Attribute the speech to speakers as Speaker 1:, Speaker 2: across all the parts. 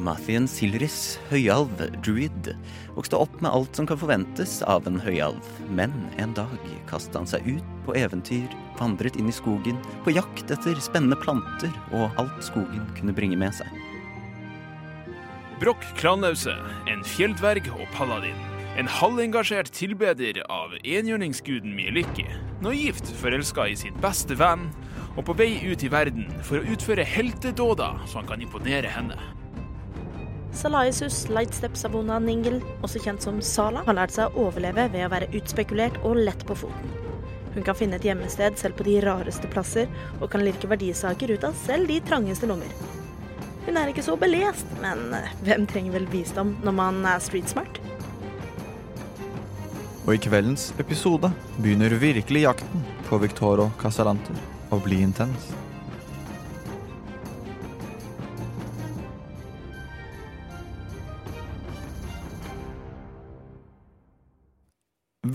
Speaker 1: Mathien Silris, høyalv, druid, vokste opp med alt som kan forventes av en høyalv, men en dag kastet han seg ut på eventyr, vandret inn i skogen, på jakt etter spennende planter og alt skogen kunne bringe med seg.
Speaker 2: Brokk Kranause, en fjelldverg og paladin. En halvengasjert tilbeder av enhjørningsguden Mieliki. Naivt forelska i sin beste venn, og på vei ut i verden for å utføre heltedåder så han kan imponere henne.
Speaker 3: Salaisus lightstep-sabona Ningel, også kjent som Sala, har lært seg å overleve ved å være utspekulert og lett på foten. Hun kan finne et gjemmested selv på de rareste plasser, og kan lirke verdisaker ut av selv de trangeste lommer. Hun er ikke så belest, men eh, hvem trenger vel visdom når man er streetsmart?
Speaker 4: Og i kveldens episode begynner virkelig jakten på Victoro Casalanter å bli intens.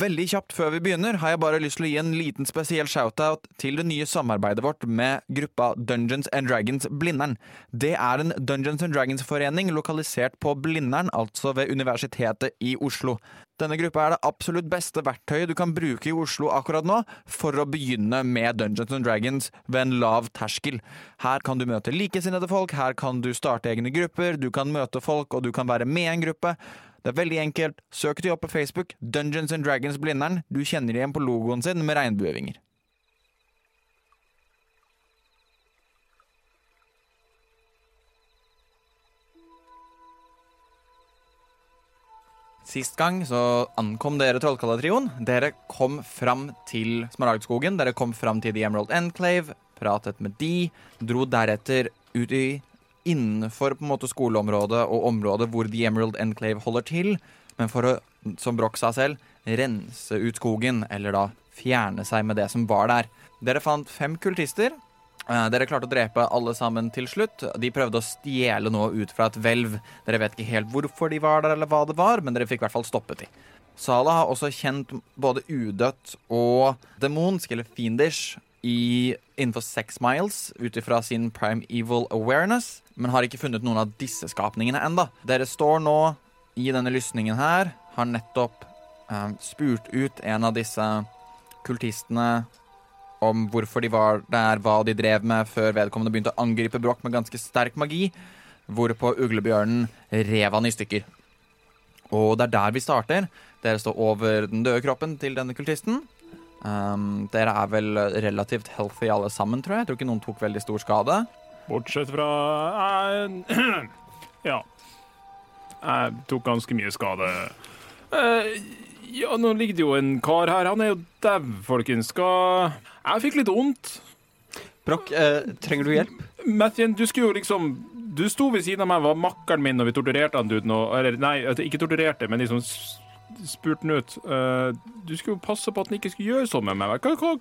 Speaker 4: Veldig kjapt før vi begynner har jeg bare lyst til å gi en liten spesiell shoutout til det nye samarbeidet vårt med gruppa Dungeons and Dragons Blindern. Det er en Dungeons and Dragons-forening lokalisert på Blindern, altså ved Universitetet i Oslo. Denne gruppa er det absolutt beste verktøyet du kan bruke i Oslo akkurat nå for å begynne med Dungeons and Dragons ved en lav terskel. Her kan du møte likesinnede folk, her kan du starte egne grupper, du kan møte folk, og du kan være med i en gruppe. Det er veldig enkelt. Søk de opp på Facebook, Dungeons and Dragons Blindern. Du kjenner de igjen på logoen sin med regnbuevinger. Sist gang så ankom dere Trollkallatrioen. Dere kom fram til Smaragdskogen. Dere kom fram til The Emerald Enclave, pratet med de, dro deretter ut i innenfor på en måte skoleområdet og området hvor The Emerald Enclave holder til, men for å, som Broch sa selv, rense ut skogen, eller da fjerne seg med det som var der. Dere fant fem kultister. Eh, Dere klarte å drepe alle sammen til slutt. De prøvde å stjele noe ut fra et hvelv. Dere vet ikke helt hvorfor de var der, eller hva det var, men dere fikk i hvert fall stoppet de. Sala har også kjent både udødt og demonsk, eller fiendish, i, innenfor seks miles ut ifra sin prime evil awareness, men har ikke funnet noen av disse skapningene enda. Dere står nå i denne lysningen her, har nettopp eh, spurt ut en av disse kultistene om hvorfor de var der, hva de drev med, før vedkommende begynte å angripe Broch med ganske sterk magi, hvorpå uglebjørnen rev han i stykker. Og det er der vi starter. Dere står over den døde kroppen til denne kultisten. Um, dere er vel relativt healthy alle sammen, tror jeg. Jeg tror ikke noen tok veldig stor skade.
Speaker 5: Bortsett fra eh, Ja. Jeg tok ganske mye skade. Eh, ja, nå ligger det jo en kar her. Han er jo dau, folkens. Skal Jeg fikk litt vondt.
Speaker 1: Brokk, eh, trenger du hjelp?
Speaker 5: Mathien, du skulle jo liksom Du sto ved siden av meg, var makkeren min, og vi torturerte han duden og Eller, nei, at- ikke torturerte, men liksom s- spurte han ut. Eh, du skulle jo passe på at han ikke skulle gjøre sånn med meg. Hva, hva,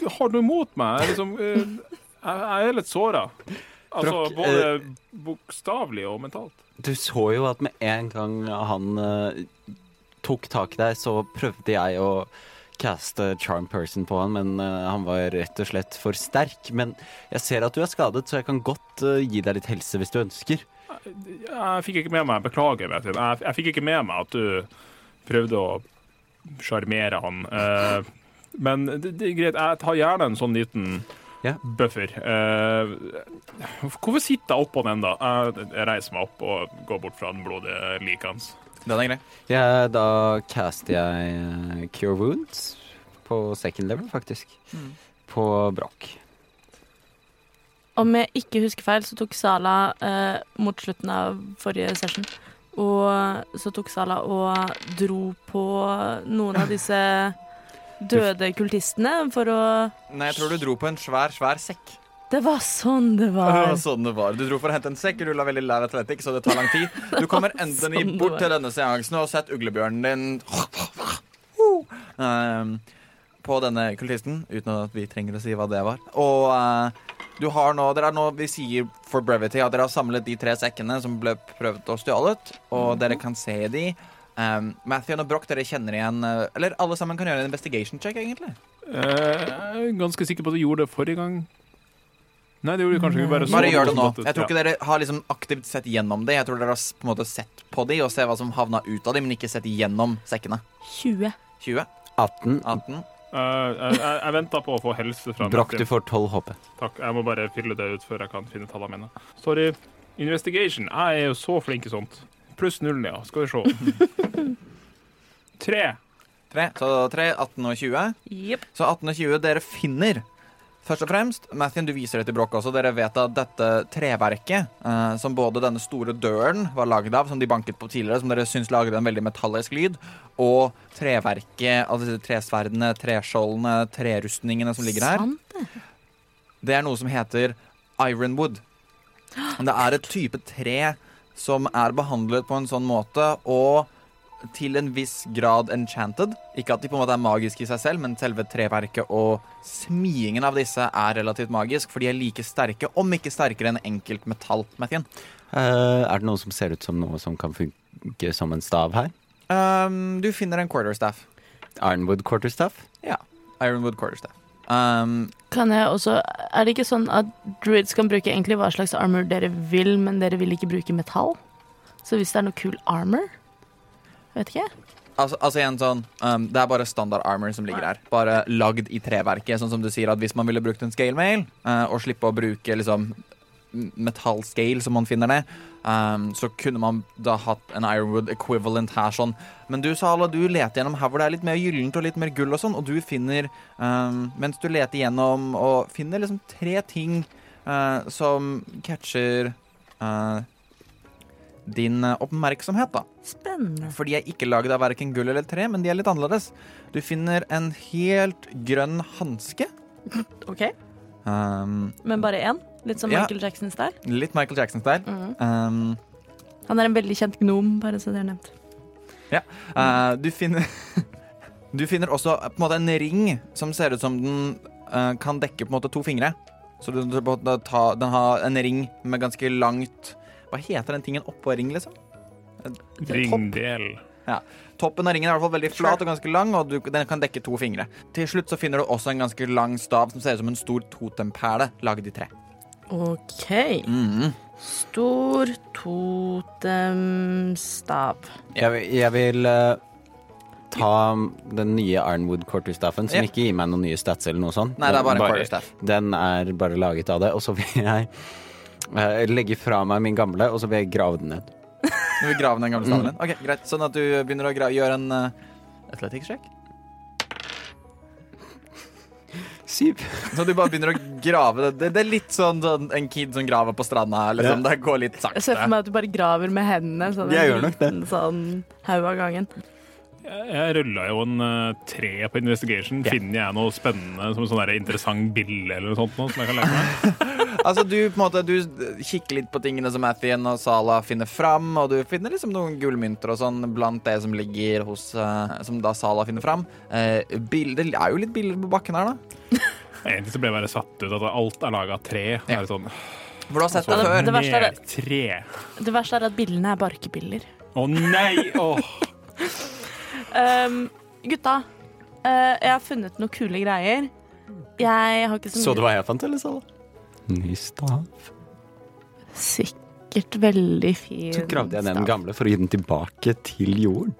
Speaker 5: hva har du imot meg? Jeg, er liksom, eh, jeg, jeg er litt såra. Altså
Speaker 1: Brokk,
Speaker 5: både bokstavelig og mentalt.
Speaker 1: Du så jo at med en gang han eh, tok tak i deg, så prøvde jeg å caste charm person på han, men eh, han var rett og slett for sterk. Men jeg ser at du er skadet, så jeg kan godt eh, gi deg litt helse hvis du ønsker.
Speaker 5: Jeg fikk ikke med meg Beklager, vet du. Jeg, jeg fikk ikke med meg at du prøvde å sjarmere han. Eh, men det, det er greit, jeg tar gjerne en sånn liten
Speaker 1: Ja.
Speaker 5: buffer. Eh, hvorfor sitter jeg oppå den, da? Jeg, jeg reiser meg opp og går bort fra den blodige liket hans.
Speaker 4: Den er grei.
Speaker 1: Ja, da caster jeg eh, Cure Wounds på second level, faktisk. På Broch.
Speaker 6: Om jeg ikke husker feil, så tok Sala eh, mot slutten av forrige session. Og eh, så tok Sala og dro på noen av disse døde kultistene for å
Speaker 4: Nei, jeg tror du dro på en svær, svær sekk.
Speaker 6: Det var sånn det
Speaker 4: Det
Speaker 6: var!
Speaker 4: var sånn det var. Du dro for å hente en sekk, rulla veldig lav atletikk, så det tar lang tid. Du kommer endelig
Speaker 6: sånn det
Speaker 4: bort
Speaker 6: var.
Speaker 4: til denne seansen og har sett uglebjørnen din Um, på denne kultisten, uten at vi trenger å si hva det var. Og eh, du har nå, dere er nå, vi sier for brevity, at dere har samlet de tre sekkene som ble prøvd og stjålet,
Speaker 6: Mhm.
Speaker 4: og dere kan se de. Um, Matthew og Broch, dere kjenner igjen eh, Eller alle sammen kan gjøre en investigation check, egentlig.
Speaker 5: Eh, Jeg er ganske sikker på at du gjorde det forrige gang. Nei, det gjorde du kanskje ikke. Bare, så
Speaker 4: Bare gjør det
Speaker 5: noe
Speaker 4: nå.
Speaker 5: som datt ut.
Speaker 4: Jeg tror
Speaker 5: Ja.
Speaker 4: ikke dere har liksom aktivt sett gjennom det. Jeg tror dere har s- på en måte sett på de og ser hva som havna ut av de, men ikke sett gjennom sekkene.
Speaker 6: 20.
Speaker 4: 20?
Speaker 1: 18.
Speaker 4: 18?
Speaker 5: Eh, jeg, jeg, jeg venter på å få helse fra
Speaker 1: Brokk, du
Speaker 5: Martin.
Speaker 1: får 12 HP.
Speaker 5: Takk, jeg må bare fylle det ut før jeg kan finne tallene mine. Sorry. Investigation. Jeg er jo så flink i sånt. Pluss null, ja. Skal vi se. Tre.
Speaker 4: 3. Så 3, 18 og 20.
Speaker 6: Jepp.
Speaker 4: Så 18 og 20 dere finner Først og fremst, Mathien, du viser det til Broch også. Dere vet at dette treverket, eh, som både denne store døren var lagd av, som de banket på tidligere, som dere syns lagde en veldig metallisk lyd, og treverket, altså disse tresverdene, treskjoldene, trerustningene som ligger her,
Speaker 6: Sant.
Speaker 4: det er noe som heter ironwood. Det er et type tre som er behandlet på en sånn måte og til en viss grad enchanted. Ikke at de på en måte er magiske i seg selv, men selve treverket og smiingen av disse er relativt magisk, for de er like sterke, om ikke sterkere enn enkelt metall. Mathien.
Speaker 1: Eh, er det noe som ser ut som noe som kan funke som en stav her?
Speaker 4: Um, du finner en quarterstaff.
Speaker 1: Ironwood quarterstaff?
Speaker 4: Ja. Ironwood quarterstaff. Um,
Speaker 6: Kan jeg også Er det ikke sånn at druids kan bruke egentlig hva slags armor dere vil, men dere vil ikke bruke metall? Så hvis det er noe kul armor Vet ikke.
Speaker 4: Altså, altså igjen sånn um, Det er bare standard armor som ligger her. Bare lagd i treverket. Sånn som du sier at Hvis man ville brukt en scale mail, eh, og slippe å bruke liksom m- metallscale, som man finner det, um, så kunne man da hatt en Ironwood equivalent her sånn. Men du, Sala, du leter gjennom her hvor det er litt mer gyllent og litt mer gull og sånn, og du finner um, Mens du leter gjennom og finner liksom tre ting eh, som catcher eh, din eh, oppmerksomhet, da.
Speaker 6: Spennende.
Speaker 4: For de er ikke laget av verken gull eller tre, men de er litt annerledes. Du finner en helt grønn hanske.
Speaker 6: OK,
Speaker 4: Um,
Speaker 6: men bare én? Litt som
Speaker 4: Ja.
Speaker 6: Michael Jackson-style?
Speaker 4: litt Michael Jackson-style. Um,
Speaker 6: Mm. Han er en veldig kjent gnom, bare så det er nevnt.
Speaker 4: eh, du finner Du finner også eh, på en måte en ring som ser ut som den eh, kan dekke på en måte to fingre. Så du, du, på en måte ta, den har en ring med ganske langt Hva heter den tingen oppå ring, liksom?
Speaker 5: Ringdel.
Speaker 4: Toppen av ringen er i hvert fall veldig flat og ganske lang, og du, den kan dekke to fingre. Til slutt så finner du også en ganske lang stav som ser ut som en stor totempæle lagd i tre.
Speaker 6: OK.
Speaker 4: Mm.
Speaker 6: Stor totemstav.
Speaker 1: Jeg, vil- jeg vil eh, ta den nye Ironwood quarterstaffen, som
Speaker 4: Ja.
Speaker 1: ikke gir meg noen nye stats eller noe sånt.
Speaker 4: Nei, det er bare en
Speaker 1: Den
Speaker 4: quarterstaff.
Speaker 1: Den er bare laget av det. Og så vil jeg eh, legge fra meg min gamle, og så vil jeg grave den ned.
Speaker 4: Du vil grave den gamle staven din? Ok, greit. Sånn at du begynner å gra gjøre en uh, athletics-sjekk.
Speaker 1: Syv.
Speaker 4: Så Sånn du bare begynner å grave det. Det, det er litt sånn, sånn en kid som graver på stranda. Liksom. Det går litt
Speaker 6: Jeg ser for
Speaker 4: sakte.
Speaker 6: meg at du bare graver med hendene. Sånn,
Speaker 1: Jeg gjør nok det.
Speaker 6: en Sånn haug av gangen.
Speaker 5: Jeg, jeg rulla jo en eh, tre på investigation. Finner jeg noe spennende som en sånn der interessant bilde eller noe sånt nå, som jeg kan legge meg?
Speaker 4: Altså, du, på en måte, du kikker litt på tingene som Athien og Sala finner fram, og du finner liksom noen gullmynter og sånn blant det som ligger hos eh, Som da Sala finner fram. Eh, bilder, det er jo litt bilder på bakken her, da.
Speaker 5: Egentlig så ble jeg bare satt ut at alt er laga av tre. Det er sånn,
Speaker 4: Hvor du har sett
Speaker 5: så
Speaker 4: det før.
Speaker 6: det verste er
Speaker 5: mer
Speaker 6: det-
Speaker 5: tre.
Speaker 6: Det verste er at billene er barkebiller.
Speaker 5: Å nei! Åh.
Speaker 6: Um, gutta, eh, jeg har funnet noen kule greier. Jeg har ikke så mye
Speaker 1: Så du hva jeg fant, eller, Sala? Ny stav.
Speaker 6: Sikkert veldig fin
Speaker 1: Så gravde jeg ned
Speaker 6: stav.
Speaker 1: den gamle for å gi den tilbake til jorden.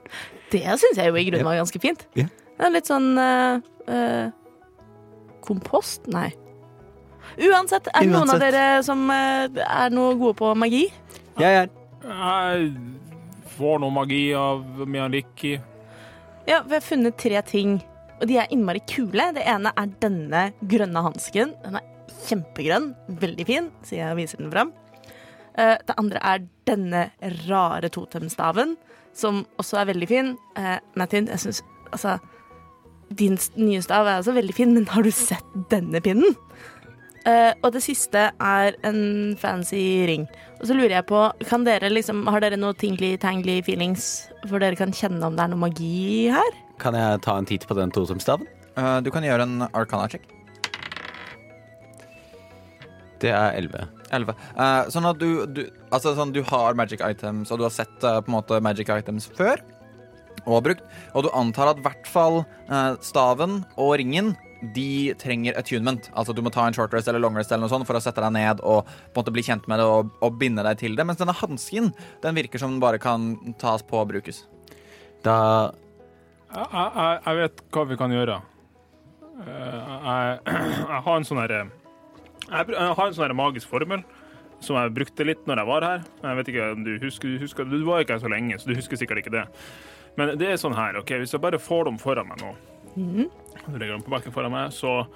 Speaker 6: Det syns jeg jo i grunnen var ganske fint.
Speaker 1: Ja.
Speaker 6: Det er litt sånn eh, eh, Kompost? Nei. Uansett, er det noen av
Speaker 1: Uansett.
Speaker 6: dere som eh, er noe gode på magi?
Speaker 1: Jeg er
Speaker 5: Jeg får noe magi av Mianiki.
Speaker 6: Ja, vi har funnet tre ting, og de er innmari kule. Det ene er denne grønne hansken. Den er kjempegrønn, veldig fin, så jeg viser den fram. Eh, Det andre er denne rare totemstaven, som også er veldig fin. Eh, Martin, jeg syns altså Din s- nye stav er også veldig fin, men har du sett denne pinnen? Eh, og det siste er en fancy ring. Og så lurer jeg på, kan dere liksom, har dere noe tingly-tangly feelings hvor dere kan kjenne om det er noe magi her?
Speaker 1: Kan jeg ta en titt på den totomstaven?
Speaker 4: Eh, du kan gjøre en arcana-check.
Speaker 1: Det er elleve.
Speaker 4: 11. Eh, sånn at du, du Altså, sånn, du har magic items, og du har sett eh, på en måte magic items før og har brukt, og du antar at i hvert fall eh, staven og ringen de trenger attunement. Altså du må ta en short rest eller long rest eller noe sånt for å sette deg ned og på en måte bli kjent med det og, og binde deg til det. Mens denne hansken, den virker som den bare kan tas på og brukes.
Speaker 1: Da
Speaker 5: Jeg, jeg, jeg vet hva vi kan gjøre. Eh, Jeg, jeg har en sånn herre jeg, br- jeg har en sånn her magisk formel som jeg brukte litt når jeg var her. Jeg vet ikke om Du husker, du husker Du var ikke her så lenge, så du husker sikkert ikke det. Men det er sånn her, OK, hvis jeg bare får dem foran meg nå Du legger dem på bakken foran meg, så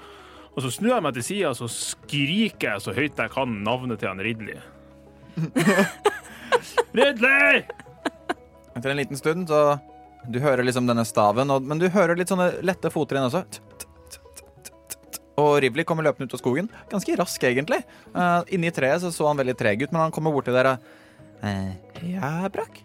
Speaker 5: Og så snur jeg meg til sida, så skriker jeg så høyt jeg kan navnet til han Ridley. Ridley!
Speaker 4: Etter en liten stund så Du hører liksom denne staven, og, men du hører litt sånne lette fottrinn også. T- t- t- t- t- t- Og Rivli kommer løpende ut av skogen. Ganske rask, egentlig. Uh, inni treet så, så han veldig treg ut, men han kommer bort til dere. Eh, ja, Brakk?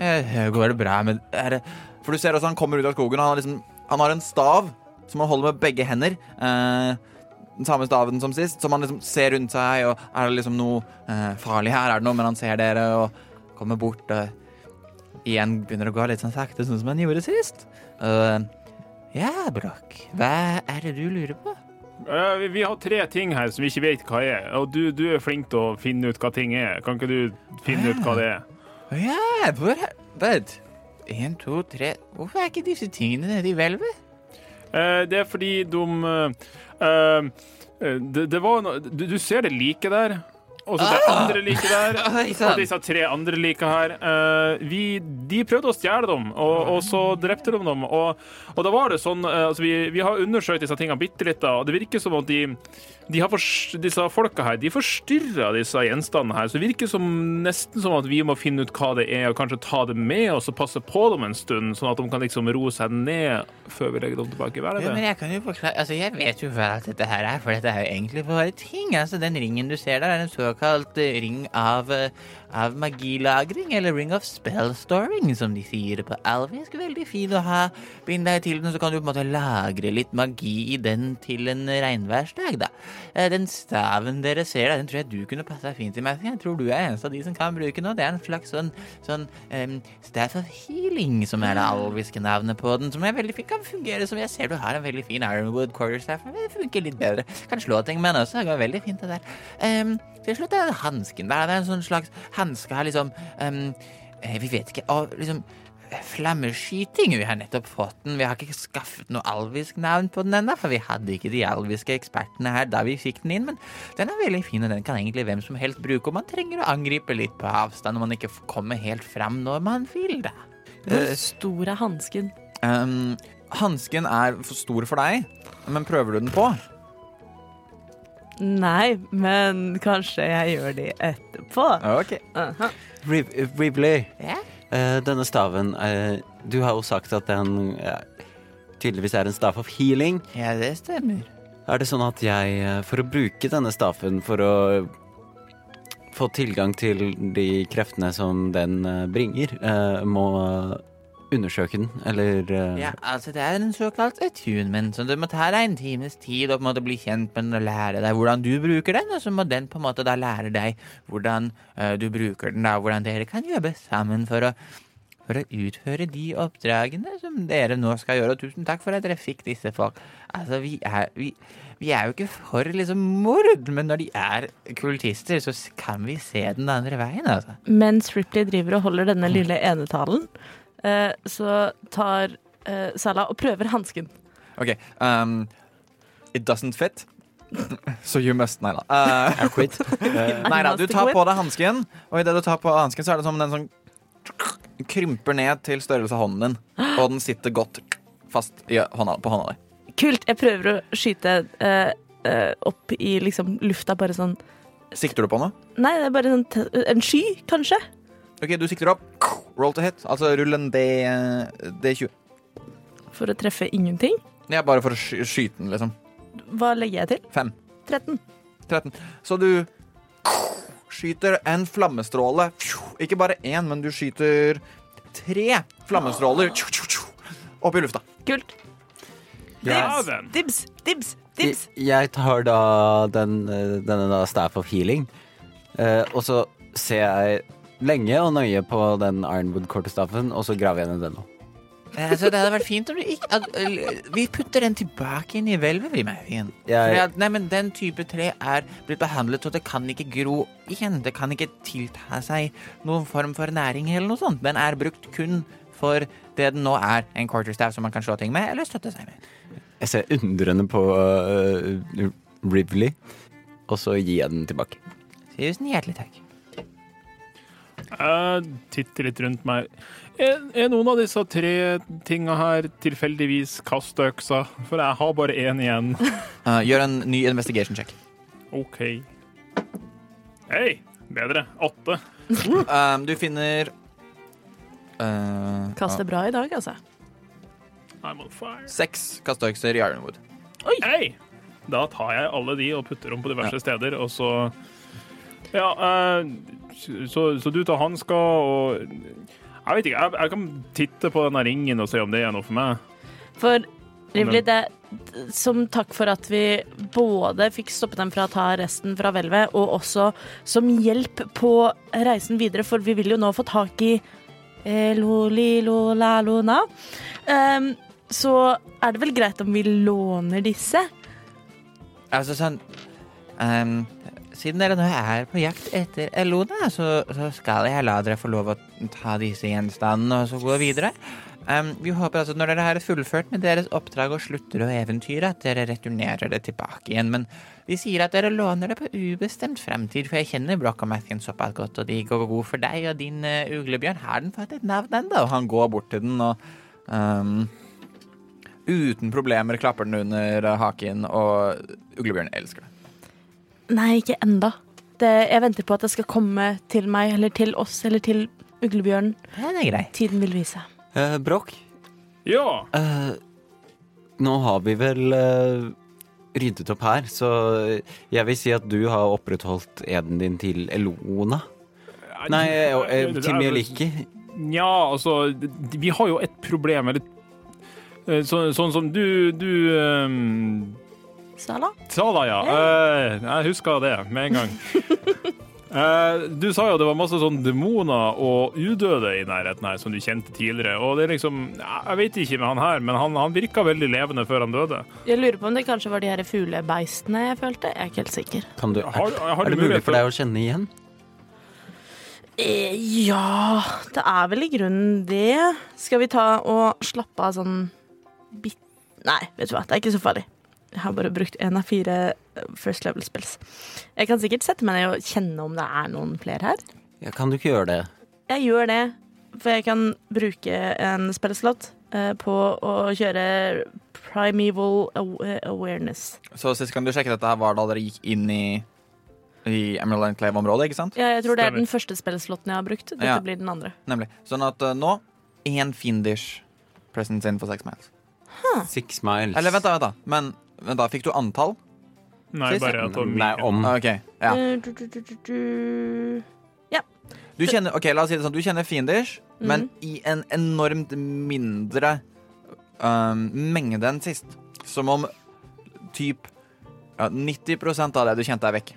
Speaker 4: Eh, går det bra med er det? For du ser også han kommer ut av skogen, og han har, liksom, han har en stav som han holder med begge hender. Eh, den samme staven som sist, som han liksom ser rundt seg, og er det liksom noe eh, farlig her? Er det noe? Men han ser dere og kommer bort. og igjen begynner å gå litt sånn sakte, sånn som han gjorde sist. Øh, ja, Brokk, hva er det du lurer på?
Speaker 5: Eh, vi- Vi har tre ting her som vi ikke vet hva er, og du, du er flink til å finne ut hva ting er. Kan ikke du finne ut hva det er?
Speaker 4: «Å Ja, hvor er Vent. En, to, tre Hvorfor er ikke disse tingene nede i hvelvet?
Speaker 5: Eh, Det er fordi de eh, eh, det, det var noe du, du ser det like der. Og så det andre like der.
Speaker 4: Oi
Speaker 5: Og
Speaker 4: sann!
Speaker 5: disse tre andre like her. Eh, vi, de prøvde å stjele dem, og, og så drepte de dem. Og, og da var det sånn eh, altså vi, vi har undersøkt disse tingene bitte litt, da, og det virker som at de, de har fors- disse folka her De forstyrrer disse gjenstandene her. Så det virker som, nesten som at vi må finne ut hva det er, og kanskje ta det med oss og passe på dem en stund, sånn at de kan liksom roe seg ned før vi legger dem tilbake i
Speaker 4: Ja, men
Speaker 5: verden.
Speaker 4: jeg kan jo forklare Altså, jeg vet jo hva alt dette her er, for dette er jo egentlig bare ting. Altså, den ringen du ser der, er en såkalt eh, ring av, eh, av magilagring, eller ring of spellstoring, som de sier på alvisk. Veldig fin å ha. Bind deg til den, så kan du på en måte lagre litt magi i den til en regnværsdag, da. Eh, Den staven dere ser der, den tror jeg du kunne passa fint i, Matthew. Jeg tror du er eneste av de som kan bruke den, og det er en slags sånn, sånn em, Staff of Healing, som er det alviske navnet på den, som er veldig fint kan fungere som Jeg ser du har en veldig fin Ironwood Quarterstaff, men det funker litt bedre. Kan slå ting med den også, det går veldig fint, det der. Em, til slutt er det hansken der. Det er en sånn slags hanske her, liksom em, eh, Vi vet ikke av, liksom Flammeskyting. Vi har nettopp fått den. Vi har ikke skaffet noe alvisk navn på den ennå, for vi hadde ikke de alviske ekspertene her da vi fikk den inn, men den er veldig fin, og den kan egentlig hvem som helst bruke, og man trenger å angripe litt på avstand når man ikke f- kommer helt fram når man vil, da. Eh.
Speaker 6: Hvor stor er hansken?
Speaker 4: Um, Hansken er for stor for deg, men prøver du den på?
Speaker 6: Nei, men kanskje jeg gjør det etterpå.
Speaker 4: Ok.
Speaker 6: Aha.
Speaker 1: Rib Ribley.
Speaker 4: Ja?
Speaker 1: Eh, denne staven eh, Du har jo sagt at den eh, tydeligvis er en stav of healing.
Speaker 4: ja, det stemmer.
Speaker 1: Er det sånn at jeg, eh, for å bruke denne staven for å få tilgang til de kreftene som den eh, bringer, eh, må undersøke den, eller eh,
Speaker 4: Ja, altså Det er en såkalt attunement, så det må ta deg en times tid å på en måte bli kjent med den og lære deg hvordan du bruker den, og så må den på en måte da lære deg hvordan eh, du bruker den, da, og hvordan dere kan jobbe sammen for å for å utføre de oppdragene som dere nå skal gjøre. Og tusen takk for at dere fikk disse folk. Altså, vi er, vi, vi er jo ikke for liksom mord, men når de er kultister, så kan vi se den andre veien, altså.
Speaker 6: Mens Ripley driver og holder denne lille enetalen, eh, så tar eh, Sala og prøver hansken.
Speaker 4: Ok, um, it doesn't fit. So you must, nei da. Uh,
Speaker 1: quit. Eh,
Speaker 4: nei da, du tar på deg hansken, og idet du tar på hansken, så er det som den som krymper ned til størrelse av hånden din. Og den sitter godt fast i hånda, på hånda di.
Speaker 6: Kult! Jeg prøver å skyte eh, eh, opp i liksom lufta, bare sånn
Speaker 4: Sikter du på noe?
Speaker 6: Nei, det er bare sånn te- en sky, kanskje?
Speaker 4: Ok, du sikter opp. Roll to hit. Altså rull en D, D20.
Speaker 6: For å treffe ingenting.
Speaker 4: Ja, bare for å sky- skyte den, liksom.
Speaker 6: Hva legger jeg til?
Speaker 4: Fem.
Speaker 6: 13.
Speaker 4: 13. Så du skyter en flammestråle. Ikke bare én, men du skyter tre flammestråler opp i lufta.
Speaker 6: Kult.
Speaker 5: Ja, den.
Speaker 7: Dibs, dibs,
Speaker 1: Jeg,
Speaker 7: dibs.
Speaker 1: jeg tar da den, eh, denne da Staff of Healing, eh, og så ser jeg lenge og nøye på den Ironwood-kortestaffen, og så graver jeg ned den nå.
Speaker 4: Eh, Så det hadde vært fint om du ikke at, eh, Vi putter den tilbake inn i hvelvet, vi, Mervin.
Speaker 1: Jeg-
Speaker 4: Fordi at, Nei, men den type tre er blitt behandlet, og det kan ikke gro igjen. Det kan ikke tilta seg noen form for næring eller noe sånt. Den er brukt kun for det den nå er, en quarterstaff som man kan slå ting med eller støtte seg med.
Speaker 1: Jeg ser undrende på uh, Rivley, og så gir jeg den tilbake.
Speaker 4: Tusen sånn hjertelig takk.
Speaker 5: Jeg titter litt rundt meg. Er, er noen av disse tre tinga her tilfeldigvis kasteøksa? For jeg har bare én igjen.
Speaker 4: Eh, gjør en ny investigation check.
Speaker 5: OK. Hei! Bedre. Åtte.
Speaker 4: Eh, du finner eh,
Speaker 6: Kaster bra i dag, altså.
Speaker 5: I'm on fire.
Speaker 4: seks kastøkser i Ironwood.
Speaker 5: Hei! Da tar jeg alle de og putter dem på diverse steder, og så Ja, eh, så, så du tar hansker og Jeg vet ikke, jeg, jeg kan titte på denne ringen og se om det er noe for meg.
Speaker 6: For Rivli, det eh, som takk for at vi både fikk stoppet dem fra å ta resten fra hvelvet, og også som hjelp på reisen videre, for vi vil jo nå få tak i eh, Loli Lola Lona. Ehm, så er det vel greit om vi låner disse?
Speaker 4: Altså sånn ehm, Siden dere nå er på jakt etter Elona, så, så skal jeg la dere få lov å ta disse gjenstandene og så gå videre. Ehm, vi håper altså at når dere har fullført med deres oppdrag og slutter å eventyre, at dere returnerer det tilbake igjen. Men de sier at dere låner det på ubestemt fremtid, for jeg kjenner Broch og Mathien såpass godt, og de går god for deg, og din eh, uglebjørn har den fått et navn ennå, og han går bort til den og ehm, Uten problemer klapper den under eh, haken, og uglebjørnen elsker det.
Speaker 6: Nei, ikke enda. Det, jeg venter på at det skal komme til meg, eller til oss, eller til uglebjørnen.
Speaker 4: Ja, det er grei.
Speaker 6: Tiden vil vise.
Speaker 1: Uh, Brokk,
Speaker 5: Ja!
Speaker 1: eh, nå har vi vel eh, ryddet opp her, så jeg vil si at du har opprettholdt eden din til Elona. Nei, eh, eh, til Mjøliki.
Speaker 5: Nja, altså d- Vi har jo et problem, eller eh, så, Sånn som du, du ehm,
Speaker 6: Sala?
Speaker 5: sa da, ja. Eh, jeg husker det med en gang. Eh, du sa jo det var masse sånn demoner og udøde i nærheten her, som du kjente tidligere. Og det er liksom ja, Jeg vet ikke med han her, men han, han virka veldig levende før han døde.
Speaker 6: Jeg lurer på om det kanskje var de her fuglebeistene jeg følte. Jeg er ikke helt sikker.
Speaker 1: Kan du,
Speaker 5: Har-
Speaker 1: er,
Speaker 5: har
Speaker 1: er
Speaker 5: du
Speaker 1: det mulig
Speaker 5: mulighet
Speaker 1: for
Speaker 5: til-
Speaker 1: deg å kjenne igjen?
Speaker 6: Eh, ja Det er vel i grunnen det. Skal vi ta og slappe av sånn bit... Nei, vet du hva, det er ikke så farlig. Jeg har bare brukt én av fire eh, first level spills. Jeg kan sikkert sette meg ned og kjenne om det er noen flere her.
Speaker 1: Ja, kan du ikke gjøre det?
Speaker 6: Jeg gjør det, for jeg kan bruke en spillslott eh, på å kjøre primeval aw- eh, awareness.
Speaker 4: Så sist gang du sjekket dette, her var da dere gikk inn i, i Emerald Enclave-området, ikke sant?
Speaker 6: Ja, jeg tror det er
Speaker 5: Stemmer.
Speaker 6: den første spillslotten jeg har brukt. Dette
Speaker 4: Ja.
Speaker 6: blir den andre.
Speaker 4: Nemlig. Sånn at eh, nå én fienders presence in for seks miles.
Speaker 1: Six miles.
Speaker 4: Eller vent, da. vent da Men vent da, fikk du antall?
Speaker 5: Nei,
Speaker 4: Sist-
Speaker 5: bare at han
Speaker 1: sånn? Nei, om.
Speaker 4: OK. Ja.
Speaker 6: Eh, Du, du, du, du, du.
Speaker 4: Du kjenner, ok, la oss si det sånn, du kjenner fienders,
Speaker 6: Mhm.
Speaker 4: men i en enormt mindre um, mengde enn sist. Som om typ ja, 90 av det du kjente, er vekk.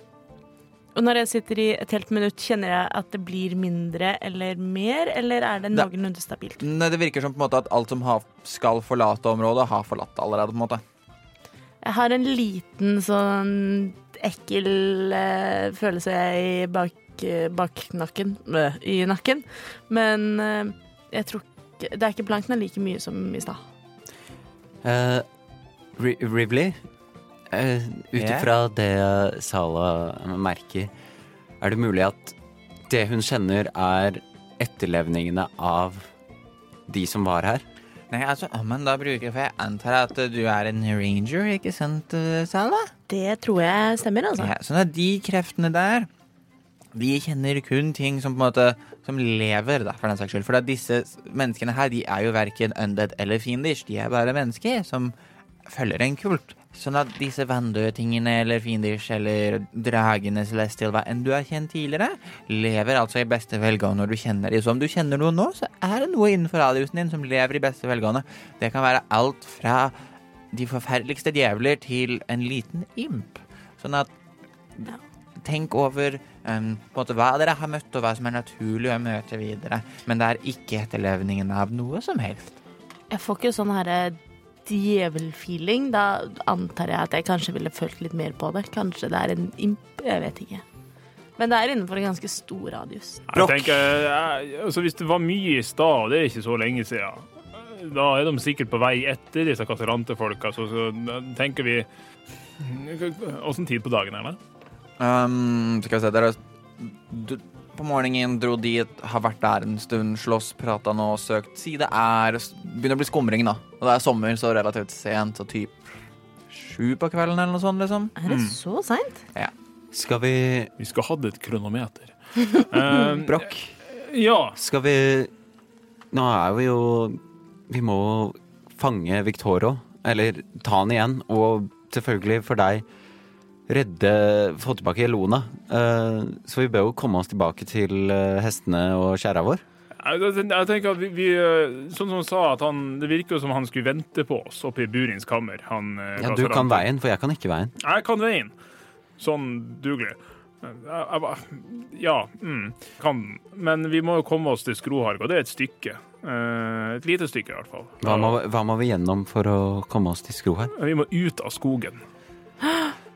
Speaker 6: Og når jeg sitter i et helt minutt, kjenner jeg at det blir mindre eller mer, eller er det
Speaker 4: Nei.
Speaker 6: noenlunde stabilt?
Speaker 4: Nei, Det virker som på en måte at alt som har, skal forlate området, har forlatt det allerede. på en måte
Speaker 6: Jeg har en liten sånn ekkel eh, følelse i bak, eh, baknakken Bø, I nakken. Men eh, jeg tror ikke Det er ikke blankt den er like mye som i stad.
Speaker 1: Eh, Ri- Rivley, eh, ut
Speaker 4: Ja?
Speaker 1: ifra det Sala merker, er det mulig at det hun kjenner, er etterlevningene av de som var her?
Speaker 4: Nei, altså, om man da bruker For jeg antar at eh, du er en ranger, ikke sant, eh, Sala?
Speaker 6: Det tror jeg stemmer, altså.
Speaker 4: Ja, sånn at de kreftene der De kjenner kun ting som på en måte Som lever da, for den saks skyld For at disse s- menneskene her De er jo hverken undead eller fiendish De er bare mennesker som følger en kult Sånn at disse vanndøde tingene Eller fiendish eller dragene Celestial, hva enn du har kjent tidligere Lever altså i beste velgående når du kjenner dem Så om du kjenner noe nå Så er det noe innenfor radiusen din som lever i beste velgående Det kan være alt fra de forferdeligste djevler til en liten imp. Sånn at
Speaker 6: Ja.
Speaker 4: Tenk over em, på en måte, hva dere har møtt, og hva som er naturlig å møte videre. Men det er ikke etterlevningen av noe som helst.
Speaker 6: Jeg får ikke sånn herre djevelfeeling. Da antar jeg at jeg kanskje ville følt litt mer på det. Kanskje det er en imp. Jeg vet ikke. Men det er innenfor en ganske stor radius.
Speaker 4: Brokk.
Speaker 5: Jeg tenker, jeg, altså Hvis det var mye i stad, og det er ikke så lenge siden, da er de sikkert på vei etter disse katarantefolka, så, så tenker vi mm, Åssen tid på dagen er det?
Speaker 4: Um, skal vi se dere, du, På morgenen dro dit, har vært der en stund, slåss, prata nå, søkt side er Begynner å bli skumring, da. Og det er sommer, så relativt sent, så typ sju på kvelden eller noe sånt, liksom.
Speaker 3: Er
Speaker 5: Mm.
Speaker 3: det så seint?
Speaker 1: Skal vi
Speaker 5: Vi skulle hatt et kronometer. Eh,
Speaker 1: Brokk,
Speaker 5: ja.
Speaker 1: skal vi Nå er vi jo Vi må fange Victoro. Eller ta han igjen. Og selvfølgelig for deg redde Få tilbake Elona. Eh, så vi bør jo komme oss tilbake til eh, hestene og kjerra vår.
Speaker 5: Jeg jeg tenker at vi, vi eh, Sånn som han sa, at han, det virker jo som han skulle vente på oss oppe i Burins kammer. Han, eh,
Speaker 1: Ja, du
Speaker 5: katarant.
Speaker 1: kan veien, for jeg kan ikke veien.
Speaker 5: Jeg kan veien. Sånn dugelig. Jeg, jeg, bare- ja, mm, kan. Men vi må jo komme oss til Skroharg, og det er et stykke. Eh, et lite stykke, i hvert fall.
Speaker 1: Hva må, hva må vi gjennom for å komme oss til skro her?
Speaker 5: Vi må ut av skogen.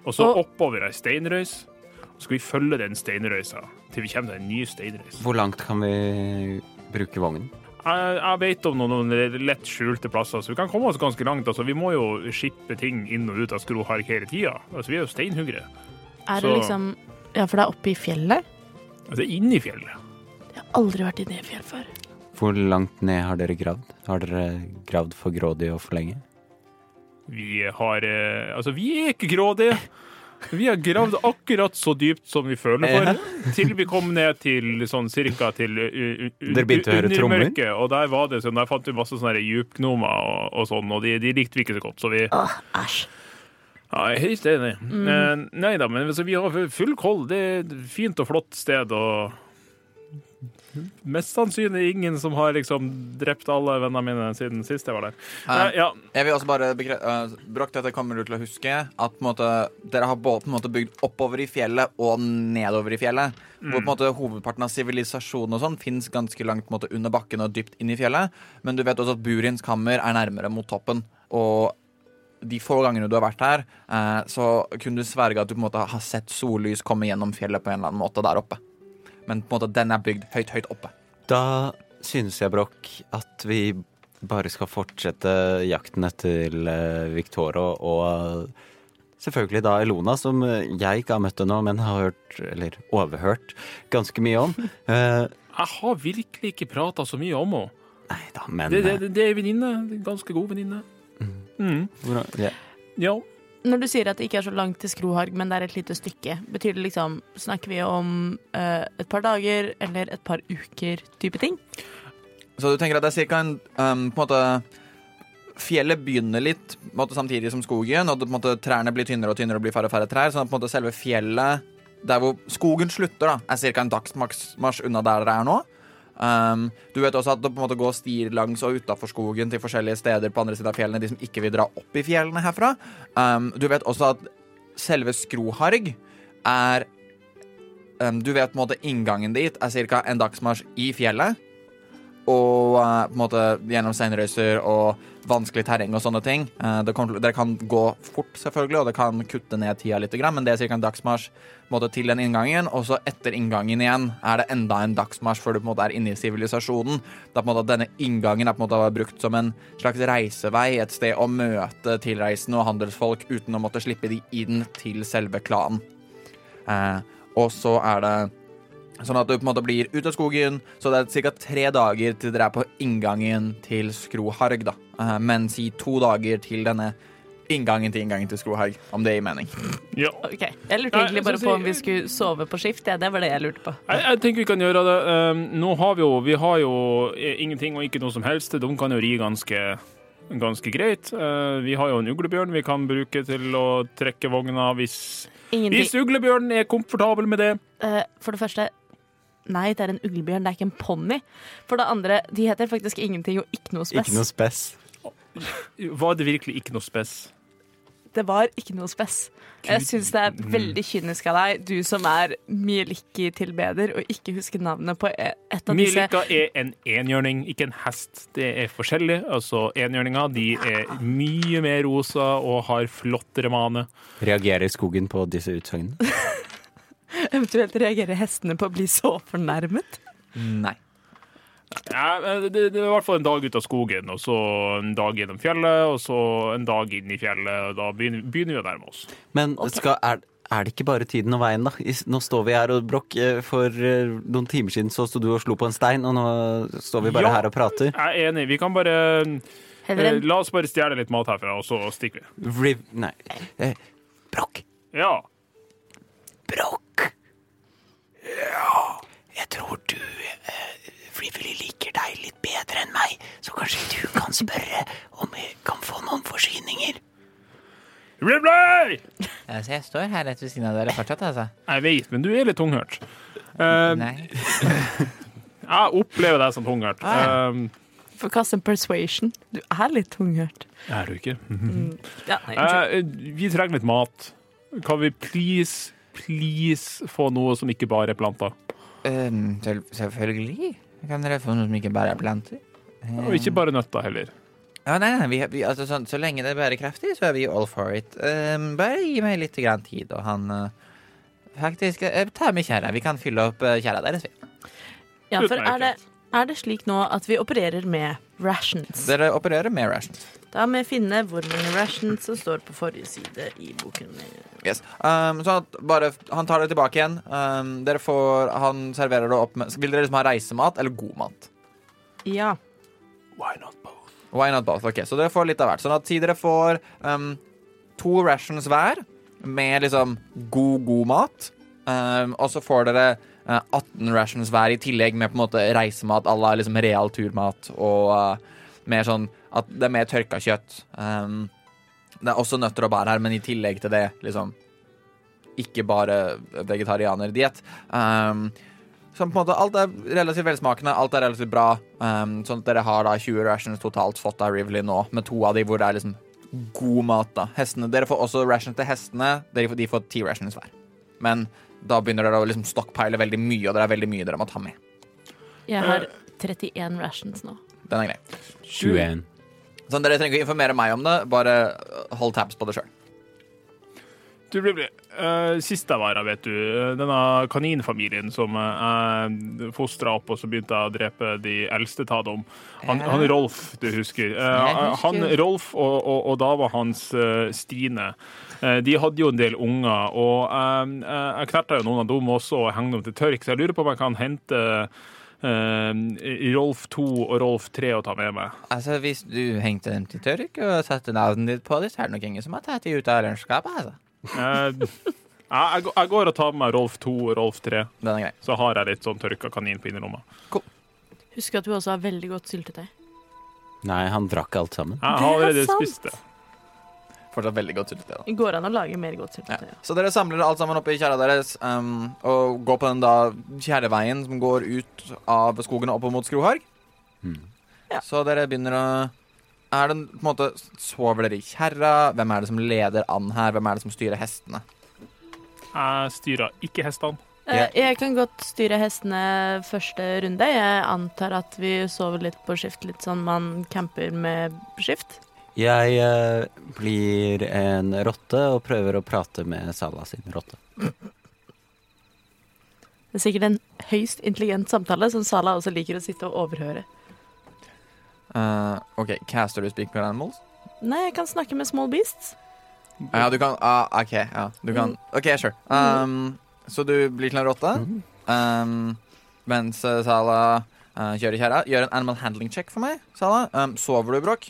Speaker 5: Og så
Speaker 6: Og-
Speaker 5: oppover ei steinrøys. Så skal vi følge den steinrøysa til vi kommer til en ny steinrøys.
Speaker 1: Hvor langt kan vi bruke vognen?
Speaker 5: Jeg, jeg vet om noen, noen lett skjulte plasser, så vi kan komme oss ganske langt. Altså, vi må jo skippe ting inn og ut av Skroharg hele tida. Altså, vi er jo steinhuggere.
Speaker 6: Er
Speaker 5: Så-
Speaker 6: det liksom Ja, for det er oppe i fjellet.
Speaker 5: Altså, inn i fjellet.
Speaker 6: Jeg har aldri vært i det fjellet før.
Speaker 1: Hvor langt ned har dere gravd? Har dere gravd for grådig og for lenge?
Speaker 5: Vi har eh, Altså, vi er ikke grådige. Vi har gravd akkurat så dypt som vi føler for, til vi kom ned til sånn cirka til uh, uh, uh,
Speaker 1: Dere begynte å høre
Speaker 5: undermørket, Og der var det sånn, der fant vi masse sånne her djupgnomer og, og sånn, og de, de likte vi ikke så godt, så vi
Speaker 6: Åh, æsj.
Speaker 5: ja, jeg er helt enig. Eh, Nei da, men altså, vi har full koll. Det er et fint og flott sted, og Mest sannsynlig ingen som har liksom drept alle vennene mine siden sist jeg var der.
Speaker 4: Eh,
Speaker 5: Nei, ja,
Speaker 4: Jeg vil også bare bekre... eh, Brokk, dette kommer du til å huske. At på en måte, dere har både på en måte bygd oppover i fjellet og nedover i fjellet. Hvor på en måte hovedparten av sivilisasjonen og sånn fins ganske langt på en måte, under bakken og dypt inn i fjellet. Men du vet også at Burins kammer er nærmere mot toppen. Og de få gangene du har vært her, eh, så kunne du sverge at du på en måte har sett sollys komme gjennom fjellet på en eller annen måte der oppe. Men på en måte, den er bygd høyt, høyt oppe.
Speaker 1: Da synes jeg, Brokk, at vi bare skal fortsette jakten etter eh, Victoro og selvfølgelig da Elona, som eh, jeg ikke har møtt ennå, men har hørt, eller overhørt, ganske mye om. Eh,
Speaker 5: jeg har virkelig ikke prata så mye om henne.
Speaker 1: nei da, men
Speaker 5: Det,
Speaker 1: eh,
Speaker 5: det, det er en venninne. en Ganske god venninne. Mm.
Speaker 1: hvordan- ja.
Speaker 5: Ja.
Speaker 6: Når du sier at det ikke er så langt til Skroharg, men det er et lite stykke, betyr det liksom Snakker vi om eh, et par dager eller et par uker type ting?
Speaker 4: Så du tenker at det er cirka en um, På en måte Fjellet begynner litt på en måte, samtidig som skogen, og det, på en måte, trærne blir tynnere og tynnere og blir færre og færre trær. Sånn at på en måte, selve fjellet der hvor skogen slutter, da, er ca. en dagsmarsj unna der dere er nå. Um, du vet også at det på en måte går stier langs og utafor skogen til forskjellige steder på andre siden av fjellene, de som ikke vil dra opp i fjellene herfra. Um, du vet også at selve Skroharg er um, Du vet på en måte inngangen dit er ca. en dagsmarsj i fjellet og eh, på en måte gjennom steinrøyser og vanskelig terreng og sånne ting. Eh, det kan, dere kan gå fort, selvfølgelig, og det kan kutte ned tida litt, grann, men det er ca. en dagsmarsj på en måte, til den inngangen. Og så etter inngangen igjen er det enda en dagsmarsj før du på en måte er inne i sivilisasjonen. Da på en måte at denne inngangen er på en måte brukt som en slags reisevei, et sted å møte tilreisende og handelsfolk uten å måtte slippe de inn til selve klanen. Eh, og så er det Sånn at du på en måte blir ut av skogen. Så det er ca. tre dager til dere er på inngangen til Skroharg, da. Eh, Men si to dager til denne inngangen til inngangen til Skroharg, om det gir mening.
Speaker 5: ja.
Speaker 6: Ok, Jeg lurte
Speaker 5: Nei,
Speaker 6: egentlig bare
Speaker 5: så
Speaker 6: på
Speaker 5: si-
Speaker 6: om vi skulle sove på skift. Ja, det var det jeg lurte på.
Speaker 5: Jeg, jeg tenker vi kan gjøre det. Um, nå har vi jo Vi har jo eh, ingenting og ikke noe som helst. De kan jo ri ganske Ganske greit. Eh, vi har jo en uglebjørn vi kan bruke til å trekke vogna hvis Hvis
Speaker 6: Ingenting.
Speaker 5: uglebjørnen er komfortabel med det.
Speaker 6: Eh, for det første Nei, det er en
Speaker 1: eh,
Speaker 6: uglebjørn, det er ikke en ponni. For det andre, de heter faktisk ingenting og ikke noe spes.
Speaker 1: Ikke noe spess.
Speaker 5: Var det virkelig ikke noe spess?
Speaker 6: Det var ikke noe spess. Jeg syns det er veldig kynisk av deg, du som er Mielikki-tilbeder, å ikke huske navnet på e- et av disse
Speaker 5: Mielika er en enhjørning, ikke en hest. Det er forskjellig. Altså, enhjørninger de er mye mer rosa og har flottere mane.
Speaker 1: Reagerer skogen på disse utsagnene?
Speaker 6: Eventuelt reagerer hestene på å bli så fornærmet.
Speaker 4: Nei.
Speaker 5: Ja, men det, det var i hvert fall en dag ut av skogen, og så en dag gjennom fjellet, og så en dag inn i fjellet, og da begynner, begynner vi å nærme oss.
Speaker 1: Men skal, er, er det ikke bare tiden og veien, da? I s- Nå står vi her og brokk. eh, For eh, noen timer siden så sto du og slo på en stein, og nå står vi bare
Speaker 5: Ja.
Speaker 1: her og prater.
Speaker 5: Jeg er enig. Vi kan bare eh, La oss bare stjele litt mat herfra, og så stikker vi.
Speaker 1: Riv... Nei. Eh, brokk.
Speaker 5: Ja.
Speaker 1: Brokk! Jeg tror du eh, frivillig liker deg litt bedre enn meg, så kanskje du kan spørre om jeg kan få noen forsyninger?
Speaker 5: Ripley!
Speaker 4: Altså, jeg står her rett ved siden av dere fortsatt, altså.
Speaker 5: Jeg vet, men du er litt tunghørt. Eh,
Speaker 4: Nei.
Speaker 5: jeg opplever deg som tunghørt.
Speaker 6: Ah,
Speaker 5: Eh,
Speaker 6: Få kaste en persuasion. Du er litt tunghørt.
Speaker 5: er du ikke?
Speaker 6: Ja, nei, unnskyld.
Speaker 5: Eh, vi trenger litt mat. Kan vi please, please få noe som ikke bare er planter?
Speaker 4: Øhm, selv, selvfølgelig. Kan dere få noe som ikke bare er planter?
Speaker 5: Og ikke bare nøtter heller.
Speaker 4: Ja, nei, nei, vi, vi, altså, sånn, Så lenge det er bærekraftig, så er vi all for it. Ehm, bare gi meg litt grann tid, og han eh, Faktisk, eh, ta med kjerra. Vi kan fylle opp eh, kjerra deres. vi.
Speaker 6: ja, for er det,
Speaker 5: Utmerket.
Speaker 6: er det slik nå at vi opererer med rations?
Speaker 4: Dere opererer med rations.
Speaker 6: Da må jeg finne hvor mange rations som står på forrige side i boken min.
Speaker 4: Yes. Ehm, så at bare, han tar det tilbake igjen. Ehm, dere får, han serverer det opp med Vil dere liksom ha reisemat eller god mat?
Speaker 6: Ja.
Speaker 4: Why not both? Ok, Så dere får litt av hvert. Sånn at si dere får ehm, to rations hver med liksom god, god mat, ehm, og så får dere eh, 18 rations hver i tillegg med på en måte reisemat à la liksom real turmat og eh, mer sånn at det er mer tørka kjøtt. Ehm, det er også nøtter og bær her, men i tillegg til det liksom ikke bare vegetarianerdiett. Um, som på en måte, alt er relativt velsmakende, alt er relativt bra. Um, sånn at dere har da 20 rations totalt fått av Rivley nå, med to av de hvor det er liksom god mat. da. Hestene, Dere får også rations til hestene. Dere, får- de får ti rations hver. Men da begynner dere å liksom stockpile veldig mye, og det er veldig mye dere må ta med.
Speaker 6: Jeg
Speaker 5: Eh.
Speaker 6: har 31 rations nå.
Speaker 4: Den er grei. Sånn, Dere trenger ikke informere meg om det, bare øh, hold tabs på det sjøl.
Speaker 5: Du blir blir. Eh, sist jeg var her, vet du, eh, denne kaninfamilien som eh, jeg fostra opp, og så begynte jeg å drepe de eldste ta dem. Han,
Speaker 4: Ja.
Speaker 5: han Rolf, du husker. Eh,
Speaker 4: Jeg husker.
Speaker 5: han Rolf og, og, og dama hans, eh, Stine, eh, de hadde jo en del unger, og eh, eh, jeg knerta jo noen av dem også og hengte dem til tørk, så jeg lurer på om jeg kan hente eh, Rolf 2 og Rolf 3 og ta med meg.
Speaker 4: Altså, Hvis du hengte dem til tørk og satte navnet ditt på dem, så er det nok ingen som har tatt dem ut av lunsjskapet. Altså.
Speaker 5: Eh, jeg, jeg går- jeg går og tar med meg Rolf 2 og Rolf 3,
Speaker 4: Den er grei.
Speaker 5: så har jeg litt sånn tørka kanin på innerlomma.
Speaker 6: Husk at du også har veldig godt syltetøy.
Speaker 1: Nei, han drakk alt sammen.
Speaker 5: Jeg
Speaker 6: Det
Speaker 5: har
Speaker 6: er
Speaker 5: allerede
Speaker 6: sant.
Speaker 5: spist det.
Speaker 4: Fortsatt veldig godt syltetøy. da.
Speaker 6: Går an å lage mer godt
Speaker 4: Ja.
Speaker 6: syltetøy. Ja.
Speaker 4: Så dere samler alt sammen opp i kjerra deres um, og går på den da kjerreveien som går ut av skogen og opp mot Skroharg.
Speaker 1: Mm.
Speaker 6: Ja.
Speaker 4: Så dere begynner å Er det en- på en måte Sover dere i kjerra? Hvem er det som leder an her? Hvem er det som styrer hestene?
Speaker 5: Jeg styrer ikke hestene.
Speaker 6: Eh, Jeg kan godt styre hestene første runde. Jeg antar at vi sover litt på skift, litt sånn man camper med skift.
Speaker 1: Jeg eh, blir en rotte og prøver å prate med Salah sin rotte.
Speaker 6: Det er sikkert en høyst intelligent samtale som Sala også liker å sitte og overhøre.
Speaker 4: Eh, OK, caster du speak with animals?
Speaker 6: Nei, jeg kan snakke med small beasts.
Speaker 4: Ja, du kan ah, OK, ja. Du kan OK, sure. Um, så du blir til en rotte.
Speaker 1: Mhm.
Speaker 4: Um, mens eh, Sala eh, kjører kjerra. Gjør en animal handling check for meg, Sala. Um, sover du, Bråk?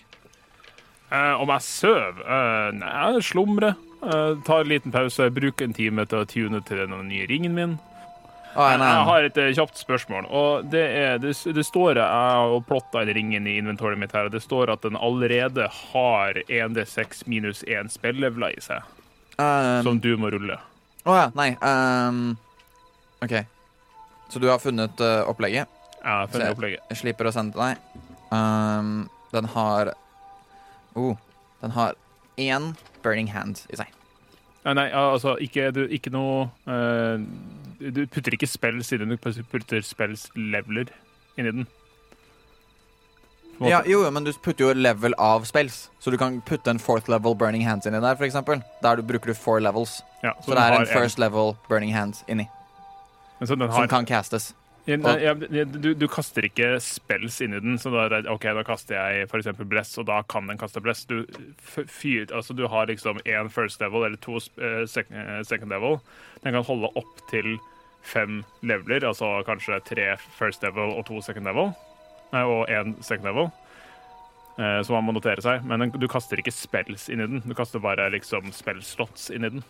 Speaker 5: Eh, om jeg sover? Eh, nei, jeg slumrer. Eh, tar en liten pause, bruker en time til å tune til den nye ringen min.
Speaker 4: Å, ja, Ah, nei,
Speaker 5: Jeg
Speaker 4: nei.
Speaker 5: har et eh, kjapt spørsmål. Og det, er, det, det står Jeg har plotta inn ringen i inventoriet mitt her, og det står at den allerede har 1D6 minus 1 spillevla i seg,
Speaker 4: Um,
Speaker 5: som du må rulle.
Speaker 4: Å ja, nei. Um, OK. Så du har funnet eh, opplegget?
Speaker 5: Jeg har funnet opplegget.
Speaker 4: Jeg slipper å sende til deg. Um, den Ehm, har Oh, den har én burning hand i seg.
Speaker 5: Nei, nei altså, ikke, du, ikke noe eh, Du putter ikke spill siden du putter spells-leveler inni den. På en
Speaker 4: Ja,
Speaker 5: måte.
Speaker 4: jo, jo, men du putter jo level av spells, så du kan putte en fourth level burning hands inni der, for eksempel. Der du bruker du four levels.
Speaker 5: Ja,
Speaker 4: Så det er
Speaker 5: den
Speaker 4: en
Speaker 5: har
Speaker 4: first level burning hand inni,
Speaker 5: Men så den
Speaker 4: som
Speaker 5: har,
Speaker 4: kan castes.
Speaker 5: Ja, nei, ja, du, du kaster ikke spells inni den, så da, er det, ok, da kaster jeg f.eks. bless, og da kan den kaste bless. Du, f- fyr, altså, du har liksom én first level eller to eh, sec- eh, second level. Den kan holde opp til fem leveler, altså kanskje tre first level og to second level. Nei, og én second level. Eh, Så man må notere seg. Men den- du kaster ikke spells inni den. Du kaster bare liksom spellslots inni den.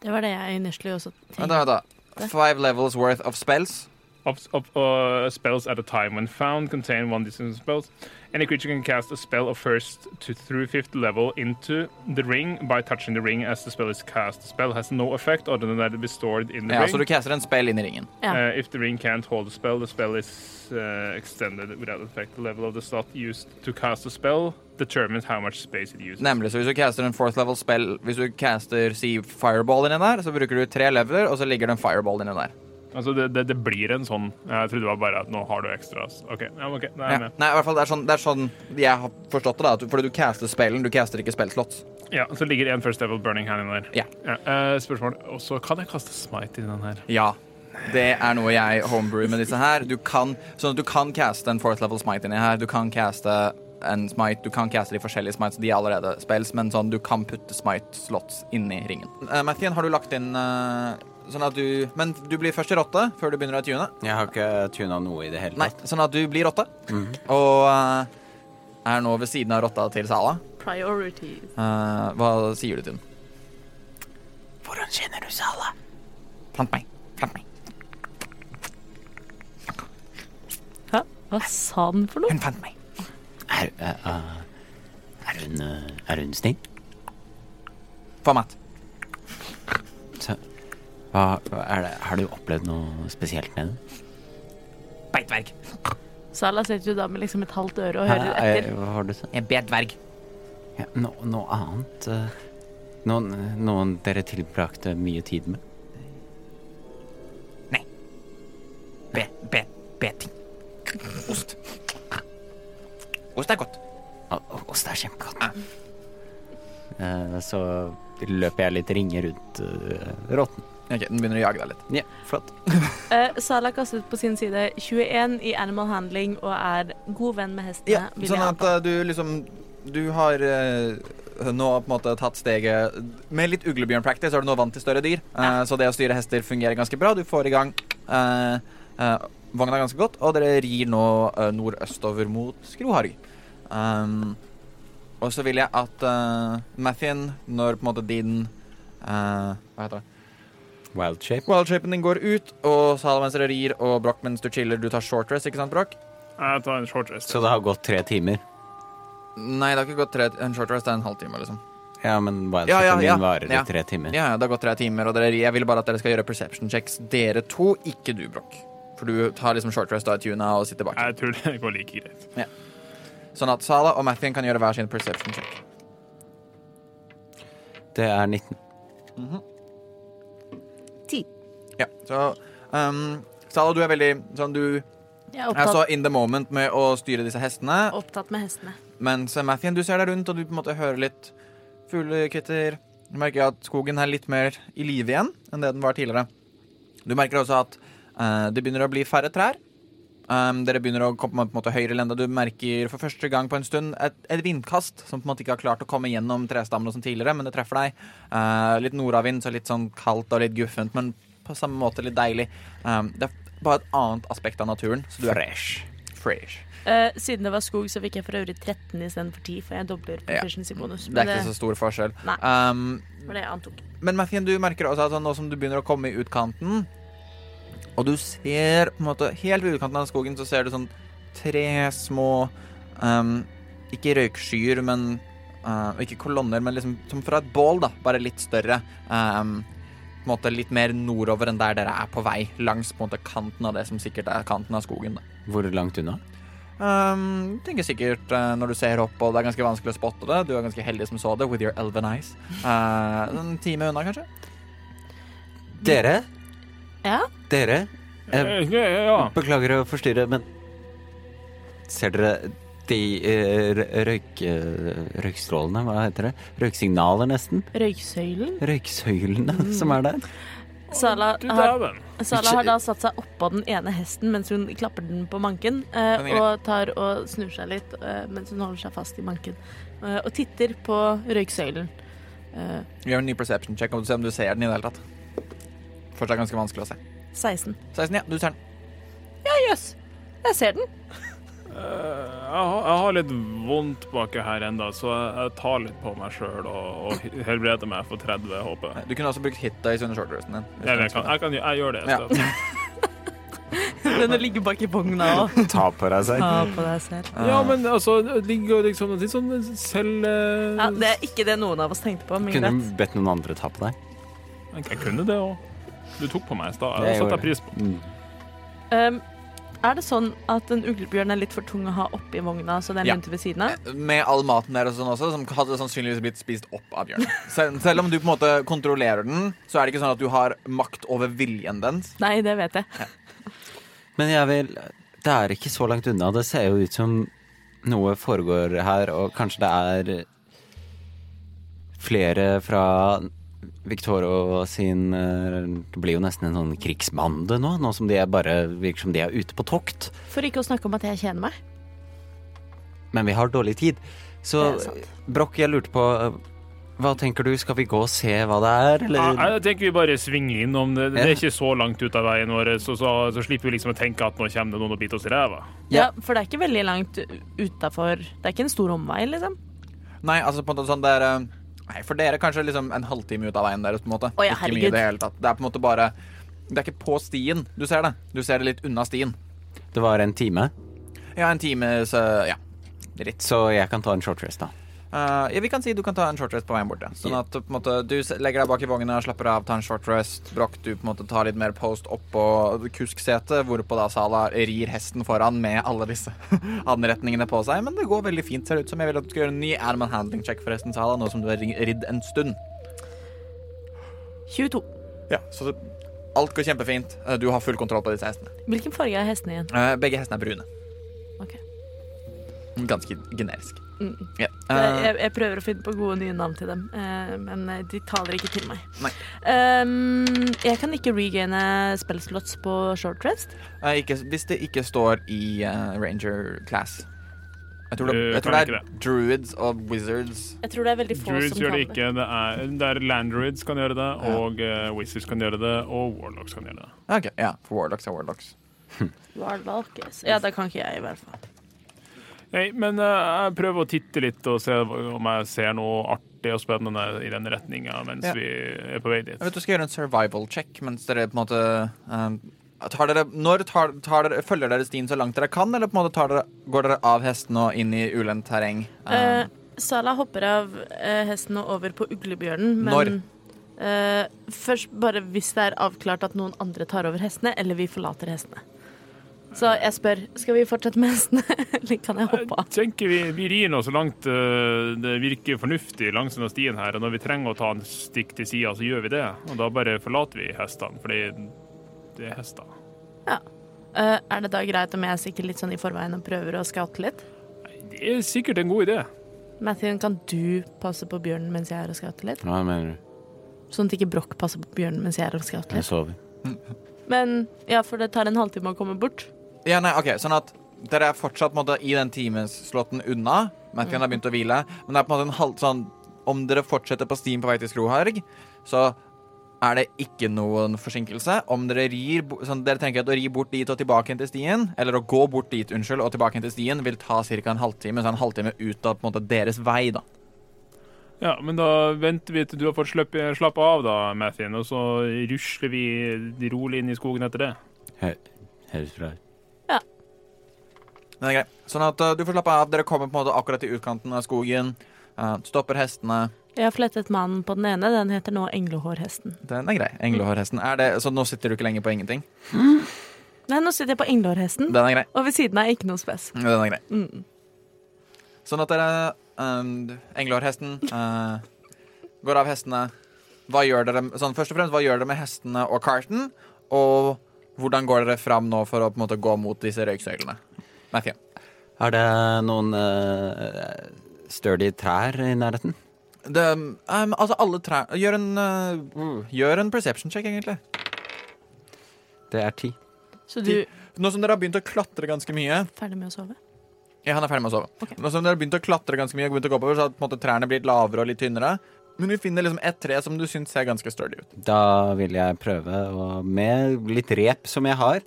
Speaker 6: Det var det jeg initially også
Speaker 4: Vent, da,
Speaker 6: tenkte.
Speaker 4: vent, da. Five levels worth of spells.
Speaker 5: Up, up, uh, spells at a time when found contain one distance spells. Any creature can cast a spell of first to through fifth level into the ring by touching the ring as the spell is cast. The spell has no effect other than that it be stored in the
Speaker 4: Ja,
Speaker 5: ring.
Speaker 4: så du caster en spell inn i ringen.
Speaker 6: Ja.
Speaker 5: Uh, if the ring can't hold the spell, the spell is uh, extended without effect. The level of the slot used to cast the spell determines how much space it uses.
Speaker 4: Nemlig, så hvis du caster en fourth level spell Hvis du caster, si, fireball inni der, så bruker du tre leveler, og så ligger det en fireball inni der.
Speaker 5: Altså, det, det, det blir en sånn Jeg trodde det var bare at nå har du ekstra. ass. OK. Ja, ok. Nei,
Speaker 4: Ja.
Speaker 5: nei.
Speaker 4: Nei, i hvert fall, det er sånn, det er sånn jeg har forstått det, da. at du- Fordi du caster spellen, du caster ikke spellslott.
Speaker 5: Ja, så ligger en First Devil Burning Hand inni der.
Speaker 4: Ja.
Speaker 5: eh, spørsmål. Og så kan jeg kaste smite i den her.
Speaker 4: Ja. Det er noe jeg homebrew med disse her. Du kan, sånn at du kan caste en fourth level smite inni her. Du kan caste en smite, du kan caste de forskjellige smites, de er allerede spells, men sånn, du kan putte smite-slots inni ringen. Uh, Mathien, har du lagt inn eh, sånn at du Men du blir først i rotte før du begynner å tune.
Speaker 1: Jeg har ikke tuna noe i det hele
Speaker 4: Nei,
Speaker 1: tatt. Mhm.
Speaker 4: sånn at du blir rotte. Og eh, er nå ved siden av rotta til Sala.
Speaker 6: Priorities.
Speaker 4: Eh, hva sier du til den?
Speaker 1: Hvordan kjenner du Sala?
Speaker 4: Plant meg. Plant meg.
Speaker 6: Hæ? Hva sa den for noe?
Speaker 4: Hun fant meg.
Speaker 1: Er, eh, eh, er hun eh, Er hun snill?
Speaker 4: Få mat.
Speaker 1: Så, hva, hva er det, har du opplevd noe spesielt med henne?
Speaker 4: Beit dverg.
Speaker 6: Sala sitter jo da med liksom et halvt øre og hører
Speaker 1: Hæ, eh,
Speaker 6: etter.
Speaker 1: Hva var det du sa?
Speaker 4: Jeg ber dverg.
Speaker 1: Ja, no, noe annet? eh, Noen, noen dere tilbrakte mye tid med?
Speaker 4: Be, be, be ting. Ost. Ost er godt.
Speaker 1: Å, å, å, det er kjempegodt. Eh, så løper jeg litt ringer rundt eh, rotten.
Speaker 4: Ok, Den begynner å jage deg litt.
Speaker 1: Ja, flott.
Speaker 6: Eh, Sala kastet på sin side 21 i animal handling og er god venn med hestene.
Speaker 4: Ja,
Speaker 6: vil jeg
Speaker 4: Sånn at
Speaker 6: anta.
Speaker 4: eh, du liksom Du har eh, nå på en måte tatt steget Med litt uglebjørnpractice er du nå vant til større dyr, eh, så det å styre hester fungerer ganske bra. Du får i gang eh, eh, vogna ganske godt, og dere rir nå eh, nordøstover mot Skroharg. Um, og så vil jeg at uh, Mathien, når på en måte din eh, Hva heter det?
Speaker 1: Wild shape.
Speaker 4: Wildshapen din går ut, og Salamence rir, og Broch mens du chiller, du tar short rest, ikke sant, Broch?
Speaker 5: Jeg tar en short rest.
Speaker 1: Så det har gått tre timer.
Speaker 4: Nei, det har ikke gått tre En short rest er en halvtime, liksom.
Speaker 1: Ja, men wild
Speaker 4: Ja,
Speaker 1: shapen
Speaker 4: ja, ja.
Speaker 1: min varer i
Speaker 4: Ja.
Speaker 1: tre timer.
Speaker 4: Ja, ja, det har gått tre timer, og dere rir. Jeg vil bare at dere skal gjøre perception checks, dere to, ikke du, Broch. For du tar liksom short rest og er tuna og sitter bak.
Speaker 5: Jeg tror det går like greit.
Speaker 4: Sånn at Sala og Mathien kan gjøre hver sin perception check.
Speaker 1: Det er 19.
Speaker 4: Ja, så um, Sala, du er veldig sånn du
Speaker 6: Jeg er
Speaker 4: er så
Speaker 6: opptatt,
Speaker 4: in the moment med å styre disse hestene.
Speaker 6: opptatt med hestene.
Speaker 4: Mens eh, Mathien, du ser deg rundt, og du på en måte hører litt fuglekvitter. Du merker at skogen er litt mer i live igjen enn det den var tidligere. Du merker også at eh, det begynner å bli færre trær. Um, dere begynner å komme på en måte høyere lende. Du merker for første gang på en stund et, et vindkast som på en måte ikke har klart å komme gjennom trestammene som tidligere, men det treffer deg. Eh, litt nordavind, så litt sånn kaldt og litt guffent, men på samme måte litt deilig. Um, det er bare et annet aspekt av naturen. Så du er
Speaker 1: Fresh.
Speaker 4: fresh.
Speaker 6: Eh, siden det var skog, så fikk jeg for øvrig 13 istedenfor 10, for jeg dobler
Speaker 4: Ja.
Speaker 6: proficiency-bonus.
Speaker 4: Det
Speaker 6: Men
Speaker 4: er ikke så stor forskjell.
Speaker 6: Nei.
Speaker 4: Um,
Speaker 6: det var det jeg antok.
Speaker 4: Men Mathien, du merker også at sånn, nå som du begynner å komme i utkanten, og du ser på en måte Helt ved utkanten av skogen så ser du sånn tre små ehm, Ikke røykskyer, men eh, og Ikke kolonner, men liksom som fra et bål, da. Bare litt større. ehm, på en måte litt mer nordover enn der dere er på vei. Langs på en måte kanten av det som sikkert er kanten av skogen. Da.
Speaker 1: Hvor langt unna?
Speaker 4: Um, tenker sikkert eh, når du ser opp, og det er ganske vanskelig å spotte det. Du er ganske heldig som så det, with your elven eyes. Eh, en time unna, kanskje?
Speaker 1: Dere?
Speaker 6: Ja?
Speaker 1: Dere? Jeg
Speaker 5: Eh, Ja.
Speaker 1: beklager å forstyrre, men Ser dere de eh, rø- røyk, eh, røykstrålene? Hva heter det? Røyksignaler, nesten?
Speaker 6: Røyksøylen?
Speaker 1: Røyksøylene som er der?
Speaker 6: Sala
Speaker 5: Du
Speaker 6: har,
Speaker 5: dæven.
Speaker 6: Sala har da satt seg oppå den ene hesten mens hun klapper den på manken, eh,
Speaker 4: Den er grei.
Speaker 6: og tar og snur seg litt eh, mens hun holder seg fast i manken, eh, og titter på røyksøylen. Eh,
Speaker 4: Gjør en ny perception check og se om du ser den i det hele tatt. Fortsatt ganske vanskelig å se.
Speaker 6: 16.
Speaker 4: 16, ja. Du ser den.
Speaker 6: Ja, jøss. Jeg ser den.
Speaker 5: Eh, Jeg har, jeg har litt vondt baki her enda, så jeg, jeg tar litt på meg sjøl og, og helbreder meg for 30 HP.
Speaker 4: Du kunne også brukt hit dice under shortresten din.
Speaker 5: Jeg, jeg, kan, jeg, kan, jeg gjør det. i
Speaker 4: Ja.
Speaker 5: stedet.
Speaker 6: Den ligger bak i vogna og
Speaker 1: Ta på deg seg.
Speaker 6: tar på deg selv.
Speaker 5: Ja,
Speaker 4: Ah. Eh,
Speaker 5: men altså, det ligger jo liksom litt sånn selv... eh,
Speaker 6: Ja, det er ikke det noen av oss tenkte på, men
Speaker 1: Kunne
Speaker 6: greit.
Speaker 1: du bedt noen andre ta på deg?
Speaker 5: Jeg kunne det òg. Du tok på meg i stad.
Speaker 1: Jeg
Speaker 5: Jeg
Speaker 1: gjorde
Speaker 5: setter pris på
Speaker 1: Mm.
Speaker 6: Um, er det sånn at en uglebjørn er litt for tung å ha oppi vogna, så den
Speaker 4: Ja.
Speaker 6: begynte ved siden av?
Speaker 4: Med all maten der og sånn også, som hadde sannsynligvis blitt spist opp av bjørnen. Selv, selv om du på en måte kontrollerer den, så er det ikke sånn at du har makt over viljen dens.
Speaker 6: Nei, det vet jeg.
Speaker 1: Men jeg vil Det er ikke så langt unna. Det ser jo ut som noe foregår her, og kanskje det er flere fra Victorio sin eh, Det blir jo nesten en sånn krigsbande nå, nå som de er bare virker som de er ute på tokt.
Speaker 6: For ikke å snakke om at jeg kjenner meg.
Speaker 1: Men vi har dårlig tid. Så
Speaker 6: Det er sant.
Speaker 1: Broch, jeg lurte på eh, Hva tenker du? Skal vi gå og se hva det er, eller?
Speaker 5: Ja, jeg tenker vi bare svinger innom det. Det
Speaker 1: Ja.
Speaker 5: er ikke så langt ut av veien vår, så, så, så slipper vi liksom å tenke at nå kommer det noen og biter oss i ræva.
Speaker 6: Ja, for det er ikke veldig langt utafor Det er ikke en stor omvei, liksom.
Speaker 4: Nei, altså på en måte sånn det er eh, Nei, for dere kanskje liksom en halvtime ut av veien deres, på en måte.
Speaker 6: Å ja,
Speaker 4: ikke mye i
Speaker 6: herregud.
Speaker 4: det hele tatt. Det er på en måte bare Det er ikke på stien du ser det. Du ser det litt unna stien.
Speaker 1: Det var en time,
Speaker 4: Ja, en time, så ja. Litt.
Speaker 1: så jeg kan ta en short rest, da.
Speaker 4: Eh, ja, vi kan si du kan ta en short rest på veien bort. ja. Sånn at på en måte, du s- legger deg bak i vogna, slapper av, tar en short rest. Brokk, du på en måte tar litt mer post oppå kusksetet, hvorpå da Sala rir hesten foran med alle disse anretningene på seg. Men det går veldig fint, ser det ut som. Jeg vil at du skal gjøre en ny Animal handling check, forresten, Sala, nå som du har ri- ridd en stund.
Speaker 6: 22.
Speaker 4: Ja, så det, alt går kjempefint. Eh, Du har full kontroll på disse hestene.
Speaker 6: Hvilken farge er hestene igjen?
Speaker 4: Eh, Begge hestene er brune.
Speaker 6: Ok.
Speaker 4: Ganske generisk.
Speaker 6: Mm.
Speaker 4: Ja.
Speaker 6: Jeg,
Speaker 4: Eh,
Speaker 6: jeg- jeg prøver å finne på gode nye navn til dem, eh, men eh, de taler ikke til meg.
Speaker 4: Nei.
Speaker 6: Um, jeg kan ikke regaine spellslots på short rest.
Speaker 4: eh, ikke, hvis det ikke står i eh, ranger class. Jeg tror det,
Speaker 5: Du
Speaker 4: jeg tror det
Speaker 5: kan
Speaker 4: er druids og wizards.
Speaker 6: Jeg tror det er veldig få
Speaker 5: Druids
Speaker 6: som
Speaker 5: gjør
Speaker 6: kan
Speaker 5: det ikke. Det er, det er Landroids kan gjøre det, og eh, Wizards kan gjøre det, og Warlocks kan gjøre det.
Speaker 4: Ok, ja, for warlocks er warlocks.
Speaker 6: Warlockes. Ja, da kan ikke jeg, i hvert fall.
Speaker 5: Nei, men eh, jeg prøver å titte litt og se om jeg ser noe artig og spennende i den retninga mens
Speaker 4: Ja.
Speaker 5: vi er på vei dit.
Speaker 4: Jeg vet du skal gjøre en survival check mens dere på en måte eh, tar dere, Når tar, tar dere, følger dere stien så langt dere kan, eller på en måte tar dere, går dere av hestene og inn i ulendt terreng? Eh,
Speaker 6: Eh, Sala hopper av eh, hesten og over på uglebjørnen, men
Speaker 4: Når?
Speaker 6: Eh, først bare hvis det er avklart at noen andre tar over hestene, eller vi forlater hestene. Så jeg spør skal vi fortsette med hestene, eller kan jeg hoppe
Speaker 5: Jeg
Speaker 6: av?
Speaker 5: tenker vi, vi rir nå så langt eh, det virker fornuftig langs denne stien her, og når vi trenger å ta en stikk til sida, så gjør vi det. Og da bare forlater vi hestene, fordi det er hester.
Speaker 6: Eh, er det da greit om jeg stikker litt sånn i forveien og prøver å scoute litt?
Speaker 5: Det er sikkert en god idé.
Speaker 6: Mathien, kan du passe på bjørnen mens jeg er og scouter litt?
Speaker 1: Hva mener du?
Speaker 6: Sånn at ikke Broch passer på bjørnen mens jeg er og
Speaker 1: Jeg
Speaker 6: scouter litt.
Speaker 1: sover.
Speaker 6: Men ja, for det tar en halvtime å komme bort.
Speaker 4: Ja, nei, ok, sånn at dere er fortsatt på en måte, i den timesslåtten unna. Matthew har begynt å hvile. Men det er på en måte en halv sånn Om dere fortsetter på stien på vei til Skroharg, så er det ikke noen forsinkelse. Om dere rir bo- sånn, Dere tenker at å ri bort dit og tilbake igjen til stien, eller å gå bort dit unnskyld, og tilbake igjen til stien, vil ta ca. en halvtime. Så en halvtime ut av på en måte, deres vei, da.
Speaker 5: Ja, men da venter vi til du har fått sløppe- slappe av, da, Mathien, og så rusler vi rolig inn i skogen etter det.
Speaker 1: Hø- Høres bra ut.
Speaker 4: Men det er greit. Sånn at eh, du får slappe av. Dere kommer på en måte akkurat til utkanten av skogen. eh, stopper hestene.
Speaker 6: Jeg har flettet mannen på den ene, den heter nå Englehårhesten.
Speaker 4: Den er grei. Englehårhesten. Er det, så nå sitter du ikke lenger på ingenting?
Speaker 6: Nei, nå sitter jeg på englårhesten,
Speaker 4: Den er grei.
Speaker 6: og ved siden av er ikke noe spes.
Speaker 4: Den er grei.
Speaker 6: Mm.
Speaker 4: Sånn at dere um, Englårhesten eh, går av hestene. Hva gjør dere sånn, Først og fremst, hva gjør dere med hestene og carten? Og hvordan går dere fram nå for å på en måte gå mot disse røyksøylene? Matthew.
Speaker 1: Er det noen uh, sturdy trær i nærheten?
Speaker 4: Det, um, altså alle trær Gjør en eh, Gjør en perception check, egentlig.
Speaker 1: Det er ti.
Speaker 6: Så du er
Speaker 4: Nå som dere har begynt å klatre ganske mye
Speaker 6: ferdig med å sove?
Speaker 4: Ja, han er ferdig med å sove.
Speaker 6: Ok.
Speaker 4: Nå som dere har begynt å klatre ganske mye, og begynt å gå oppover, så har på en måte, trærne blitt lavere og litt tynnere. Men du finner liksom et tre som du syns ser ganske sturdy ut.
Speaker 1: Da vil jeg prøve, å, med litt rep som jeg har,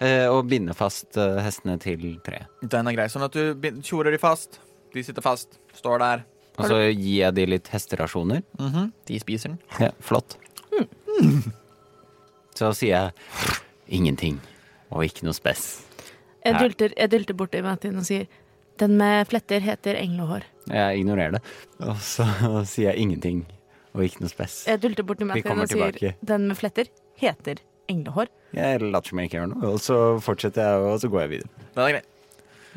Speaker 1: eh, å binde fast eh, hestene til treet.
Speaker 4: Den er grei. Sånn at du bind- tjorer de fast. De sitter fast. Står der.
Speaker 1: Og så gir jeg de litt hesterasjoner.
Speaker 4: Mhm. De spiser den.
Speaker 1: Ja, flott. Så sier jeg ingenting, og ikke noe spes.
Speaker 6: Jeg
Speaker 1: Hæ?
Speaker 6: dulter, jeg dulter borti Martin og sier den med fletter heter englehår.
Speaker 1: Jeg ignorerer det. Og så sier jeg ingenting, og ikke noe spes.
Speaker 6: Jeg dulter borti Martin
Speaker 1: kommer
Speaker 6: og sier
Speaker 1: tilbake.
Speaker 6: den med fletter heter englehår.
Speaker 1: Jeg later som jeg ikke gjør noe, og så fortsetter jeg, og så går jeg videre.
Speaker 4: Den er grei.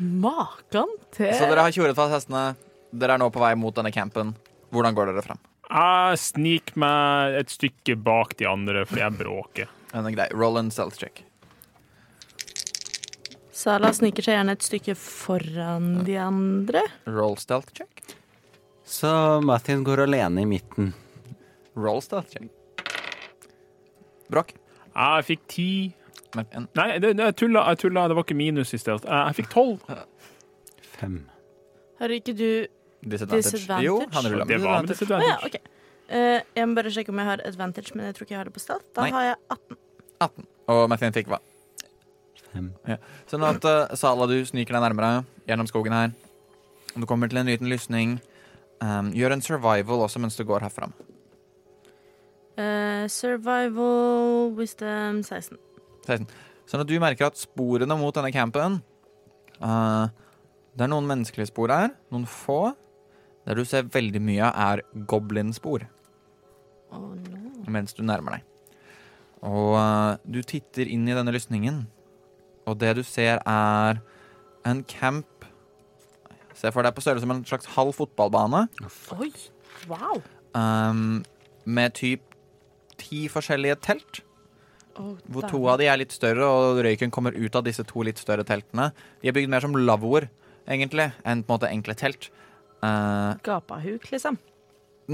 Speaker 6: Makan til
Speaker 4: Så dere har tjoret fast hestene. Dere er nå på vei mot denne campen. Hvordan går dere fram?
Speaker 5: Jeg sniker meg et stykke bak de andre fordi jeg bråker.
Speaker 4: Den er grei. Roll and stealth check.
Speaker 6: Sala sniker seg gjerne et stykke foran de andre.
Speaker 4: Roll stealth check.
Speaker 1: Så Martin går alene i midten.
Speaker 4: Roll stealth check. Bråk.
Speaker 5: Jeg fikk ti
Speaker 4: Med en.
Speaker 5: Nei, det, det, jeg tulla, jeg tulla. Det var ikke minus i sted. Jeg, jeg fikk tolv.
Speaker 1: Fem.
Speaker 6: Har ikke du
Speaker 4: Disadvantage.
Speaker 6: Disadvantage?
Speaker 4: Jo, han ruller
Speaker 5: Det
Speaker 4: med
Speaker 5: var med
Speaker 4: disadvantage.
Speaker 6: Å ja,
Speaker 5: disadvantage.
Speaker 6: OK. Eh, jeg må bare sjekke om jeg har advantage, men jeg tror ikke jeg har det på stealth. Da
Speaker 4: Nei.
Speaker 6: har jeg 18.
Speaker 4: Og Mathien fikk hva?
Speaker 1: Fem.
Speaker 4: Ja. Sånn at eh, Sala, du sniker deg nærmere gjennom skogen her. Du kommer til en liten lysning. Um, gjør en survival også mens du går herfra.
Speaker 6: Eh, survival wisdom 16.
Speaker 4: 16. Sånn at du merker at sporene mot denne campen eh, Det er noen menneskelige spor her, noen få. Der du ser veldig mye av, er goblinspor
Speaker 6: Å, no.
Speaker 4: mens du nærmer deg. Og eh, du titter inn i denne lysningen, og det du ser, er en camp Se for deg på størrelse med en slags halv fotballbane
Speaker 6: Oi. Wow.
Speaker 4: eh, med typ ti forskjellige telt.
Speaker 6: Å,
Speaker 4: Hvor
Speaker 6: dæven.
Speaker 4: to av de er litt større, og røyken kommer ut av disse to litt større teltene. De er bygd mer som lavvoer, egentlig, enn på en måte enkle telt. Eh,
Speaker 6: Gapahuk, liksom.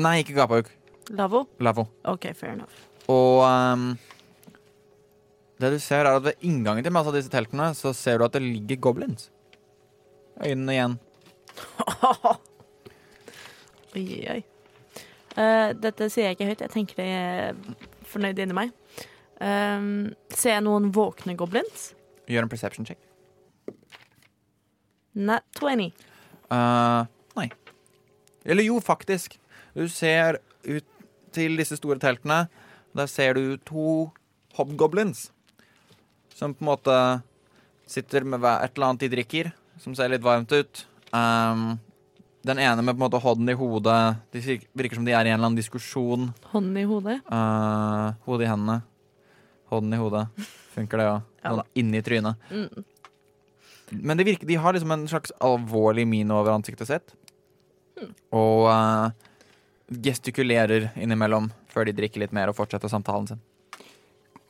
Speaker 4: nei, ikke gapahuk.
Speaker 6: Lavvo.
Speaker 4: Lavvo.
Speaker 6: OK, fair enough.
Speaker 4: Og ehm, det du ser, er at ved inngangen til masse av disse teltene, så ser du at det ligger goblins. Øynene igjen.
Speaker 6: Oi, oi, oi. Eh, dette sier jeg ikke høyt. Jeg tenker det er fornøyd inni meg. Um, ser jeg noen våkne goblins?
Speaker 4: Gjør en perception check.
Speaker 6: Nei, 20.
Speaker 4: Eh, nei. Eller jo, faktisk. Du ser ut til disse store teltene. Der ser du to hobgoblins. Som på en måte sitter med hver- et eller annet de drikker, som ser litt varmt ut. Ehm, den ene med på en måte hånden i hodet. De vir- virker som de er i en eller annen diskusjon.
Speaker 6: Hånden i hodet.
Speaker 4: Eh, hodet i hendene. Hånden i hodet. Funker det òg?
Speaker 6: Ja
Speaker 4: Noen
Speaker 6: da.
Speaker 4: inni trynet.
Speaker 6: Mm.
Speaker 4: Men det virker, de har liksom en slags alvorlig mine over ansiktet sitt.
Speaker 6: Mm.
Speaker 4: Og eh, gestikulerer innimellom før de drikker litt mer og fortsetter samtalen sin.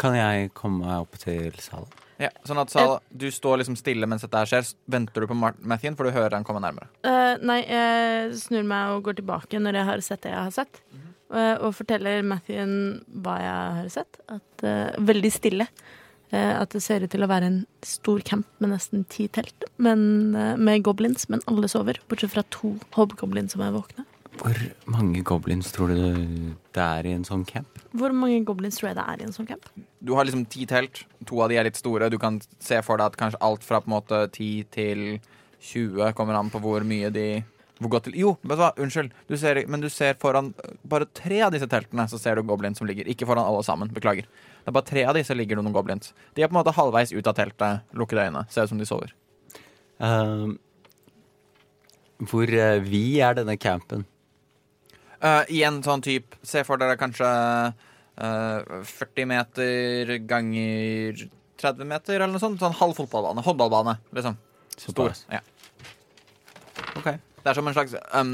Speaker 1: Kan jeg komme meg opp til salen?
Speaker 4: Ja, sånn at Sal,
Speaker 6: Eh.
Speaker 4: du står liksom stille mens dette her skjer. s- Venter du på Mart- Mathien, for du hører han komme nærmere.
Speaker 6: Eh, nei, jeg snur meg og går tilbake når jeg har sett det jeg har sett. eh, og forteller Mathien hva jeg har sett. At, eh, veldig stille. Eh, at det ser ut til å være en stor camp med nesten ti telt. Men, eh, med goblins, men alle sover. Bortsett fra to hobgoblins som er våkne.
Speaker 1: Hvor mange goblins tror du det er i en sånn camp?
Speaker 6: Hvor mange goblins tror jeg det er i en sånn camp?
Speaker 4: Du har liksom ti telt. To av de er litt store. Du kan se for deg at kanskje alt fra på en måte 10 til 20 kommer an på hvor mye de hvor godt de- Jo, vet du hva, unnskyld. Du ser, men du ser foran bare tre av disse teltene, så ser du goblins som ligger. Ikke foran alle sammen, beklager. Det er bare tre av de, så ligger det noen goblins. De er på en måte halvveis ut av teltet, lukkede øyne. Ser ut som de sover.
Speaker 1: Ehm, hvor eh, vi er denne campen?
Speaker 4: Eh, I en sånn type Se for dere kanskje eh, 40 meter ganger 30 30 meter eller noe sånt. Sånn halv fotballbane. Håndballbane, liksom. Stor.
Speaker 1: Såpass.
Speaker 4: Ja. OK. Det er som en slags um,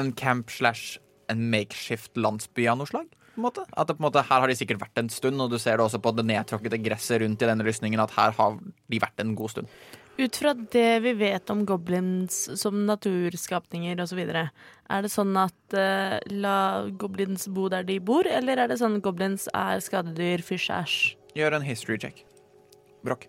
Speaker 4: en camp slash en makeshift landsby av noe slag. På en måte. At det på en måte, Her har de sikkert vært en stund, og du ser det også på det nedtråkkete gresset rundt i denne rustningen at her har de vært en god stund.
Speaker 6: Ut fra det vi vet om goblins som naturskapninger osv., er det sånn at eh, la goblins bo der de bor, eller er det sånn goblins er skadedyr, fysj, æsj?
Speaker 4: Gjør en history check. Brokk.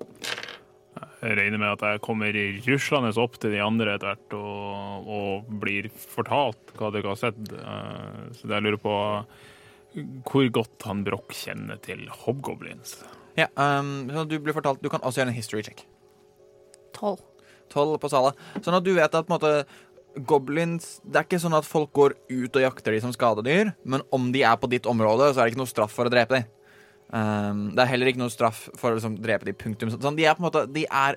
Speaker 5: Jeg regner med at jeg kommer ruslende opp til de andre etter hvert og, og blir fortalt hva dere har sett. Eh, Så jeg lurer på hvor godt han Broch kjenner til hobgoblins.
Speaker 4: Ja, um, så du blir fortalt Du kan også gjøre en history check.
Speaker 6: Tolv.
Speaker 4: 12 på Sala. Sånn at du vet at på en måte Goblins Det er ikke sånn at folk går ut og jakter de som skadedyr, men om de er på ditt område, så er det ikke noe straff for å drepe de. Um, det er heller ikke noe straff for å liksom, drepe de, punktum. Sånn, de er på en måte De er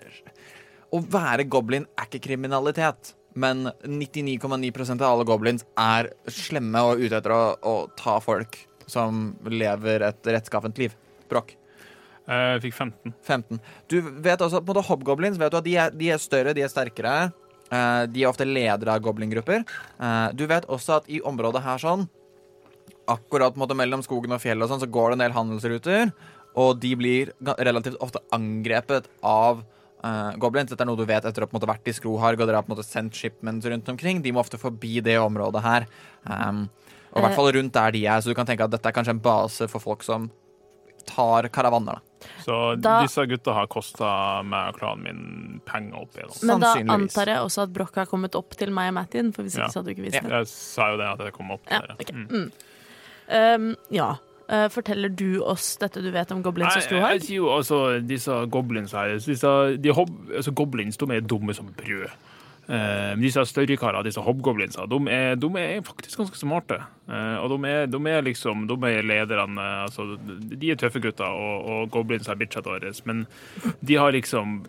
Speaker 4: Å være goblin er ikke kriminalitet. Men 99,9 av alle goblins er slemme og ute etter å, å ta folk som lever et rettskaffent liv. Brokk.
Speaker 5: Eh, Jeg fikk 15.
Speaker 4: 15. Du vet også, på en måte Hobgoblins vet du at de er, de er større, de er sterkere. Eh, de er ofte ledere av goblinggrupper. Eh, du vet også at i området her sånn, akkurat på en måte mellom skogen og fjellet og sånn, så går det en del handelsruter, og de blir ga- relativt ofte angrepet av eh, goblins. Dette er noe du vet etter å ha på en måte vært i Skroharg, og dere har på en måte sendt shipments rundt omkring. De må ofte forbi det området her. Um, og i
Speaker 6: Eh.
Speaker 4: hvert fall rundt der de er, så du kan tenke at dette er kanskje en base for folk som tar karavaner. da.
Speaker 5: Så
Speaker 6: Da-
Speaker 5: disse gutta har kosta meg og klanen min penger opp igjennom.
Speaker 6: Men da
Speaker 4: Sannsynligvis.
Speaker 6: antar jeg også at Broch har kommet opp til meg og Mattin, for hvis
Speaker 5: Ja.
Speaker 6: ikke så hadde du ikke visst
Speaker 4: Ja.
Speaker 6: det.
Speaker 5: Jeg sa jo det at jeg kom opp
Speaker 6: Ja,
Speaker 5: til dere.
Speaker 6: ok.
Speaker 5: Mm.
Speaker 6: Mm. Um, ja. Eh, forteller du oss dette du vet om goblins og
Speaker 5: Nei, jeg
Speaker 6: skroharg?
Speaker 5: sier jo altså disse goblins her disse, de hob, altså, Goblins de er dumme som brød. Eh, men disse større karene, disse hobgoblinsa, de er, de er faktisk ganske smarte. Eh, og de er, de er liksom De er lederne. eh, Altså, de er tøffe gutter, og, og goblins er bitcha våre. Men de har liksom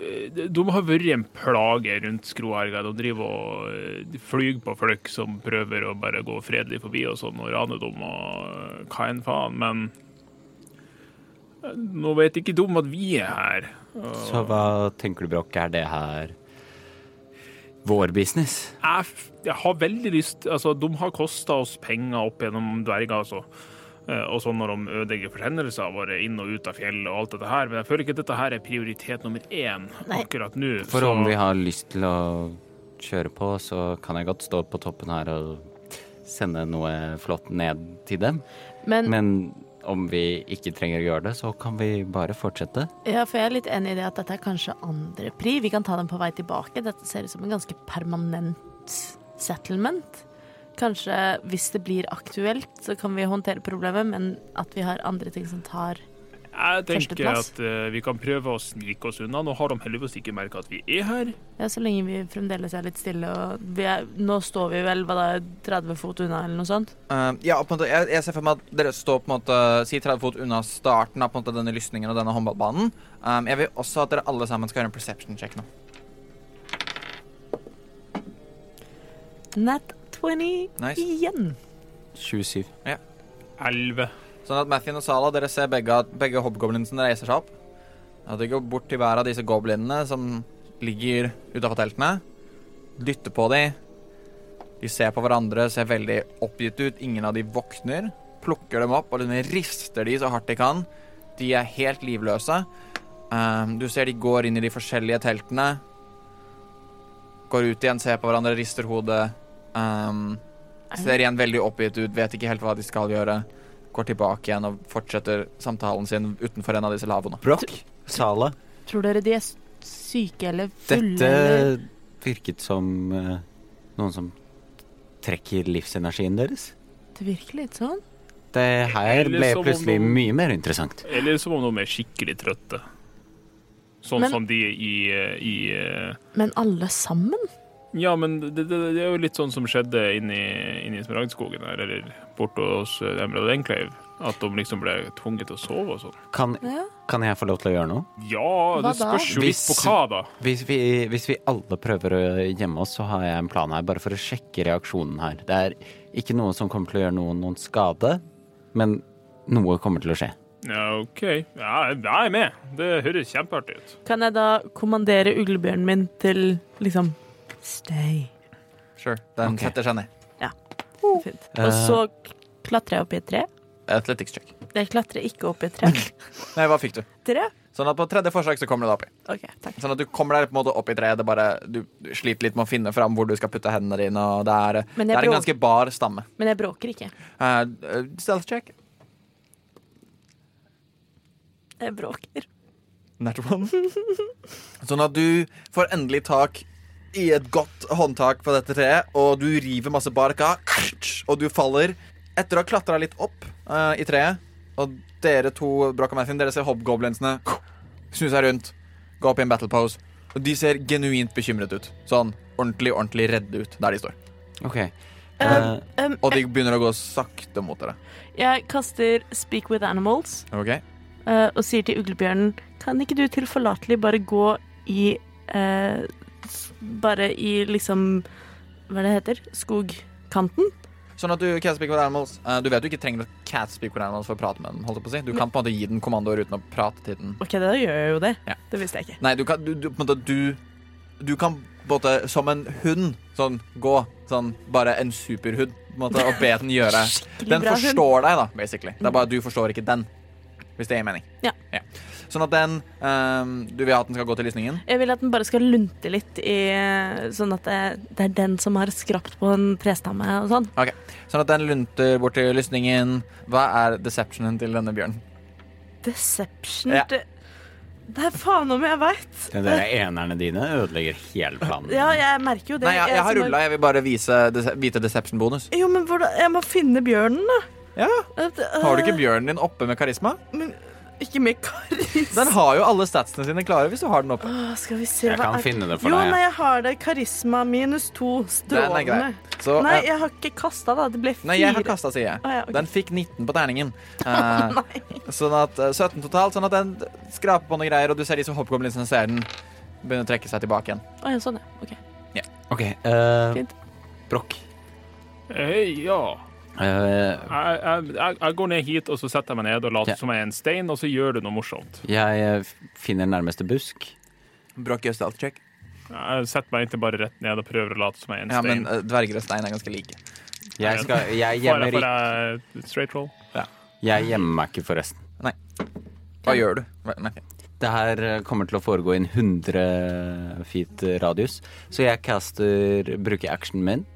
Speaker 5: eh, De har vært en plage rundt skroherga. De driver og eh, de flyr på folk som prøver å bare gå fredelig forbi og sånn, og rane dem og eh, hva enn faen. Men nå vet ikke de at vi er her.
Speaker 1: Så hva tenker du, Brokk, er det her vår business?
Speaker 5: Jeg, f- jeg har veldig lyst Altså, de har kosta oss penger opp gjennom dverger, altså. Eh, Og sånn når de ødelegger forsendelser våre inn og ut av fjellet og alt dette her. Men jeg føler ikke at dette her er prioritet nummer én
Speaker 6: Nei.
Speaker 5: akkurat nå.
Speaker 1: For
Speaker 5: så-
Speaker 1: om vi har lyst til å kjøre på, så kan jeg godt stå på toppen her og sende noe flott ned til dem.
Speaker 6: Men,
Speaker 1: Men om vi ikke trenger å gjøre det, så kan vi bare fortsette.
Speaker 6: ja, for jeg er litt enig i det at dette er kanskje andre pri. Vi kan ta dem på vei tilbake. Dette ser ut som en ganske permanent settlement. Kanskje hvis det blir aktuelt, så kan vi håndtere problemet, men at vi har andre ting som tar
Speaker 5: Jeg tenker
Speaker 6: Førsteplass.
Speaker 5: at eh, vi kan prøve å snike oss unna. Nå har de heldigvis ikke merka at vi er her.
Speaker 6: Ja, så lenge vi fremdeles er litt stille og vi er, Nå står vi vel hva da, 30 fot unna, eller noe sånt?
Speaker 4: Eh, ja, på en måte, jeg, jeg ser for meg at dere står på en måte, si 30 fot unna starten av på en måte, denne lysningen og denne håndballbanen. Um, jeg vil også at dere alle sammen skal gjøre en perception check nå.
Speaker 6: Nat 20
Speaker 4: Nice.
Speaker 6: igjen.
Speaker 1: 27.
Speaker 5: Elleve.
Speaker 4: Sånn at Matthew og Sala, dere ser begge, at begge hobgoblinsene reiser seg opp. At de går bort til hver av disse goblinene som ligger utafor teltene. Dytter på de. De ser på hverandre, ser veldig oppgitt ut. Ingen av de våkner. Plukker dem opp og liksom rister de så hardt de kan. De er helt livløse. Ehm, du ser de går inn i de forskjellige teltene. Går ut igjen, ser på hverandre, rister hodet. Ehm, ser igjen veldig oppgitt ut, vet ikke helt hva de skal gjøre går tilbake igjen og fortsetter samtalen sin utenfor en av disse lavvoene.
Speaker 1: Brokk, Sala.
Speaker 6: Tror dere de er s- syke eller fulle?
Speaker 1: Dette
Speaker 6: eller-
Speaker 1: virket som eh, noen som trekker livsenergien deres.
Speaker 6: Det virker litt sånn.
Speaker 1: Det her
Speaker 5: Eller
Speaker 1: ble
Speaker 5: som om
Speaker 1: plutselig
Speaker 5: noen-
Speaker 1: mye mer interessant.
Speaker 5: Eller som om de er skikkelig trøtte. Sånn
Speaker 6: Men-
Speaker 5: som de i, eh, i eh,
Speaker 6: Men alle sammen?
Speaker 5: Ja, men det, det, det er jo litt sånn som skjedde inni, inni Smaragdskogen her, eller borte hos eh, Emerald Enclave. At de liksom ble tvunget til å sove og sånn.
Speaker 1: Kan,
Speaker 6: Ja.
Speaker 1: kan jeg få lov til å gjøre noe?
Speaker 5: Ja, det
Speaker 6: Hva da?
Speaker 5: spørs jo litt på
Speaker 1: Hvis-
Speaker 5: hva, da.
Speaker 1: Hvis vi, hvis vi alle prøver å gjemme oss, så har jeg en plan her, bare for å sjekke reaksjonen her. Det er ikke noe som kommer til å gjøre noen noen skade, men noe kommer til å skje.
Speaker 5: Ja, OK. Ja, jeg er med. Det høres kjempeartig ut.
Speaker 6: Kan jeg da kommandere uglebjørnen min til liksom Stay.
Speaker 4: Sure. Den
Speaker 1: Ok.
Speaker 4: setter seg ned.
Speaker 6: Fint. Og
Speaker 4: Eh.
Speaker 6: så k- klatrer jeg opp i et tre.
Speaker 4: Athletics check.
Speaker 6: Jeg klatrer ikke opp i et tre.
Speaker 4: Nei, hva fikk du?
Speaker 6: Tre?
Speaker 4: Sånn at på tredje forsøk så kommer du deg opp i.
Speaker 6: OK, takk.
Speaker 4: Sånn at du kommer deg på en måte opp i treet. Det er bare, du du sliter litt med å finne fram hvor du skal putte hendene dine, og det er,
Speaker 6: Men jeg
Speaker 4: det er en
Speaker 6: prøver-
Speaker 4: ganske bar stamme.
Speaker 6: Men jeg bråker ikke.
Speaker 4: Eh, eh, stealth check.
Speaker 6: Jeg bråker.
Speaker 4: Nat one. Sånn at du får endelig tak i et godt håndtak på dette treet, og du river masse bark av, og du faller. Etter å ha klatra litt opp eh, i treet, og dere to Brock og Mathin, dere ser hobgoblinsene snu seg rundt, gå opp i en battle pose, og de ser genuint bekymret ut. Sånn ordentlig, ordentlig redde ut der de står.
Speaker 1: OK.
Speaker 6: Um,
Speaker 1: Eh,
Speaker 6: um,
Speaker 4: Og de begynner å gå sakte mot dere.
Speaker 6: jeg kaster Speak with Animals
Speaker 4: Ok?
Speaker 6: eh, og sier til uglebjørnen Kan ikke du tilforlatelig bare gå i eh, s- Bare i liksom Hva er det heter? Skogkanten?
Speaker 4: Sånn at du can't speak with animals. Eh, du vet du ikke trenger å cat speak with animals for å prate med dem. holdt jeg på å si. Du kan på en måte gi den kommandoer uten å prate til den.
Speaker 6: OK, da gjør jeg jo det.
Speaker 4: Ja.
Speaker 6: Det visste jeg ikke.
Speaker 4: Nei, du kan, du, du, på en måte, du, du kan på en måte som en hund sånn gå. Sånn bare en superhund på en måte, og be den gjøre
Speaker 6: Skikkelig
Speaker 4: Den
Speaker 6: bra hund. Mm.
Speaker 4: forstår deg, da, basically. Det er bare at du forstår ikke den. Hvis det gir mening.
Speaker 6: Ja.
Speaker 4: Sånn at den eh, Du vil at den skal gå til lysningen?
Speaker 6: Jeg vil at den bare skal lunte litt, i, sånn at det, det er den som har skrapt på en trestamme og sånn.
Speaker 4: Sånn at den lunter bort til lysningen. Hva er deceptionen til denne bjørnen?
Speaker 6: Deception
Speaker 4: Ja.
Speaker 6: det- Det er faen om jeg veit!
Speaker 1: Den der enerne dine ødelegger hele planen.
Speaker 6: Ja, jeg merker jo det.
Speaker 4: Nei, jeg, jeg har
Speaker 6: som
Speaker 4: rulla. Jeg vil bare vise, dece- vite deception-bonus.
Speaker 6: Jo, men hvordan Jeg må finne bjørnen, da.
Speaker 4: Ja,
Speaker 6: At, øh,
Speaker 4: Har du ikke bjørnen din oppe med karisma?
Speaker 6: Ikke med karisma.
Speaker 4: Den har jo alle statsene sine klare hvis du har den oppe.
Speaker 6: Åh, skal vi se
Speaker 1: Jeg
Speaker 6: hva
Speaker 1: kan
Speaker 6: er-
Speaker 1: finne det for
Speaker 6: Jo,
Speaker 1: deg, jeg.
Speaker 6: nei, jeg har det. Karisma minus to.
Speaker 4: Den er grei.
Speaker 6: Strålende.
Speaker 4: Så,
Speaker 6: Nei,
Speaker 4: eh,
Speaker 6: jeg har ikke kasta, da. Det ble fire.
Speaker 4: nei, jeg har kasta, sier jeg.
Speaker 6: Å, ja, ok.
Speaker 4: Den fikk 19 på terningen. Eh, sånn at eh, 17 totalt. Sånn at den skraper på noen greier, og du ser disse hoppgoblinsene ser den begynner å trekke seg tilbake igjen.
Speaker 6: Å, ja, sånn, ja. Ok.
Speaker 1: OK. eh,
Speaker 6: Fint.
Speaker 1: Brokk.
Speaker 5: Hei, ja.
Speaker 1: Eh,
Speaker 5: Jeg, jeg, jeg- jeg går ned hit, og så setter jeg meg ned og later
Speaker 1: Ja.
Speaker 5: som jeg er en stein, og så gjør du noe morsomt.
Speaker 1: jeg eh, finner nærmeste busk.
Speaker 4: Brokk gjør stealth check.
Speaker 5: Jeg setter meg egentlig bare rett ned og prøver å late som jeg er en
Speaker 4: Ja, men
Speaker 5: stein.
Speaker 4: eh, dverger og stein er ganske like.
Speaker 1: Jeg, skal, jeg,
Speaker 5: Får
Speaker 1: gjemmer,
Speaker 5: jeg- får jeg straight roll?
Speaker 1: ikke- jeg gjemmer meg ikke, forresten.
Speaker 4: Hva gjør du? Hva- Nei.
Speaker 1: Det her eh, kommer til å foregå i en 100 feet radius. Så jeg caster, bruker actionen min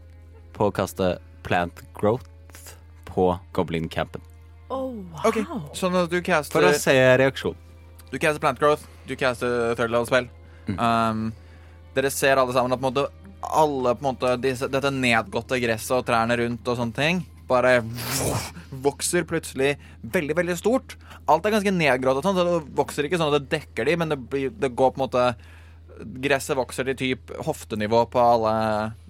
Speaker 1: på å kaste plant growth på goblin-campen.
Speaker 6: Oh, wow.
Speaker 4: OK, sånn at du caster
Speaker 1: For å se reaksjon.
Speaker 4: Du caster plant growth, du caster third level spell. Um, dere ser alle sammen at på en måte, alle på en måte, disse, dette nedgåtte gresset og trærne rundt og sånne ting bare vokser plutselig veldig, veldig stort. Alt er ganske nedgrått og sånn, så det vokser ikke sånn at det dekker de, men det, blir, det går på en måte Gresset vokser til typ hoftenivå på alle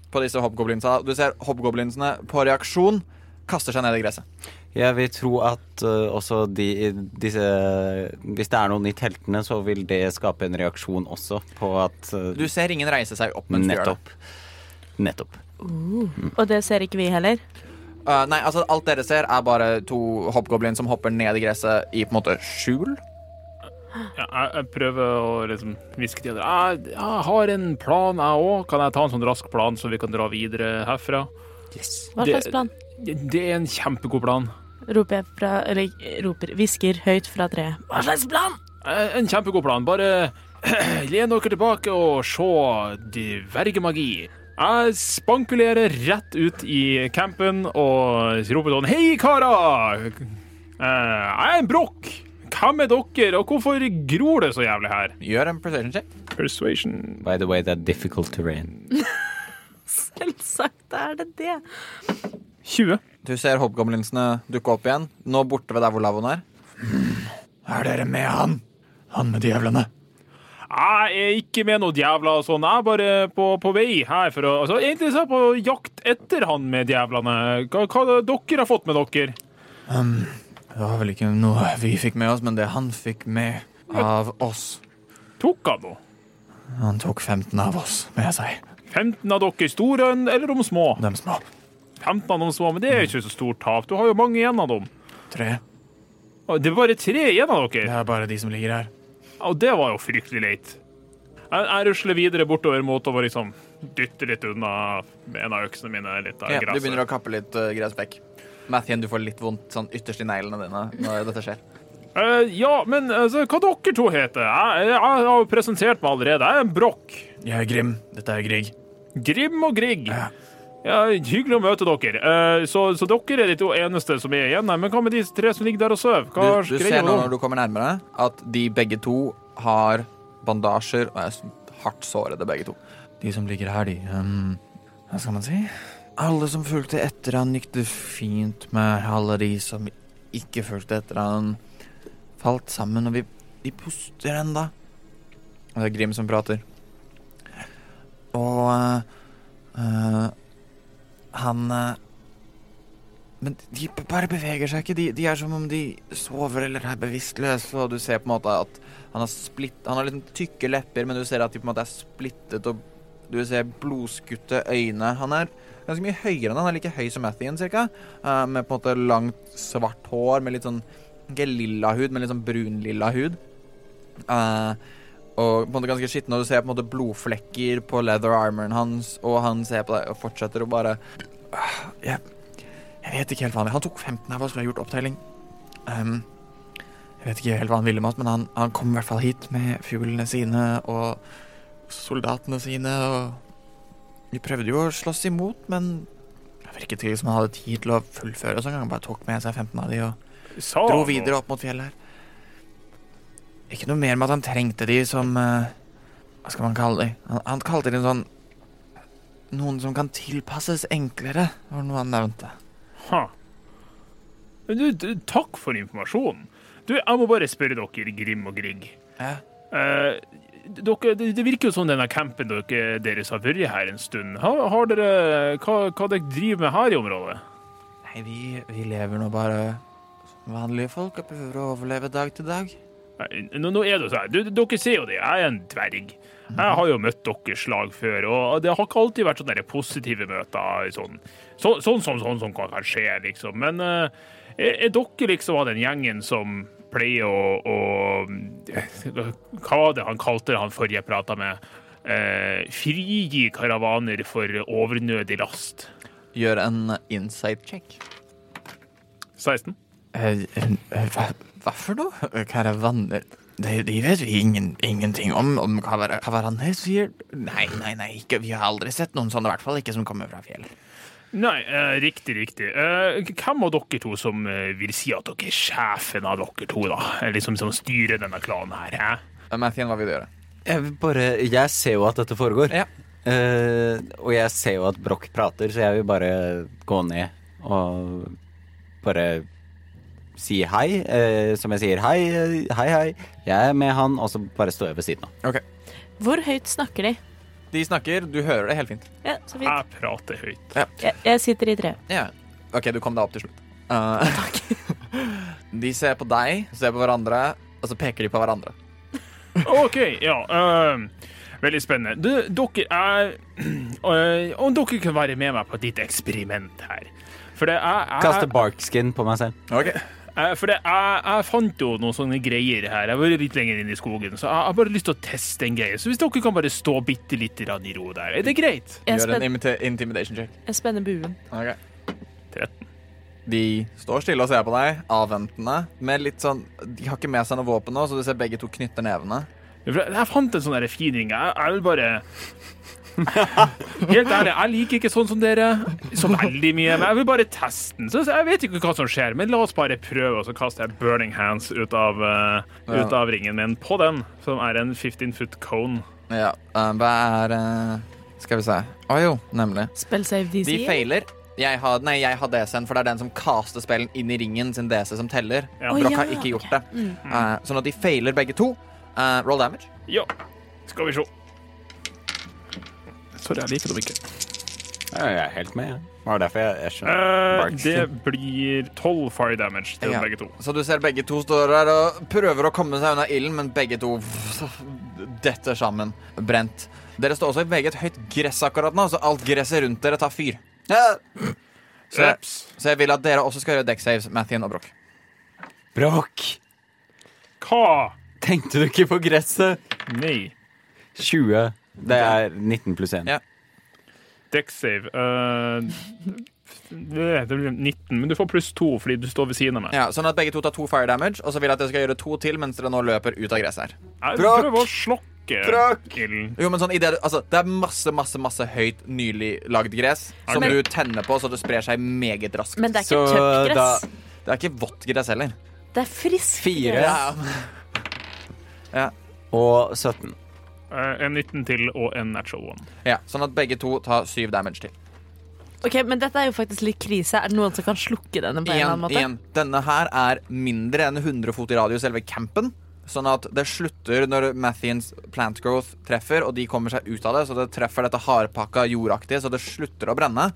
Speaker 4: På disse hobgoblinsa. Du ser hobgoblinsene på reaksjon kaster seg ned i gresset.
Speaker 1: Jeg vil tro at eh, også de, disse Hvis det er noen i teltene, så vil det skape en reaksjon også på at eh,
Speaker 4: Du ser ingen reise seg opp mens du gjør det.
Speaker 1: Nettopp. Nettopp.
Speaker 6: Og det ser ikke vi heller.
Speaker 4: Uh, nei, altså alt dere ser er bare to hoppgoblin som hopper ned i gresset i på en måte skjul.
Speaker 5: Ja, jeg, jeg prøver å liksom hviske til dere. Jeg, jeg har en plan, jeg òg. Kan jeg ta en sånn rask plan, så vi kan dra videre herfra?
Speaker 6: Hva
Speaker 5: Det-
Speaker 6: slags plan?
Speaker 5: Det, det er en kjempegod plan.
Speaker 6: Roper jeg fra Eller roper Hvisker høyt fra treet. Hva slags plan?
Speaker 5: Eh, En kjempegod plan. Bare len dere tilbake og se dvergemagi. Jeg spankulerer rett ut i campen og roper sånn Hei, karer! Eh, Jeg er en brokk. Hvem er dere, og hvorfor gror det så jævlig her?
Speaker 4: Gjør en precision check.
Speaker 5: Persuasion
Speaker 1: By the way, det er difficult terrain.
Speaker 6: Selvsagt er det det.
Speaker 5: 20.
Speaker 4: Du ser hoppgoblinsene dukke opp igjen. Nå borte ved der hvor lavvoen er. Hmm. Er dere med han? Han med djevlene.
Speaker 5: Jeg er ikke med noe djævla og sånn. Jeg er bare på, på vei her for å altså, Egentlig så er jeg på jakt etter han med djevlene. Hva, hva dere har fått med dere?
Speaker 4: Det var vel ikke noe vi fikk med oss, men det han fikk med av oss.
Speaker 5: Tok han noe?
Speaker 4: Han tok 15 av oss med seg.
Speaker 5: 15 av dere store eller de små?
Speaker 4: De små.
Speaker 5: 15 av de små, men det er ikke så stort tap. Du har jo mange igjen av dem.
Speaker 4: Tre.
Speaker 5: Og Det er bare tre igjen av dere.
Speaker 8: er bare de som ligger her.
Speaker 5: Og det var jo fryktelig leit. Jeg, jeg rusler videre bortover mot å liksom dytte litt unna med en av øksene mine. litt av
Speaker 4: Ja, du
Speaker 5: gresset.
Speaker 4: begynner å kappe litt uh, gressbekk. Mathien, du får litt vondt sånn ytterst i neglene dine når dette skjer.
Speaker 5: Eh, ja, men altså, hva dere to heter? Jeg, jeg, jeg har jo presentert meg allerede. Jeg er Brokk.
Speaker 8: Jeg er Grim. Dette er Grieg.
Speaker 5: Grim og Grieg. Ja, hyggelig å møte dere. Eh, så, så dere er de to eneste som er igjen. Nei, men hva med de tre som ligger der og sover?
Speaker 4: Du,
Speaker 5: Hva
Speaker 4: du
Speaker 5: greier
Speaker 4: ser nå når du kommer nærmere, at de begge to har bandasjer og er s- hardt sårede, begge to. De som ligger her, de ehm, Hva skal man si? Alle som fulgte etter han, gikk det fint med. Alle de som ikke fulgte etter han, falt sammen, og vi De puster enda. Og det er Grim som prater. Og eh, eh, han eh, men de b- bare beveger seg ikke. De, de er som om de sover eller er bevisstløse, og du ser på en måte at han har splitt Han har liksom tykke lepper, men du ser at de på en måte er splittet, og du ser blodskutte øyne. Han er ganske mye høyere enn han. Han er like høy som Mathien, cirka. eh, med på en måte langt, svart hår, med litt sånn Ikke lilla hud, men litt sånn brunlilla hud. Eh, og på en måte ganske skitten, og du ser på en måte blodflekker på leather armoren hans, og han ser på deg og fortsetter å bare «Ah, jeg, jeg vet ikke helt hva han Han tok 15 av oss, vi har gjort opptelling. Ehm, jeg vet ikke helt hva han ville med oss, men han, han kom i hvert fall hit med fuglene sine og soldatene sine. Og vi prøvde jo å slåss imot, men det virket ikke som han hadde tid til å fullføre. Så han bare tok med seg 15 av de og
Speaker 5: Sa
Speaker 4: dro
Speaker 5: han
Speaker 4: videre opp mot fjellet her. Ikke noe mer med at han trengte de som eh, Hva skal man kalle de? Han, han kalte de sånn Noen som kan tilpasses enklere, var noe han nevnte.
Speaker 5: Ha. Men Du, du, takk for informasjonen. Du, jeg må bare spørre dere, Grim og Grieg.
Speaker 4: Ja.
Speaker 5: Eh, dere, det, det virker jo som denne campen dere, deres har vært her en stund. Har, har dere, hva, hva dere driver med her i området?
Speaker 4: Nei, vi, vi lever nå bare som vanlige folk og prøver å overleve dag til dag.
Speaker 5: Nei, Nå, nå er det jo sånn. Du, dere ser jo det, jeg er en dverg. Jeg har jo møtt deres lag før, og det har ikke alltid vært sånne der positive møter. Sånn så, sånn, som- sånn som kan kan skje, liksom. Men eh, er, er dere liksom av den gjengen som pleier å, å Hva var det han kalte det han forrige prata med? Eh, frigi karavaner for overnødig last.
Speaker 4: Gjør en insight check.
Speaker 5: 16.
Speaker 4: Eh, hva, hva for noe? Karavaner? De, de eh, vet vi ingen, ingenting om. Om kavar- karavaner sier Nei, nei, nei, ikke. vi har aldri sett noen sånne, i hvert fall ikke som kommer fra fjell.
Speaker 5: Nei, eh, riktig, riktig. Eh, hvem av dere to som eh, vil si at dere er sjefen av dere to, da? Eller liksom, som, som styrer denne klanen her? hæ?
Speaker 4: Mathien, Eh, hva vil du gjøre?
Speaker 1: Jeg vil bare Jeg ser jo at dette foregår.
Speaker 4: Ja.
Speaker 1: Eh, og jeg ser jo at Broch prater, så jeg vil bare gå ned og bare si hei. eh, som jeg sier hei, eh, hei, hei. Jeg er med han, og så bare står jeg ved siden av.
Speaker 6: Hvor høyt snakker de?
Speaker 4: De snakker, du hører det helt fint.
Speaker 6: Ja, så fint.
Speaker 5: Jeg prater høyt.
Speaker 6: Jeg, jeg sitter i tre.
Speaker 4: Ja. OK, du kom deg opp til slutt. Eh, de ser på deg, ser på hverandre, og så peker de på hverandre.
Speaker 5: OK, ja. eh, veldig spennende. Du, dere er eh, Om dere kunne være med meg på et lite eksperiment her. For det er, er
Speaker 1: Kaster barkskin på meg selv.
Speaker 4: Ok.
Speaker 5: Eh, For det, jeg, jeg fant jo noen sånne greier her. Jeg har vært litt lenger inn i skogen, så jeg jeg har bare lyst til å teste en greie. Så hvis dere kan bare stå bitte litt grann i ro der, er det greit?
Speaker 6: Jeg,
Speaker 4: Gjør en
Speaker 6: spen,
Speaker 4: imita- intimidation check.
Speaker 6: jeg spenner buen.
Speaker 4: Ok.
Speaker 5: 13.
Speaker 4: De står stille og ser på deg, avventende. Med litt sånn, de har ikke med seg noe våpen nå, så du ser begge to knytter nevene.
Speaker 5: For Jeg jeg fant en sånn der fin ring. Jeg, jeg vil bare Helt ærlig, jeg liker ikke sånn som dere så veldig mye. Men jeg vil bare teste den. Så jeg vet ikke hva som skjer, men la oss bare prøve. Og så kaster jeg burning hands ut av, eh, ut av ringen min på den, som er en 15 foot cone.
Speaker 4: Ja, eh, Hva er eh, Skal vi se. Å jo, nemlig.
Speaker 6: Spell save DC.
Speaker 4: De feiler. Jeg har, nei, jeg har DC-en, for det er den som kaster spillen inn i ringen sin DC som teller.
Speaker 5: Ja.
Speaker 6: Å,
Speaker 4: Brokk
Speaker 6: ja,
Speaker 4: har ikke gjort det. Eh, sånn at de feiler begge to. Eh, roll damage.
Speaker 5: Ja, skal vi se. Sorry, jeg liker dem ikke.
Speaker 1: Ja, jeg er helt med, jeg. Det var derfor jeg, jeg skjønner.
Speaker 5: Eh,
Speaker 1: barkskin.
Speaker 5: det blir 12 fire damage til
Speaker 4: Ja.
Speaker 5: begge to.
Speaker 4: Så du ser begge to står der og prøver å komme seg unna ilden, men begge to detter sammen. Brent. Dere står også i meget høyt gress akkurat nå, så alt gresset rundt dere tar fyr. Så jeg,
Speaker 5: Reps.
Speaker 4: så jeg vil at dere også skal gjøre deck saves, Mathien og Broch.
Speaker 1: Bråk!
Speaker 5: Hva?
Speaker 1: Tenkte du ikke på gresset?
Speaker 5: Nei.
Speaker 1: 20. Det er 19 pluss 1.
Speaker 4: Ja.
Speaker 5: Dekksave. eh, det det blir 19, men du får pluss 2 fordi du står ved siden av meg.
Speaker 4: Ja, sånn at begge to tar to fire damage, og så vil jeg at dere skal gjøre to til mens dere nå løper ut av gresset her.
Speaker 5: Jeg
Speaker 4: Bråk!
Speaker 5: prøver å slokke
Speaker 4: Bråk!
Speaker 5: ilden.
Speaker 4: Jo, men sånn, i det, altså, det er masse, masse masse høyt, nylig lagd gress som
Speaker 6: Men-
Speaker 4: du tenner på, så det sprer seg meget raskt.
Speaker 6: Men det er ikke
Speaker 1: Så,
Speaker 6: tørt gress.
Speaker 1: da-
Speaker 4: Det er ikke vått gress heller.
Speaker 6: Det er friskt.
Speaker 1: Fire
Speaker 4: Ja.
Speaker 1: og 17.
Speaker 5: Eh, En 19 til og en natural one.
Speaker 4: Ja, sånn at begge to tar syv damage til.
Speaker 6: Ok, Men dette er jo faktisk litt krise. Er det noen som kan slukke denne på en eller
Speaker 4: Igjen,
Speaker 6: annen måte?
Speaker 4: igjen. Denne her er mindre enn 100 fot i radius selve campen. Sånn at det slutter når Mathians plant growth treffer, og de kommer seg ut av det. Så det treffer dette hardpakka jordaktige, så det slutter å brenne.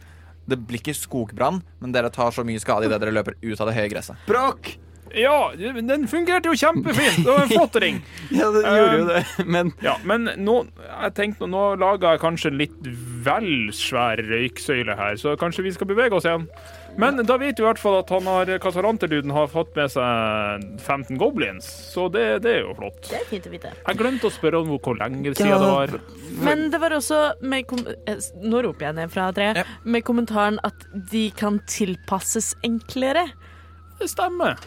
Speaker 4: Det blir ikke skogbrann, men dere tar så mye skade idet dere løper ut av det høye gresset.
Speaker 1: Bråk!
Speaker 5: Ja, den fungerte jo kjempefint! Det var en flott ring.
Speaker 1: Ja,
Speaker 5: Eh.
Speaker 1: det gjorde jo det, men
Speaker 5: Ja, men nå, jeg tenkte, nå laga jeg kanskje en litt vel svær røyksøyle her, så kanskje vi skal bevege oss igjen. Men da vet vi i hvert fall at han har, kasalanterluden har fått med seg 15 goblins, så det, det er jo flott.
Speaker 3: Det er fint å vite.
Speaker 5: Jeg glemte å spørre om hvor lenge siden det var.
Speaker 6: Men det var også med kom eh, s- Nå roper jeg ned fra treet.
Speaker 4: Ja.
Speaker 6: Med kommentaren at de kan tilpasses enklere.
Speaker 5: Det stemmer.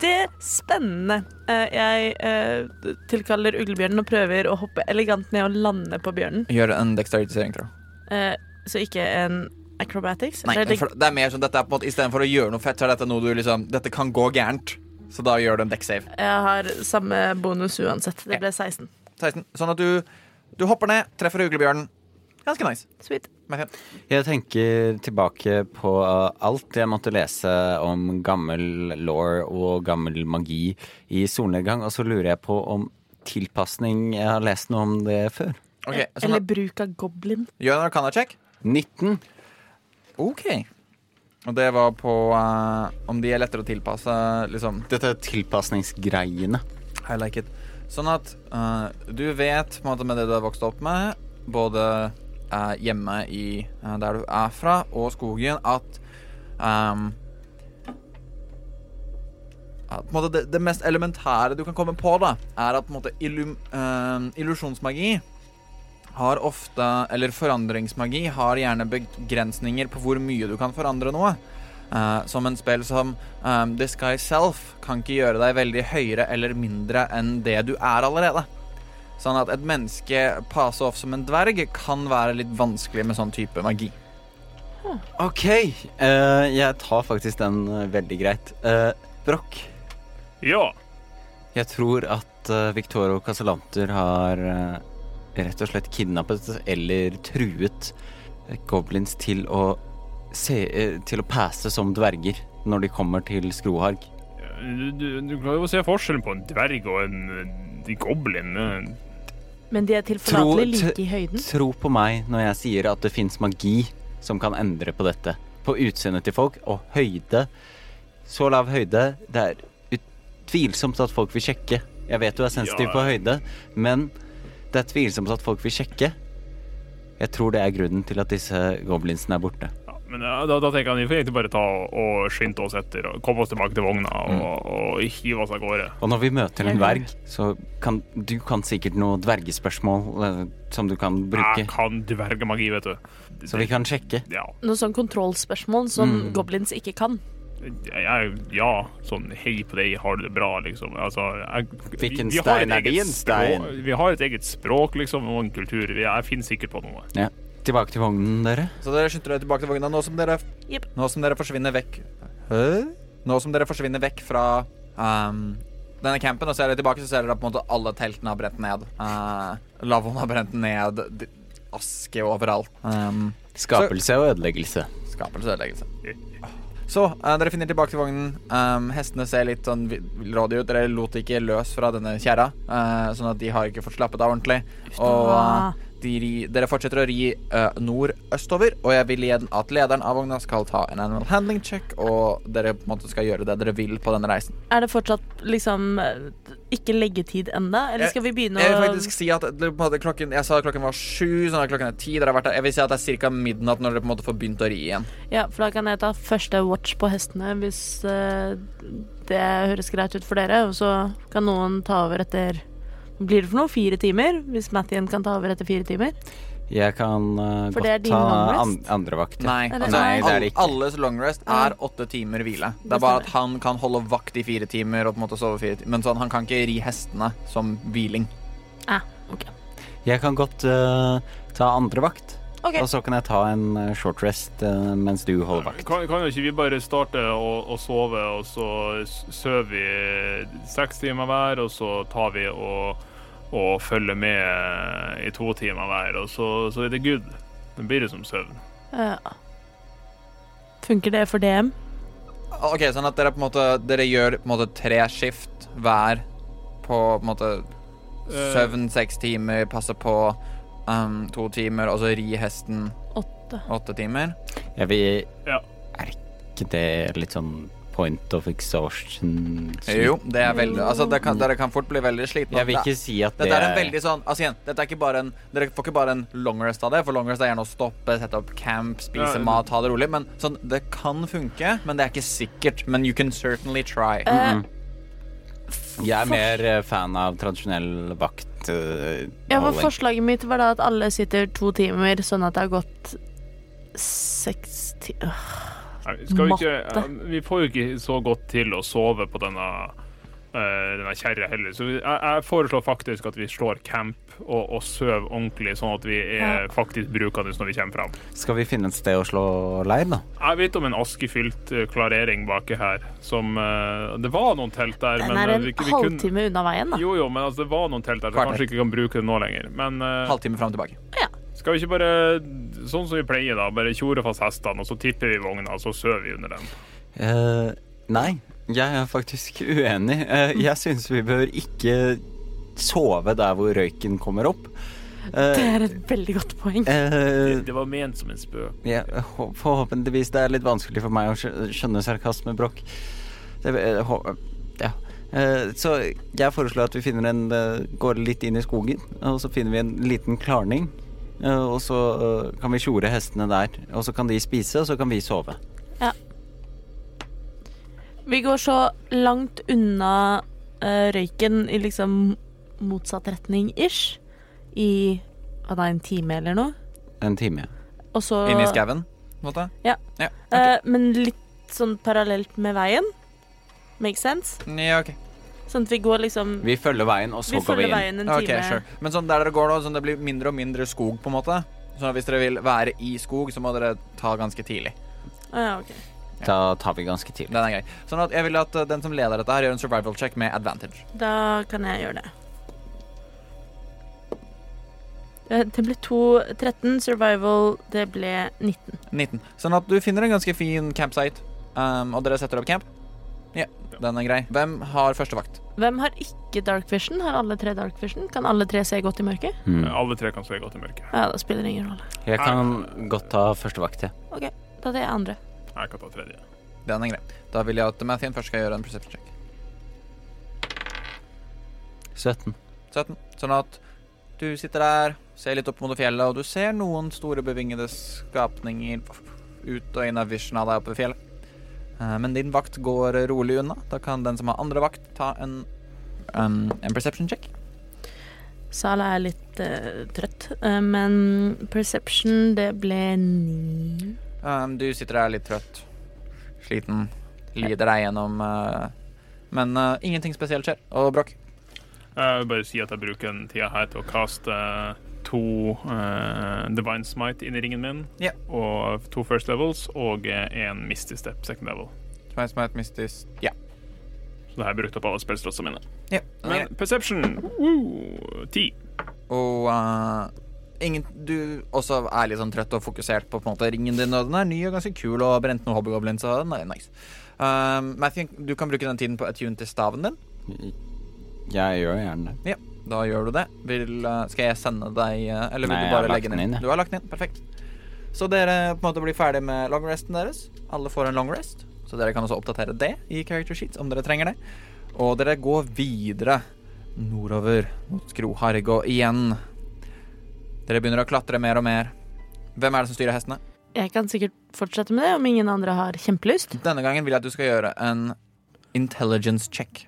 Speaker 6: Det er spennende. Eh, Jeg eh, tilkaller uglebjørnen og prøver å hoppe elegant ned og lande på bjørnen.
Speaker 4: Gjør en dexteritisering, tror jeg.
Speaker 6: Eh, Så ikke en acrobatics.
Speaker 4: Nei,
Speaker 6: eller det-
Speaker 4: for det er mer sånn dette er på en måte Istedenfor å gjøre noe fett, så er dette noe du liksom Dette kan gå gærent. Så da gjør du en dekksave.
Speaker 6: Jeg har samme bonus uansett. Det ble 16.
Speaker 4: 16. Sånn at du, du hopper ned, treffer uglebjørnen. Ganske nice.
Speaker 6: Sweet.
Speaker 4: Mathian.
Speaker 1: Jeg tenker tilbake på eh, alt jeg måtte lese om gammel law og gammel magi i solnedgang, og så lurer jeg på om tilpasning Jeg har lest noe om det før.
Speaker 4: Ok, sånn
Speaker 6: Eh, Eller
Speaker 4: at,
Speaker 6: bruk av goblin.
Speaker 4: Gjør en arcana-check.
Speaker 1: 19.
Speaker 4: OK. Og det var på eh, om de er lettere å tilpasse, liksom.
Speaker 1: Dette er tilpasningsgreiene.
Speaker 4: I like it. Sånn at eh, du vet på en måte med det du har vokst opp med, både eh, hjemme i eh, der du er fra, og skogen, at ehm, at på en måte det, det mest elementære du kan komme på, da, er at på en måte illum, eh, illusjonsmagi har ofte Eller forandringsmagi har gjerne begrensninger på hvor mye du kan forandre noe. Eh, som en spill som um, Disguise Self kan ikke gjøre deg veldig høyere eller mindre enn det du er allerede. Sånn at et menneske passe off som en dverg kan være litt vanskelig med sånn type magi.
Speaker 1: OK. eh, jeg tar faktisk den eh, veldig greit. Eh, Brokk,
Speaker 5: Ja.
Speaker 1: jeg tror at eh, Victorio Casalanter har eh, rett og slett kidnappet eller truet eh, goblins til å se eh, Til å passe som dverger når de kommer til Skroharg.
Speaker 5: Du, du, du klarer jo å se forskjellen på en dverg og en, en goblin.
Speaker 6: Men de er
Speaker 1: Tro-
Speaker 6: tilforlatelig
Speaker 1: t-
Speaker 6: like i høyden.
Speaker 1: Tro på meg når jeg sier at det fins magi som kan endre på dette. På utseendet til folk og høyde. Så lav høyde. Det er utvilsomt at folk vil sjekke. Jeg vet du er sensitiv
Speaker 5: Ja.
Speaker 1: på høyde, men det er tvilsomt at folk vil sjekke. Jeg tror det er grunnen til at disse goblinsene er borte.
Speaker 5: Ja, men ja, da, da tenker jeg at vi får egentlig bare ta og, og skynde oss etter og komme oss tilbake til vogna og,
Speaker 1: Mm.
Speaker 5: og hive oss av gårde.
Speaker 1: Og når vi møter en
Speaker 6: Jeg hører.
Speaker 1: dverg, så kan du kan sikkert noe dvergespørsmål eh, som du kan
Speaker 5: Jeg
Speaker 1: bruke.
Speaker 5: Ah, kan dvergemagi, vet du.
Speaker 1: Så vi kan sjekke.
Speaker 5: Ja.
Speaker 6: Noen sånn kontrollspørsmål som
Speaker 4: Mm.
Speaker 6: goblins ikke kan.
Speaker 5: Jeg, ja, sånn hei på deg, har du det bra, liksom. Altså, jeg,
Speaker 1: Hvilken
Speaker 5: vi har et
Speaker 1: stein er
Speaker 5: eget
Speaker 1: din stein?
Speaker 5: språk- Vi har et eget språk, liksom, og en kultur. Vi- Jeg finner sikkert på noe.
Speaker 1: Ja. Tilbake til vognen, dere.
Speaker 4: Så dere skynder dere tilbake til vogna nå som dere,
Speaker 6: Jep.
Speaker 4: nå som dere forsvinner vekk Hæ? Nå som dere forsvinner vekk fra ehm, denne campen, og ser dere tilbake, så ser dere at på en måte alle teltene har brent ned. Uh, Lavvoen har brent ned. d- Aske overalt. Um,
Speaker 1: Skapelse og ødeleggelse.
Speaker 4: Skapelse og ødeleggelse. Så eh, dere finner tilbake til vognen. Ehm, hestene ser litt sånn vi- villrådige ut. Dere lot de ikke løs fra denne kjerra, eh, sånn at de har ikke fått slappet av ordentlig. Og eh, De ri, dere fortsetter å ri eh, nordøstover, og jeg vil igjen at lederen av vogna skal ta en animal handling check, og dere på en måte skal gjøre det dere vil på denne reisen.
Speaker 6: Er det fortsatt liksom ikke leggetid enda, eller skal vi begynne
Speaker 4: Jeg
Speaker 6: å
Speaker 4: vil faktisk si at det, på en måte, klokken, Jeg sa klokken var sju, sånn at klokken er ti. Dere har vært der. Jeg vil si at det er ca. midnatt når dere på en måte får begynt å ri igjen.
Speaker 6: Ja, for da kan jeg ta første watch på hestene hvis eh, det høres greit ut for dere, og så kan noen ta over etter blir det for noe? Fire timer? Hvis Mattien kan ta over etter fire timer?
Speaker 1: Jeg kan eh,
Speaker 6: For
Speaker 1: godt
Speaker 6: det er din
Speaker 1: ta an
Speaker 6: longrest?
Speaker 1: andre vakt. ja.
Speaker 4: Nei,
Speaker 6: Er det-
Speaker 4: altså,
Speaker 6: Nei,
Speaker 1: det er det ikke.
Speaker 4: all- alles long rest er åtte timer hvile. Det er bare at han kan holde vakt i fire timer og på en måte sove fire timer. Men sånn, han kan ikke ri hestene som hviling.
Speaker 1: Jeg kan godt eh, ta andre vakt.
Speaker 6: Ok.
Speaker 1: Og så kan jeg ta en eh, short rest eh, mens du holder vakt.
Speaker 5: Kan, kan jo ikke vi bare starte å, å sove, og så s- sover vi seks timer hver, og så tar vi og, og følger med i to timer hver, og så, så er det good. Det blir det som søvn.
Speaker 6: Ja. Eh, Funker det for DM?
Speaker 4: Ok, sånn at dere på en måte Dere gjør på en måte tre skift hver på på en måte
Speaker 5: Eh.
Speaker 4: søvn seks timer, passe på um, to timer, og så ri hesten
Speaker 6: Åtte.
Speaker 4: åtte timer.
Speaker 1: Jeg vil
Speaker 5: Ja.
Speaker 1: Er ikke det litt sånn point of exhaustion?
Speaker 4: Jo, det er veldig Altså, det kan, dere kan fort bli veldig slitne.
Speaker 1: Jeg vil ikke si at det
Speaker 4: Dette er en veldig sånn Altså igjen, dette er ikke bare en Dere får ikke bare en long rest av det, for long rest er gjerne å stoppe, sette opp camp, spise
Speaker 5: Ja, ja.
Speaker 4: mat, ha det rolig. Men sånn, det kan funke, men det er ikke sikkert. Men you can certainly try.
Speaker 6: Eh,
Speaker 1: Jeg er mer eh, fan av tradisjonell vakt. eh,
Speaker 6: ja, for
Speaker 1: holding.
Speaker 6: forslaget mitt var da at alle sitter to timer, sånn at det har gått seks timer
Speaker 5: Eh, Nei, Skal vi, ikke, ja,
Speaker 6: Matte.
Speaker 5: vi får jo ikke så godt til å sove på denne, eh, denne kjerra heller, så vi- jeg, jeg foreslår faktisk at vi slår camp og, og sover ordentlig, sånn at vi er faktisk brukende når vi kommer fram.
Speaker 1: Skal vi finne et sted å slå leir, da?
Speaker 5: Jeg vet om en askefylt eh, klarering baki her, som eh, Det var noen telt der,
Speaker 6: Den
Speaker 5: men
Speaker 6: er
Speaker 5: eh,
Speaker 6: en
Speaker 5: vi, vi kunne
Speaker 6: halvtime unna veien, da.
Speaker 5: jo, jo, men altså, det var noen telt der, så
Speaker 4: Kvarter.
Speaker 5: kanskje ikke kan bruke det nå lenger. Men eh,
Speaker 4: Halvtime fram og tilbake.
Speaker 5: skal vi ikke bare, sånn som vi pleier, da, bare tjore fast hestene, og så tipper vi vogna, og så sover vi under den?
Speaker 1: Eh, nei, jeg er faktisk uenig. Eh, jeg syns vi bør ikke sove der hvor røyken kommer opp.
Speaker 6: Det
Speaker 1: Eh,
Speaker 6: er et veldig godt poeng.
Speaker 1: eh,
Speaker 5: Det var ment som en spøk.
Speaker 1: ja, hå- forhåpentligvis. Det er litt vanskelig for meg å skjø- skjønne sarkasme, Brokk. Det, eh, hå- ja. Eh, så jeg foreslår at vi finner en eh, går litt inn i skogen, og så finner vi en liten klarning. eh, og så eh, kan vi tjore hestene der. Og så kan de spise, og så kan vi sove.
Speaker 6: Vi går så langt unna eh, røyken i liksom motsatt retning ish. I hva da, en time eller noe.
Speaker 1: En time.
Speaker 6: Og så
Speaker 4: Inn i skauen, på en måte.
Speaker 6: Ja.
Speaker 4: ja.
Speaker 6: eh, Men litt sånn parallelt med veien. Make sense?
Speaker 4: ok. Ja, ok.
Speaker 6: Sånn at vi går liksom
Speaker 1: Vi
Speaker 6: Vi,
Speaker 1: følger veien, og så går vi
Speaker 6: følger
Speaker 1: inn.
Speaker 6: veien en
Speaker 4: Ok,
Speaker 6: time.
Speaker 4: sure. Men sånn der dere går nå, sånn det blir mindre og mindre skog, på en måte. Så hvis dere vil være i skog, så må dere ta ganske tidlig.
Speaker 6: Ah, ja, ok.
Speaker 1: Da tar vi ganske tidlig.
Speaker 4: Den er grei. Sånn at jeg vil at eh, den som leder dette her, gjør en survival check med advantage.
Speaker 6: Da kan jeg gjøre det. Eh, Det ble to 13 survival. Det ble 19.
Speaker 4: 19. Sånn at du finner en ganske fin campsite, um, og dere setter opp camp. Ja, den er grei. Hvem har første vakt?
Speaker 6: Hvem har ikke dark vision? Har alle tre dark vision? Kan alle tre se godt i mørket?
Speaker 5: Mm. Alle tre kan sove godt i mørket.
Speaker 6: Ja, det spiller ingen rolle.
Speaker 1: Mm. Jeg kan godt ta første vakt, jeg.
Speaker 6: Da tar jeg andre.
Speaker 5: Jeg kan ta tredje.
Speaker 4: Den er grei. Da vil jeg at Mathien først skal gjøre en perception check.
Speaker 1: 17.
Speaker 4: 17. Sånn at du sitter der, ser litt opp mot fjellet, og du ser noen store bevingede skapninger ut og inn av vision av deg oppe i fjellet. Eh, Men din vakt går rolig unna. Da kan den som har andre vakt, ta en, um, en perception check.
Speaker 6: Sala er litt eh, trøtt, eh, men perception, det ble ni.
Speaker 4: Um, du sitter der litt trøtt, sliten, lider deg gjennom eh, Men eh, ingenting spesielt skjer. Og Brokk,
Speaker 5: Jeg vil bare si at jeg bruker den tida her til å kaste to eh, Divine Smite inn i ringen min,
Speaker 4: Ja.
Speaker 5: og to First Levels og eh, en Misty Step Second Level.
Speaker 4: som er som er et mystisk Ja.
Speaker 5: Så det har jeg brukt opp alle spillslåsene mine.
Speaker 4: ja den er grei.
Speaker 5: Men Perception woo, 10.
Speaker 4: og eh, ingen, du også er litt sånn trøtt og fokusert på, på en måte, ringen din, og den er ny og ganske kul og har brent noen hobbygoblins, så den er nice. Um, Matthew, du kan bruke den tiden på attune til staven din.
Speaker 1: Jeg gjør gjerne det.
Speaker 4: Da gjør du det. Vil, eh, skal jeg sende deg eh, Eller vil
Speaker 1: Nei,
Speaker 4: du
Speaker 1: jeg har
Speaker 4: bare
Speaker 1: lagt
Speaker 4: legge
Speaker 1: den
Speaker 4: den
Speaker 1: inn,
Speaker 4: inn?
Speaker 1: jeg.
Speaker 4: Du har lagt den inn. Perfekt. Så dere på en måte blir ferdig med long resten deres. Alle får en long rest, så dere kan også oppdatere det i character sheets om dere trenger det. Og dere går videre nordover mot Groharg og igjen. Dere begynner å klatre mer og mer. Hvem er det som styrer hestene?
Speaker 6: Jeg kan sikkert fortsette med det om ingen andre har kjempelyst.
Speaker 4: Denne gangen vil jeg at du skal gjøre en intelligence check.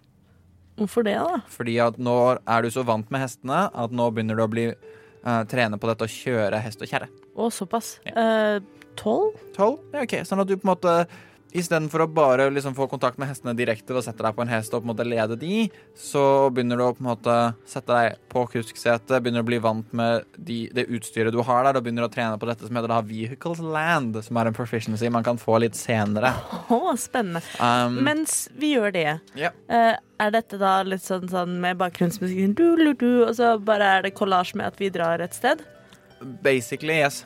Speaker 6: Hvorfor det, da?
Speaker 4: Fordi at nå er du så vant med hestene at nå begynner du å bli eh, trene på dette å kjøre hest og kjerre.
Speaker 6: Å, såpass. Eh, Tolv?
Speaker 4: Tolv? Ja, ok. Sånn at du på en måte istedenfor å bare liksom få kontakt med hestene direkte ved å sette deg på en hest og på en måte lede de, så begynner du å på en måte sette deg på kusksetet, begynner å bli vant med de, det utstyret du har der, og begynner å trene på dette som heter da Vehicles Land, som er en proficiency man kan få litt senere.
Speaker 6: Å, spennende.
Speaker 4: Um,
Speaker 6: Mens vi gjør det,
Speaker 4: Ja.
Speaker 6: eh, er dette da litt sånn, sånn med bakgrunnsmusikken du, du, du, og så bare er det kollasj med at vi drar et sted?
Speaker 4: basically, yes.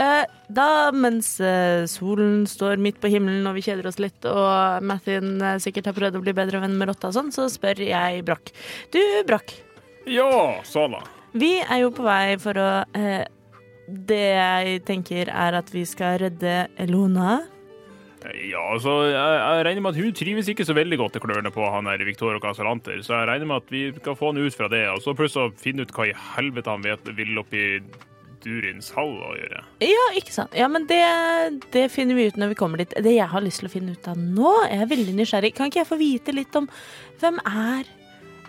Speaker 6: Eh, da, mens eh, solen står midt på himmelen og vi kjeder oss litt, og Mathien eh, sikkert har prøvd å bli bedre venn med rotta og sånn, så spør jeg Brokk. Du, Brokk.
Speaker 5: Ja, sånn Sala.
Speaker 6: Vi er jo på vei for å eh, Det jeg tenker er at vi skal redde Elona.
Speaker 5: Ja, altså, jeg, jeg regner med at hun trives ikke så veldig godt i klørne på han der Victorio Casalanter, så jeg regner med at vi kan få han ut fra det, og så plutselig finne ut hva i helvete han vet vil oppi Durins hall å gjøre.
Speaker 6: Ja, ikke sant. Ja, men det, det finner vi ut når vi kommer dit. Det jeg har lyst til å finne ut av nå, jeg er veldig nysgjerrig. Kan ikke jeg få vite litt om hvem er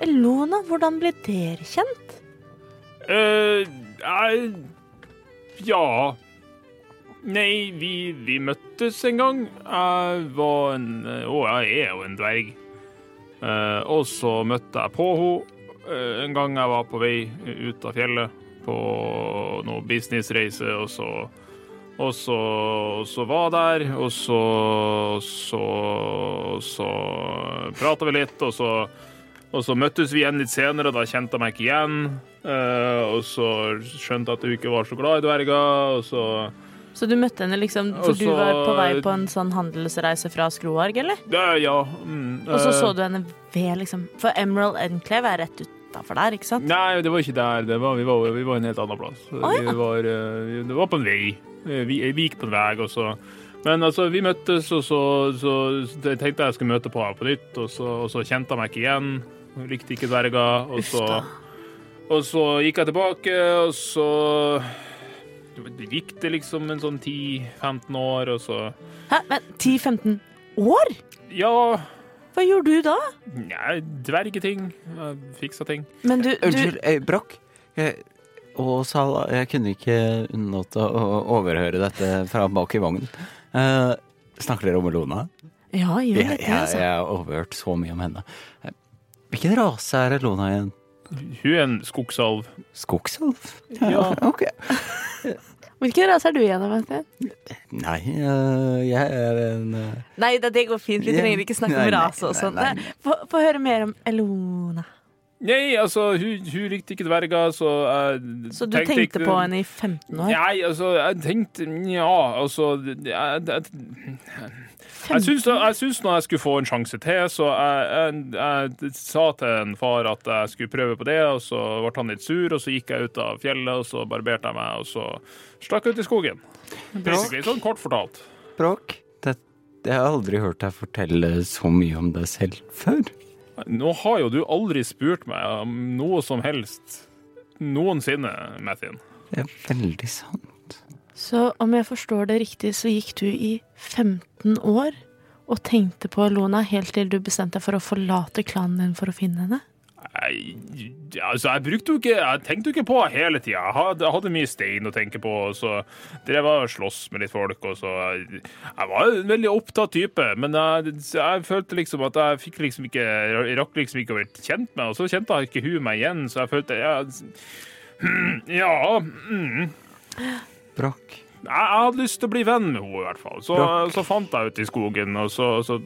Speaker 6: Elona? Hvordan ble dere kjent?
Speaker 5: eh, jeg Ja. Nei, vi, vi møttes en gang. Jeg var en Å, jeg er jo en dverg. Eh, og så møtte jeg på henne eh, en gang jeg var på vei ut av fjellet på noe businessreise, og så og så, og så var jeg der, og så og så, og så prata vi litt, og så og så møttes vi igjen litt senere, og da kjente jeg meg ikke igjen. Eh, og så skjønte jeg at hun ikke var så glad i dverger, og så
Speaker 6: Så du møtte henne liksom, for
Speaker 5: Og
Speaker 6: du
Speaker 5: så-
Speaker 6: var på vei på en sånn handelsreise fra Skroarg, eller?
Speaker 5: Ja, ja. Mm,
Speaker 6: Og så så du henne ved, liksom. For Emerald Enclave er rett utafor der, ikke sant?
Speaker 5: eh, Nei, det var ikke der. Det var, vi, var, vi var en helt annen plass.
Speaker 6: Å, ja.
Speaker 5: vi var, eh, vi- det var på en vei. Eh, Vi, vi gikk på en vei, og så Men altså, vi møttes, og så, så, så jeg tenkte jeg skulle møte på henne på nytt, og så, og så kjente jeg meg ikke igjen. Hun Likte ikke dverger. Og
Speaker 6: Uff
Speaker 5: så,
Speaker 6: da.
Speaker 5: og så gikk jeg tilbake, og så det gikk det liksom en sånn 10-15 år, og så
Speaker 6: Hæ, men 10-15 år?
Speaker 5: Ja,
Speaker 6: Hva gjorde du da?
Speaker 5: nei, dvergeting. Jeg Fiksa ting.
Speaker 6: Men du, du
Speaker 1: Unnskyld, eh, Brokk. Jeg- Å, Sala, jeg kunne ikke unnlate å overhøre dette fra bak i vognen. Eh, snakker dere om Elona?
Speaker 6: Ja, gjør
Speaker 1: Jeg,
Speaker 6: litt
Speaker 1: jeg,
Speaker 6: det, altså.
Speaker 1: jeg har overhørt så mye om henne. Eh, Hvilken rase er Elona igjen?
Speaker 5: Hun er en skogsalv.
Speaker 1: Skogsalv? Ja, ok.
Speaker 6: Hvilken rase er du igjen, Martin?
Speaker 1: Nei, eh, jeg er en eh,
Speaker 6: Nei, det, det går fint. Vi
Speaker 1: Ja.
Speaker 6: trenger ikke snakke
Speaker 1: Nei,
Speaker 6: om
Speaker 1: nei,
Speaker 6: rase og
Speaker 1: nei,
Speaker 6: sånn.
Speaker 1: nei,
Speaker 6: Nei, Få få høre mer om Elona.
Speaker 5: Nei, altså, hun, hun likte ikke dverger, så jeg
Speaker 6: Så du tenkte
Speaker 5: ikke-
Speaker 6: på henne i 15 år?
Speaker 5: Nei, altså, jeg tenkte Nja, altså Jeg, jeg, jeg,
Speaker 6: 15?
Speaker 5: syns, jeg syns nå jeg skulle få en sjanse til, så jeg, jeg, jeg sa til en far at jeg skulle prøve på det, og så ble han litt sur, og så gikk jeg ut av fjellet, og så barberte jeg meg, og så stakk jeg ut i skogen. Basically, sånn kort fortalt.
Speaker 1: Brokk. Det, jeg har aldri hørt deg fortelle så mye om deg selv før.
Speaker 5: Nå har jo du aldri spurt meg om noe som helst noensinne, Mathien.
Speaker 1: Det er veldig sant.
Speaker 6: Så om jeg forstår det riktig, så gikk du i 15 år og tenkte på Elona helt til du bestemte deg for å forlate klanen din for å finne henne?
Speaker 5: Nei, altså, jeg brukte jo ikke Jeg tenkte jo ikke på det hele tida. Jeg hadde, jeg hadde mye stein å tenke på, og så drev jeg og sloss med litt folk, og så Jeg, jeg var en veldig opptatt type, men jeg, jeg følte liksom at jeg fikk liksom ikke Jeg rakk liksom ikke å bli kjent med og så kjente jeg ikke hun meg igjen, så jeg følte jeg, Ja. Mm.
Speaker 1: Brokk.
Speaker 5: Jeg, jeg hadde lyst til å bli venn med henne, i hvert fall. Så,
Speaker 1: Brakk.
Speaker 5: så fant jeg ut i skogen, og så, så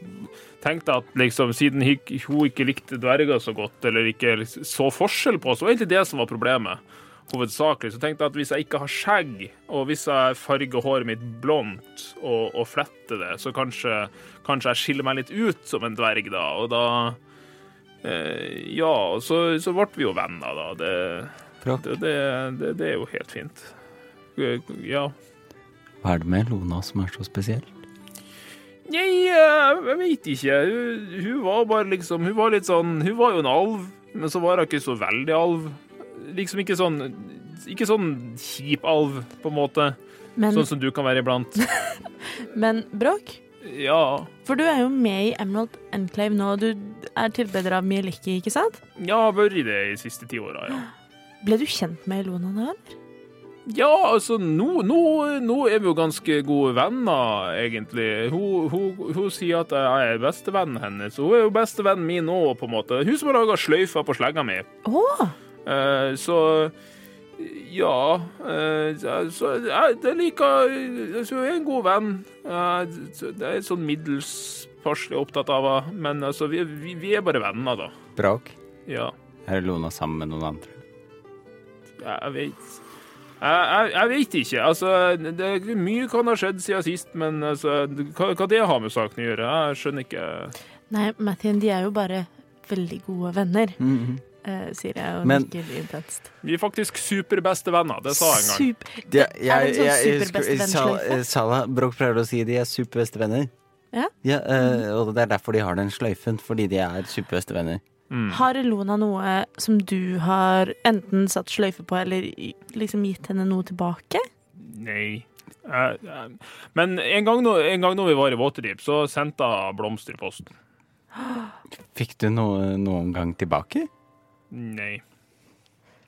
Speaker 5: tenkte jeg at liksom, siden hik- hun ikke likte dverger så godt, eller ikke liksom så forskjell på oss, det var egentlig det som var problemet. Hovedsakelig så tenkte jeg at hvis jeg ikke har skjegg, og hvis jeg farger håret mitt blondt og, og fletter det, så kanskje, kanskje jeg skiller meg litt ut som en dverg, da. Og da Eh, ja, og så, så ble vi jo venner, da. Det,
Speaker 1: Bra.
Speaker 5: det, det, det, det er jo helt fint. Eh, Ja.
Speaker 1: Hva er det med Lona som er så spesiell?
Speaker 5: Nei, eh, jeg veit ikke. Hun, hun var bare liksom Hun var litt sånn Hun var jo en alv, men så var hun ikke så veldig alv. Liksom ikke sånn Ikke sånn kjip alv, på en måte.
Speaker 6: Men,
Speaker 5: Sånn som du kan være iblant.
Speaker 6: men Bråk,
Speaker 5: Ja.
Speaker 6: for du er jo med i Emerald Enclave nå. Du er tilbeder av Mieliki, ikke sant?
Speaker 5: Ja, jeg har vært i det de siste ti åra, ja.
Speaker 6: Ble du kjent med Elona da?
Speaker 5: Ja, altså, nå, nå, nå er vi jo ganske gode venner, egentlig. Hun, hun, hun sier at jeg er bestevennen hennes, og hun er jo bestevennen min nå, på en måte. Hun som har laga sløyfa på slegga mi.
Speaker 6: Å!
Speaker 5: Eh, så ja eh, Så jeg, jeg liker altså, Hun er en god venn. Eh, så det er sånn middels passelig opptatt av henne, men altså, vi, vi, vi er bare venner, da.
Speaker 1: Brak?
Speaker 5: Ja.
Speaker 1: Er Lona sammen med noen andre?
Speaker 5: Jeg jeg vet jeg, jeg, jeg vet ikke. Altså, det, mye kan ha skjedd siden sist, men altså, hva, hva det har med saken å gjøre? Jeg skjønner ikke.
Speaker 6: Nei, Mathien, de er jo bare veldig gode venner,
Speaker 1: Mhm.
Speaker 6: eh, sier jeg og
Speaker 1: Men-
Speaker 6: nikker intenst.
Speaker 5: Vi er faktisk superbestevenner, det sa jeg en gang.
Speaker 6: Sup- Er det en sånn superbestevennsløyfe?
Speaker 1: Sala, Brokk pleier å si de er superbestevenner.
Speaker 6: Ja. Mhm.
Speaker 1: eh, og det er derfor de har den sløyfen, fordi de er superbestevenner.
Speaker 5: Mm.
Speaker 6: Har Elona noe som du har enten satt sløyfe på, eller i- liksom gitt henne noe tilbake?
Speaker 5: Nei. Jeg, jeg, men en gang, nå- en gang når vi var i Waterdeep, så sendte jeg blomster i posten.
Speaker 1: Fikk du noe noen gang tilbake?
Speaker 5: Nei.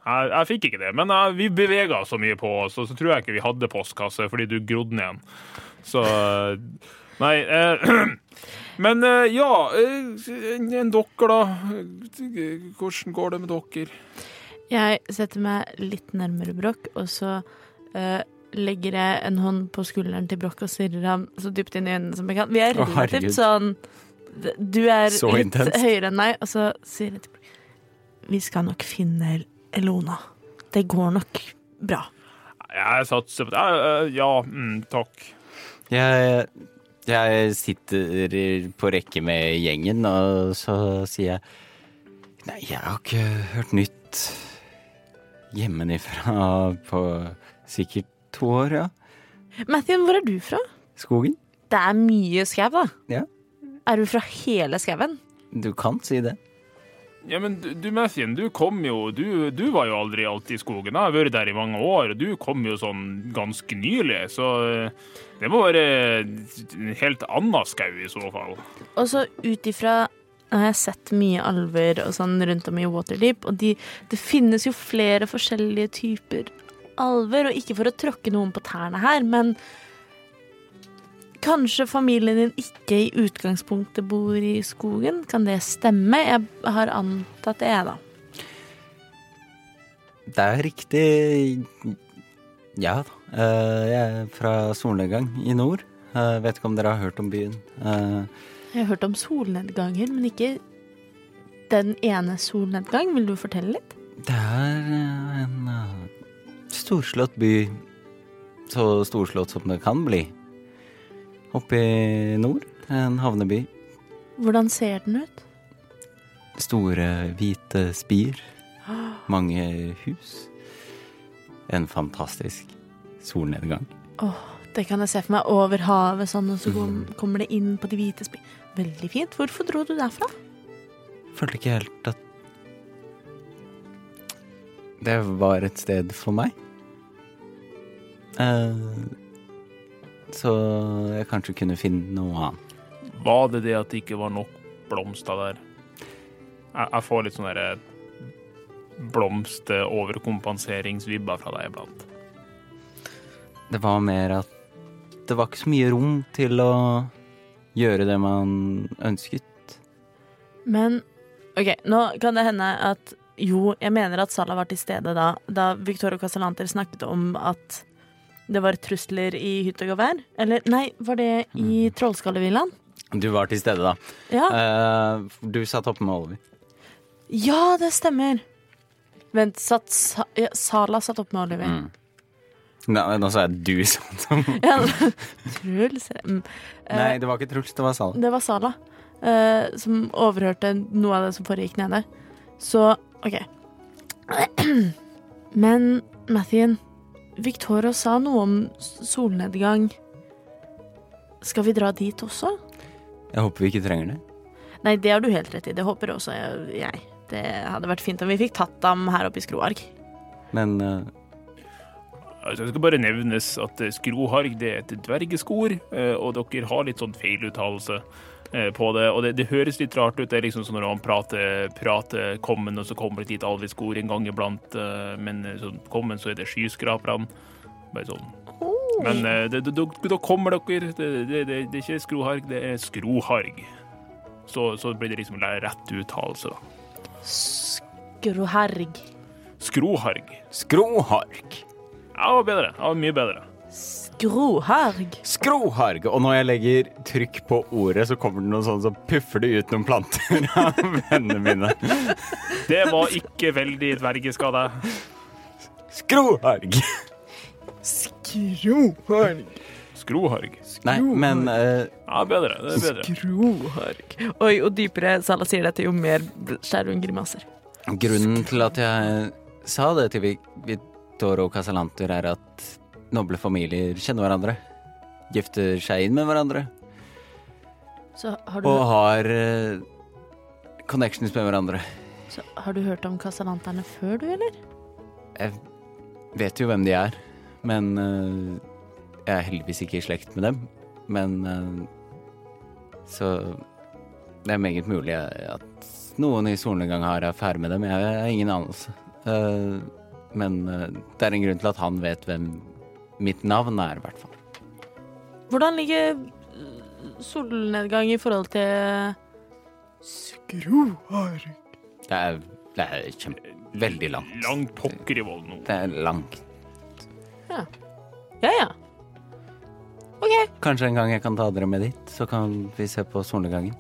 Speaker 5: Jeg, jeg fikk ikke det, men jeg, vi bevega så mye på oss, og så tror jeg ikke vi hadde postkasse fordi du grodde den igjen. Så Nei. Eh, men eh, ja eh, en- En dere, da. Hvordan går det med dere?
Speaker 6: Jeg setter meg litt nærmere Brokk, og så eh, legger jeg en hånd på skulderen til Brokk og stirrer ham så dypt inn i øynene som jeg kan. Vi er
Speaker 1: Å, herregud.
Speaker 6: relativt sånn Du er
Speaker 1: Så
Speaker 6: litt
Speaker 1: intenst.
Speaker 6: høyere enn meg, og så sier jeg til Brokk Vi skal nok finne Elona. Det går nok bra.
Speaker 5: Jeg satser på det. Eh, eh, Ja, mm, takk.
Speaker 1: Jeg, jeg sitter i- på rekke med gjengen, og så sier jeg Nei, jeg har ikke hørt nytt hjemmefra på sikkert to år, ja.
Speaker 6: Mathien, hvor er du fra?
Speaker 1: Skogen.
Speaker 6: Det er mye skau, da.
Speaker 1: Ja.
Speaker 6: Er du fra hele skauen?
Speaker 1: Du kan si det.
Speaker 5: Ja, men du, du Mathien, du kom jo du, du var jo aldri alltid i skogen. Jeg har vært der i mange år, og du kom jo sånn ganske nylig, så eh, det må være en helt annen skau i så fall.
Speaker 6: Og så ut ifra Nå har jeg sett mye alver og sånn rundt om i Waterdeep, og de, det finnes jo flere forskjellige typer alver, og ikke for å tråkke noen på tærne her, men Kanskje familien din ikke i utgangspunktet bor i skogen? Kan det stemme? Jeg har antatt det, da.
Speaker 1: Det er riktig Ja da. Eh, Jeg er fra solnedgang i nord. Eh, Vet ikke om dere har hørt om byen. Eh,
Speaker 6: Jeg har hørt om solnedganger, men ikke den ene solnedgang. Vil du fortelle litt?
Speaker 1: Det er eh, en eh, storslått by. Så storslått som det kan bli. Oppe i nord. En havneby.
Speaker 6: Hvordan ser den ut?
Speaker 1: Store, hvite spier. Mange hus. En fantastisk solnedgang.
Speaker 6: Det kan jeg se for meg over havet, sånn, og så kom, kommer det inn på de hvite spi... Veldig fint. Hvorfor dro du derfra?
Speaker 1: Følte ikke helt at det var et sted for meg. Eh, så jeg kanskje kunne finne noe annet.
Speaker 5: Var det det at det ikke var nok blomster der? Jeg, jeg får litt sånn derre blomsteroverkompenseringsvibber fra deg iblant.
Speaker 1: Det var mer at det var ikke så mye rom til å gjøre det man ønsket.
Speaker 6: Men OK, nå kan det hende at jo, jeg mener at Salah var til stede da, da Victoria Casalanter snakket om at det var trusler i hytt og gevær. Eller nei, var det i Trollskallevillaen?
Speaker 1: Du var til stede, da.
Speaker 6: Ja.
Speaker 1: Eh, du satt oppe med Oliver.
Speaker 6: ja, det stemmer. Vent, satt Sa ja, Salah satt opp med Oliver?
Speaker 1: Mm. Nei, nå sa jeg du satt oppe.
Speaker 6: Ja, Truls mm. Eh,
Speaker 1: Nei, det var ikke Truls, det var Sal.
Speaker 6: Det var Sala. eh, som overhørte noe av det som foregikk nede. Så OK. Men Mathien, Victoria sa noe om s- solnedgang. Skal vi dra dit også?
Speaker 1: Jeg håper vi ikke trenger det.
Speaker 6: Nei, det har du helt rett i. Det håper også jeg. Det hadde vært fint om vi fikk tatt ham her oppe i Skroark.
Speaker 1: Men eh,
Speaker 5: Altså, det skal bare nevnes at eh, skroharg det er et dvergeskor, eh, og dere har litt sånn feiluttalelse eh, på det. Og det, det høres litt rart ut. Det er liksom sånn når han prater, prater kommen, og så kommer det dit aldri skor en gang iblant. eh, Men eh, sånn kommen, så er det skyskraperne. Bare sånn. Men eh, det, det, dere- da kommer dere. Det, det, det, det er ikke skroharg, det er skroharg. Så, så blir det liksom rett uttalelse, da.
Speaker 6: Skroherg.
Speaker 5: Skroharg.
Speaker 1: skrohark!
Speaker 5: Ja, det var bedre. Ja, mye bedre.
Speaker 6: Skroherg.
Speaker 1: Skrohark! Og når jeg legger trykk på ordet, så kommer det noe sånn som puffer det ut noen planter av vennene mine.
Speaker 5: Det var ikke veldig dvergeskade.
Speaker 1: Skrohark!
Speaker 5: Skroharg.
Speaker 1: Nei, men eh,
Speaker 5: Ja, bedre. Det er bedre.
Speaker 6: Skroherg. Oi, og dypere Sala sier dette, jo mer bl- skjærer hun grimaser.
Speaker 1: Grunnen til at jeg sa det til Vi- Vittorio Casalanter, er at noble familier kjenner hverandre. Gifter seg inn med hverandre
Speaker 6: Så har du,
Speaker 1: og har eh, connections med hverandre.
Speaker 6: så har du hørt om kasalanterne før, du, eller?
Speaker 1: Jeg vet jo hvem de er, men eh, jeg er heldigvis ikke i slekt med dem. Men eh, så det er meget mulig at noen i solnedgang har affære med dem. Jeg har ingen anelse. Eh, men eh, det er en grunn til at han vet hvem mitt navn er, i hvert fall.
Speaker 6: Hvordan ligger øh, solnedgang i forhold til
Speaker 1: Det er, det er kjempe, veldig langt.
Speaker 5: Langt pokker i vold nå.
Speaker 1: Det er langt.
Speaker 6: Ja, ja.
Speaker 1: Kanskje en gang jeg kan ta dere med dit, så kan vi se på solnedgangen.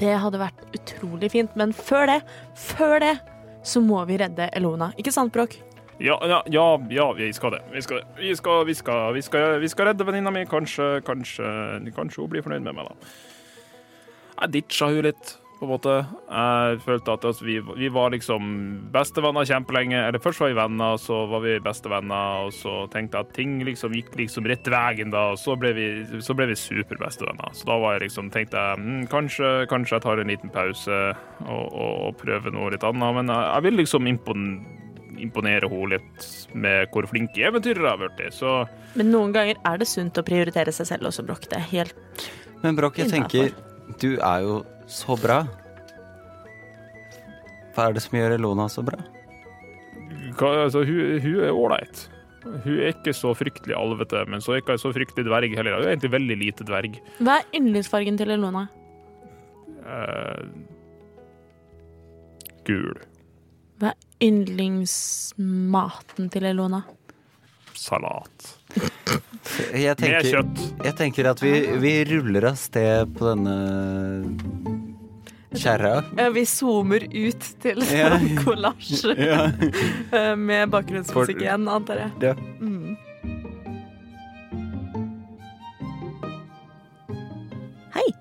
Speaker 6: Det hadde vært utrolig fint, men før det, før det, så må vi redde Elona. Ikke sant, Bråk?
Speaker 5: Ja, ja, ja, ja, vi skal det. Vi skal, det. Vi, skal, vi, skal, vi, skal vi skal redde venninna mi. Kanskje, kanskje, kanskje hun blir fornøyd med meg, da. Jeg ditcha hun litt, på en måte. Jeg følte at altså, vi, vi var liksom bestevenner kjempelenge. Eller først var vi venner, så var vi bestevenner, og så tenkte jeg at ting liksom gikk liksom rett veien, da. Og så ble vi, så ble vi superbestevenner. Så da var jeg liksom, tenkte jeg mm, kanskje, kanskje jeg tar en liten pause og, og, og prøver noe litt annet. Men jeg, jeg vil liksom imponere imponere henne litt med hvor flink eventyrer jeg har blitt. Så
Speaker 6: Men noen ganger er det sunt å prioritere seg selv også, Bråk. Det er helt
Speaker 1: Men Broch, jeg tenker
Speaker 6: Innenfor.
Speaker 1: Du er jo så bra. Hva er det som gjør Elona så bra?
Speaker 5: hva- altså, hun, hun er ålreit. Hun er ikke så fryktelig alvete, men så er ikke hun så fryktelig dverg heller. Hun er egentlig veldig lite dverg.
Speaker 6: Hva er yndlingsfargen til Elona?
Speaker 5: Eh, gul
Speaker 6: Hva er yndlingsmaten til Elona?
Speaker 5: salat
Speaker 1: Jeg
Speaker 5: med
Speaker 1: tenker,
Speaker 5: kjøtt.
Speaker 1: jeg tenker at vi, vi ruller av sted på denne kjerra.
Speaker 6: Eh, Vi zoomer ut til
Speaker 1: Ja.
Speaker 6: kollasj eh,
Speaker 1: Ja.
Speaker 6: med
Speaker 1: For-
Speaker 6: bakgrunnsmusikk igjen, antar jeg. Mm.
Speaker 1: Ja.
Speaker 3: Hei!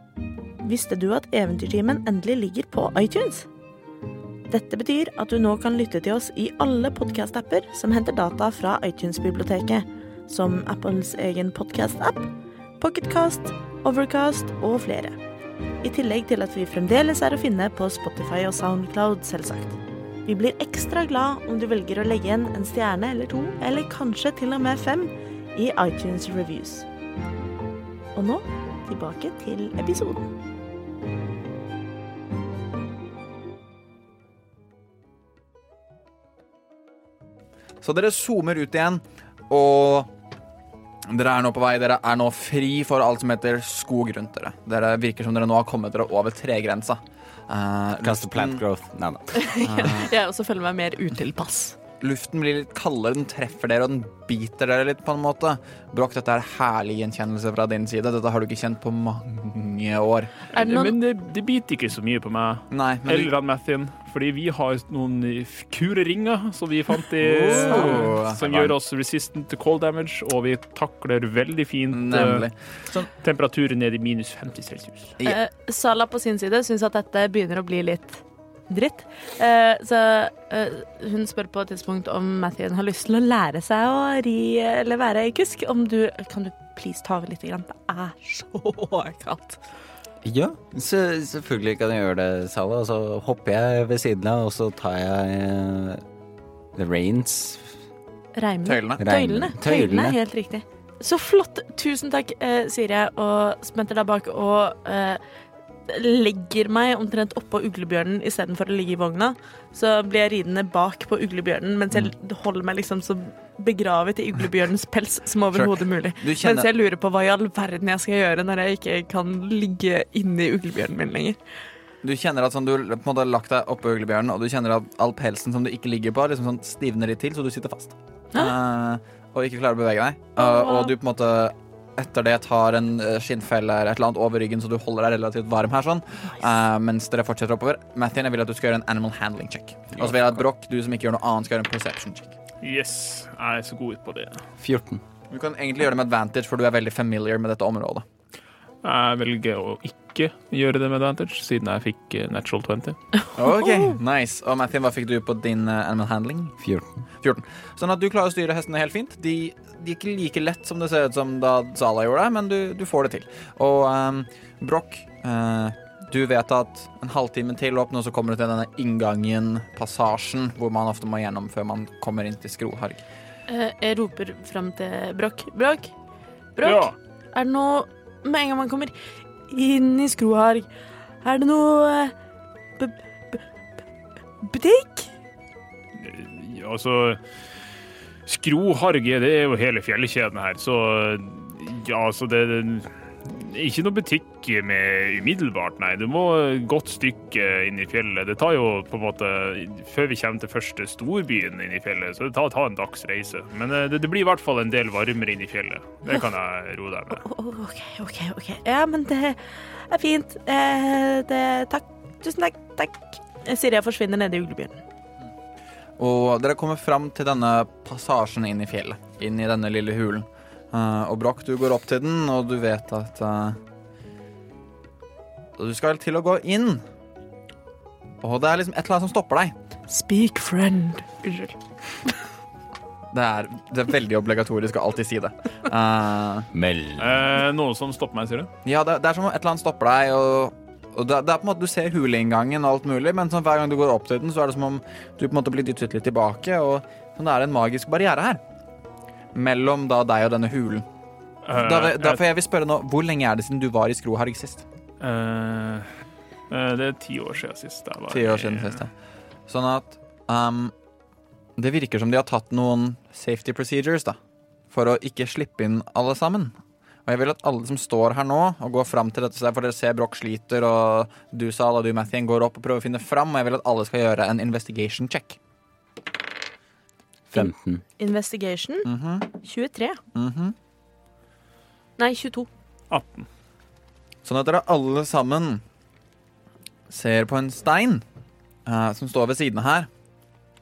Speaker 3: Visste du at Eventyrtimen endelig ligger på iTunes? Dette betyr at du nå kan lytte til oss i alle podcast-apper som henter data fra iTunes-biblioteket, som Apples egen podcast-app, Pocketcast, Overcast og flere. I tillegg til at vi fremdeles er å finne på Spotify og Soundcloud, selvsagt. Vi blir ekstra glad om du velger å legge igjen en stjerne eller to, eller kanskje til og med fem, i iTunes Reviews. Og nå tilbake til episoden.
Speaker 4: Så dere zoomer ut igjen, og dere er nå på vei. Dere er nå fri for alt som heter skog rundt dere. Dere virker som dere nå har kommet dere over tregrensa. Eh,
Speaker 1: Kaste
Speaker 4: luften,
Speaker 1: plant growth. Nei, nei. Ah.
Speaker 6: Jeg også føler meg mer utilpass.
Speaker 4: luften blir litt kaldere, den treffer dere, og den biter dere litt, på en måte. Bråk, dette er herlig gjenkjennelse fra din side. Dette har du ikke kjent på mange mange år.
Speaker 6: Er det noen
Speaker 5: Men det, det biter ikke så mye på meg.
Speaker 4: Nei, men
Speaker 5: Eller han Mathin. Fordi vi har noen f- kule ringer som vi fant i
Speaker 4: Oh.
Speaker 5: Som gjør oss resistant to cold damage, og vi takler veldig fint eh,
Speaker 4: Nemlig.
Speaker 5: temperaturen ned i minus 50 celsius.
Speaker 4: Ja.
Speaker 6: Eh, Sala på sin side syns at dette begynner å bli litt dritt. Eh, så eh, hun spør på et tidspunkt om Mathien har lyst til å lære seg å ri eller være kusk. Om du Kan du please ta over litt? Grann? Det er så kaldt.
Speaker 1: Ja, så, selvfølgelig kan jeg gjøre det, Sala. Og så hopper jeg ved siden av, og så tar jeg eh, the reins.
Speaker 6: Reimer.
Speaker 4: Tøylene.
Speaker 6: Tøylene.
Speaker 1: Reimer.
Speaker 6: Tøylene,
Speaker 1: Tøylene.
Speaker 6: Helt riktig. Så flott. Tusen takk, eh, sier jeg og spenter deg bak og eh, legger meg omtrent oppå uglebjørnen istedenfor å ligge i vogna. Så blir jeg ridende bak på uglebjørnen mens jeg holder meg liksom så begravet i uglebjørnens pels som overhodet mulig.
Speaker 4: Du kjenner-
Speaker 6: Mens jeg lurer på hva i all verden jeg skal gjøre når jeg ikke kan ligge inni uglebjørnen min lenger.
Speaker 4: Du kjenner at sånn, du på en måte har lagt deg oppå uglebjørnen, og du kjenner at all pelsen som du ikke ligger på, liksom sånn stivner litt til, så du sitter fast. Eh, og ikke klarer å bevege deg. Eh,
Speaker 6: Åh.
Speaker 4: og du på en måte etter det tar en eh, skinnfelle eller et eller annet over ryggen, så du holder deg relativt varm her, sånn, eh, mens dere fortsetter oppover. Mathien, jeg vil at du skal gjøre en animal handling check. Og så vil jeg at Broch, du som ikke gjør noe annet, skal gjøre en perception check.
Speaker 5: Yes, jeg er så god på det.
Speaker 1: 14.
Speaker 4: Du kan egentlig gjøre det med advantage, for du er veldig familiar med dette området.
Speaker 5: Jeg velger å ikke gjøre det med advantage, siden jeg fikk eh, natural 20.
Speaker 4: Ok, nice. Og Mathien, hva fikk du på din eh, animal handling?
Speaker 1: 14.
Speaker 4: 14. Sånn at du klarer å styre hestene helt fint. De, de er ikke like lett som det ser ut som da Zala gjorde det, men du, du får det til. Og um, Broch, eh, du vet at en halvtime til opp nå så kommer du til denne inngangen, passasjen, hvor man ofte må gjennom før man kommer inn til Skroharg.
Speaker 6: Eh, jeg roper fram til Brokk. Brokk? Brokk?
Speaker 5: Ja,
Speaker 6: Er det noe Med en gang man kommer inn i Skroharg, er det noe eh, b b b butikk?
Speaker 5: eh, altså Skroharge, det er jo hele fjellkjeden her, så ja, altså det det er ikke noe butikk med umiddelbart, nei. Du må et godt stykke inn i fjellet. Det tar jo på en måte Før vi kommer til første storbyen inn i fjellet, så det tar, tar en dags reise. Men eh, det, det blir i hvert fall en del varmere inn i fjellet. Det kan jeg roe deg med.
Speaker 6: Å, å, OK, OK. ok. Ja, men det er fint. Eh, det, takk. Tusen takk. Takk. Jeg sier jeg forsvinner nede i uglebjørnen.
Speaker 4: Og dere kommer fram til denne passasjen inn i fjellet, inn i denne lille hulen. Eh, og Broch, du går opp til den, og du vet at eh, Du skal til å gå inn, og det er liksom et eller annet som stopper deg.
Speaker 6: Speak friend. Unnskyld.
Speaker 4: Det er, det er veldig obligatorisk å alltid si det. Eh,
Speaker 1: Meld.
Speaker 5: Eh, noe som stopper meg, sier du?
Speaker 4: ja, det, det er som om et eller annet stopper deg, og, og det, det er på en måte du ser huleinngangen og alt mulig, men sånn, hver gang du går opp til den, så er det som om du på en måte blir dyttet litt tilbake, og sånn, det er en magisk barriere her. Mellom da deg og denne hulen.
Speaker 5: Eh,
Speaker 4: Da, derfor jeg vil spørre nå, hvor lenge er det siden du var i Skroharg sist?
Speaker 5: jeg- eh, eh, det er ti år siden sist. jeg var
Speaker 4: Ti år siden
Speaker 5: i-
Speaker 4: sist, ja. Sånn at ehm, det virker som de har tatt noen safety procedures, da. For å ikke slippe inn alle sammen. Og jeg vil at alle som står her nå, og går fram til dette stedet, for dere ser Broch sliter, og du, Sal, og du, Mathien, går opp og prøver å finne fram, og jeg vil at alle skal gjøre en investigation check.
Speaker 1: 15.
Speaker 6: Investigation
Speaker 4: Mhm,
Speaker 6: 23.
Speaker 4: mhm.
Speaker 6: Nei, 22.
Speaker 5: 18.
Speaker 4: Sånn at dere alle sammen ser på en stein eh, som står ved siden av her.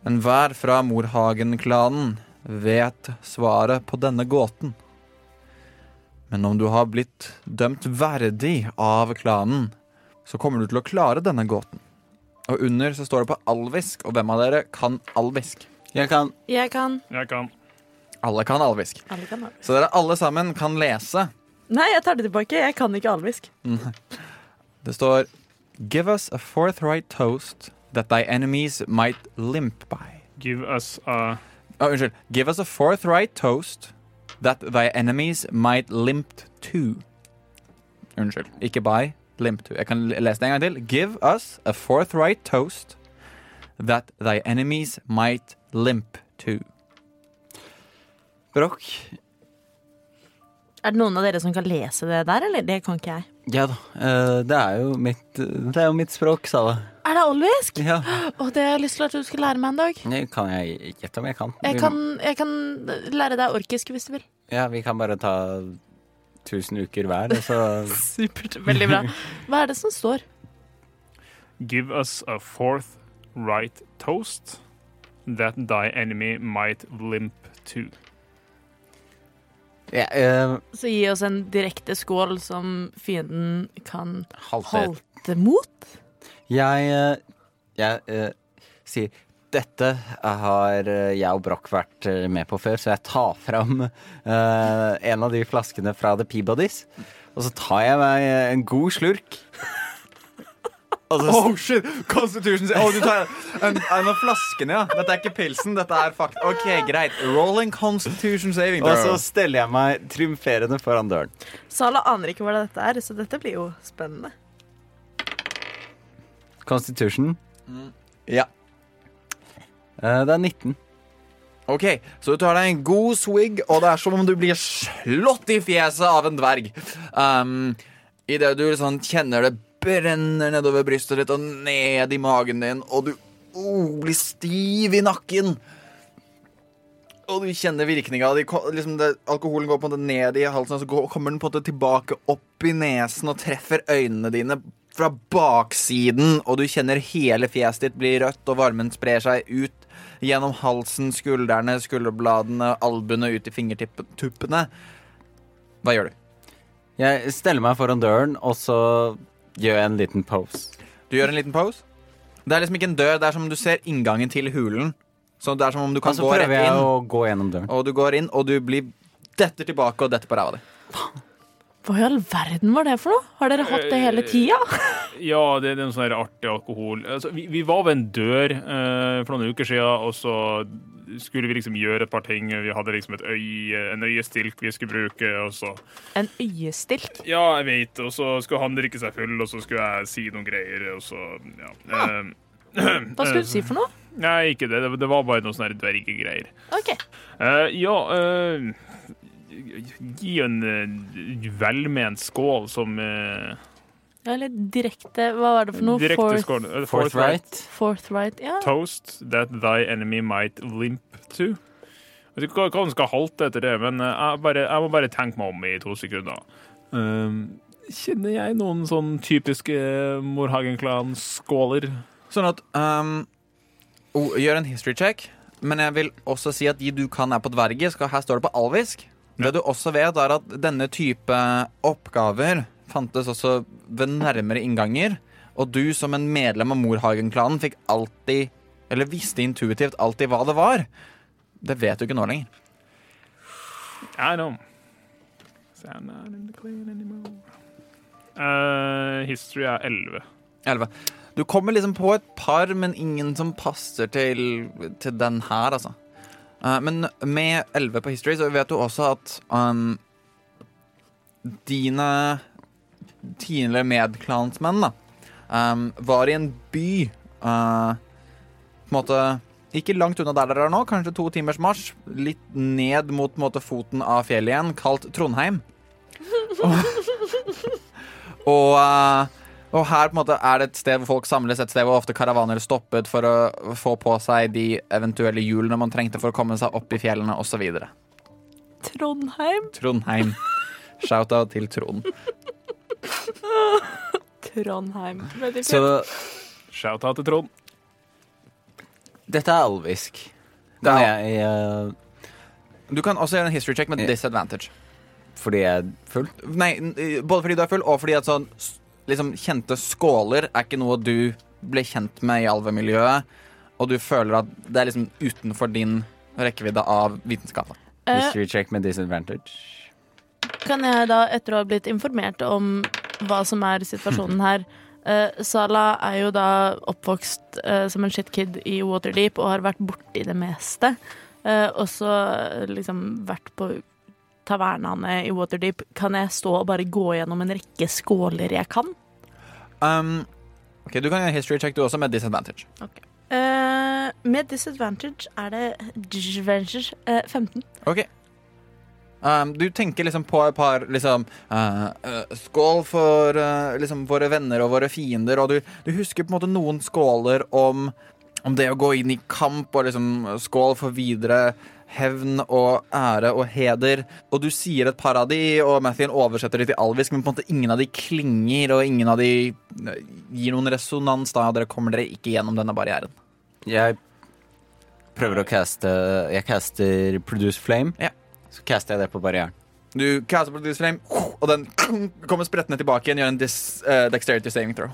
Speaker 4: Men hver fra Morhagen-klanen vet svaret på denne gåten. Men om du har blitt dømt verdig av klanen, så kommer du til å klare denne gåten. Og under så står det på alvisk, og hvem av dere kan alvisk?
Speaker 1: Jeg kan
Speaker 6: Jeg kan
Speaker 5: Jeg kan.
Speaker 4: Alle kan alvisk.
Speaker 6: Alle kan alvisk.
Speaker 4: Så dere alle sammen kan lese
Speaker 6: Nei, jeg tar det tilbake. Jeg kan ikke alvisk.
Speaker 4: Mm-hmm. Det står Give us a forthright toast that thy enemies might limp by.
Speaker 5: Give us a
Speaker 4: Å, unnskyld. Give us a forthright toast that thy enemies might limp to. Unnskyld. Ikke by, limp to. Jeg kan l- lese det en gang til. Give us a forthright toast that thy enemies might limp to.
Speaker 1: Brokk.
Speaker 6: Er det noen av dere som kan lese det der, eller? Det kan ikke jeg.
Speaker 1: Ja da. eh, det er jo mitt Det er jo mitt språk, Sala.
Speaker 6: Er det alvisk?
Speaker 1: Ja.
Speaker 6: Og det har jeg lyst til at du skal lære meg en dag.
Speaker 1: Det kan jeg gjette om jeg kan.
Speaker 6: Jeg kan, jeg kan lære deg orkisk hvis du vil.
Speaker 1: Ja, vi kan bare ta 1000 uker hver, og så
Speaker 6: Supert. Veldig bra. Hva er det som står?
Speaker 5: Give us a fourth right toast that thy enemy might limp to.
Speaker 1: ja, eh,
Speaker 6: Så gi oss en direkte skål som fienden kan
Speaker 1: halte et
Speaker 6: halte mot.
Speaker 1: Jeg, eh, jeg eh, sier dette har eh, jeg og Broch vært eh, med på før, så jeg tar fram eh, en av de flaskene fra The Peabodys. Og så tar jeg meg eh, en god slurk. Og så,
Speaker 4: Oh shit! Constitution Å, du tar en, en av flaskene, ja. Dette er ikke pilsen, dette er fakt... OK, greit. Rolling Constitution saving
Speaker 1: og så
Speaker 4: throw.
Speaker 1: steller jeg meg triumferende foran døren.
Speaker 9: Sala aner ikke hva dette er, så dette blir jo spennende.
Speaker 1: Constitution.
Speaker 4: Ja.
Speaker 1: eh, det er 19.
Speaker 4: OK, så du tar deg en god swig, og det er som om du blir slått i fjeset av en dverg. Um, Idet du sånn kjenner det brenner nedover brystet ditt og ned i magen din, og du oh, blir stiv i nakken. Og du kjenner virkninga. De, ko- liksom det, alkoholen går på en måte ned i halsen, og så går, kommer den på en måte tilbake opp i nesen og treffer øynene dine fra baksiden. Og du kjenner hele fjeset ditt bli rødt, og varmen sprer seg ut gjennom halsen, skuldrene, skulderbladene, albuene, ut i fingertuppene. Hva gjør du?
Speaker 1: Jeg steller meg foran døren, og så gjør jeg en liten pose.
Speaker 4: Du gjør en liten pose. Det er liksom ikke en dør, det er som om du ser inngangen til hulen. Så det er som om du kan
Speaker 1: Og så
Speaker 4: gå
Speaker 1: prøver
Speaker 4: rett
Speaker 1: jeg
Speaker 4: inn,
Speaker 1: å gå gjennom døren.
Speaker 4: og du går inn, og du blir detter tilbake og detter på ræva di.
Speaker 6: Hva i all verden var det for noe? Har dere hatt det
Speaker 5: Eh,
Speaker 6: hele tida?
Speaker 5: Ja, det, det er en sånn her artig alkohol. Altså, vi, vi var ved en dør eh, for noen uker siden, og så skulle vi liksom gjøre et par ting. Vi hadde liksom et øye, en øyestilk vi skulle bruke, og så
Speaker 6: En øyestilk.
Speaker 5: Ja, jeg vet. Og så skulle han drikke seg full, og så skulle jeg si noen greier, og så Ja. Eh,
Speaker 6: Ah. Hva skulle du si for noe?
Speaker 5: nei, ikke det. Det, det var bare noen sånne her dvergegreier.
Speaker 6: Ok.
Speaker 5: Eh, ja eh, Gi en eh, velment skål som eh,
Speaker 6: Eller direkte Hva var det for noe?
Speaker 5: direkte
Speaker 6: Forth-
Speaker 5: skål. Eh,
Speaker 1: Forthright.
Speaker 6: Forthright. Ja.
Speaker 5: Toast that thy enemy might limp to. Jeg vet ikke hva- hva den skal halte etter det, men eh, jeg, bare, jeg må bare tenke meg om i to sekunder. Um, kjenner jeg noen sånn typiske Morhagen-klan-skåler?
Speaker 4: Sånn at ehm, oh, Gjør en history check. Men jeg vil også si at de du kan er på dvergisk, og her står det på alvisk. Det du også vet, er at denne type oppgaver fantes også ved nærmere innganger. Og du som en medlem av Morhagen-klanen fikk alltid, eller visste intuitivt alltid hva det var. Det vet du ikke nå lenger.
Speaker 5: I know. So I'm not in the clan anymore. Eh, history er 11.
Speaker 4: Elleve. Du kommer liksom på et par, men ingen som passer til, til den her, altså. Eh, men med 11 på history så vet du også at um, dine tidligere medklansmenn da, um, var i en by eh, på en måte ikke langt unna der dere er nå, kanskje to timers marsj, litt ned mot på en måte, foten av fjellet igjen, kalt Trondheim. Og, og, eh, og her på en måte er det et sted hvor folk samles, et sted hvor ofte karavaner stoppet for å få på seg de eventuelle hjulene man trengte for å komme seg opp i fjellene osv.
Speaker 6: Trondheim.
Speaker 4: Trondheim. Shout-out til Trond.
Speaker 6: Trondheim. Veldig
Speaker 1: Så
Speaker 6: fint.
Speaker 5: Shout-out til Trond.
Speaker 1: dette er alvisk.
Speaker 4: Det
Speaker 1: Men
Speaker 4: er-
Speaker 1: jeg, eh,
Speaker 4: Du kan også gjøre en history check med disadvantage.
Speaker 1: fordi jeg er full.
Speaker 4: Nei, n- både fordi du er full, og fordi at sånn s- liksom, kjente skåler er ikke noe du ble kjent med i alvemiljøet, og du føler at det er liksom utenfor din rekkevidde av vitenskapen.
Speaker 6: Eh,
Speaker 1: History check med disadvantage.
Speaker 6: Kan jeg da, etter å ha blitt informert om hva som er situasjonen her eh, Sala er jo da oppvokst eh, som en shitkid i Waterdeep og har vært borti det meste. Eh, også eh, liksom vært på tavernaene i Waterdeep. Kan jeg stå og bare gå gjennom en rekke skåler jeg kan?
Speaker 4: Um, ok, Du kan gjøre en history check du også, med disadvantage.
Speaker 9: Eh,
Speaker 6: med disadvantage er det disadvantage eh, 15.
Speaker 4: Ok. Um, du tenker liksom på et par liksom, eh, eh, Skål for eh, liksom våre venner og våre fiender, og du, du husker på en måte noen skåler om, om det å gå inn i kamp, og liksom skål for videre hevn og ære og heder. Og du sier et par av de, og Mathien oversetter de til alvisk, men på en måte ingen av de klinger, og ingen av de eh, gir noen resonans. Da og dere kommer dere ikke gjennom denne barrieren.
Speaker 1: Jeg prøver å caste Jeg caster Produce Flame.
Speaker 4: Ja.
Speaker 1: Så caster jeg det på barrieren.
Speaker 4: Du caster på Produce Flame, og den kommer sprettende tilbake igjen. Gjør en dis, eh, dexterity saving throw.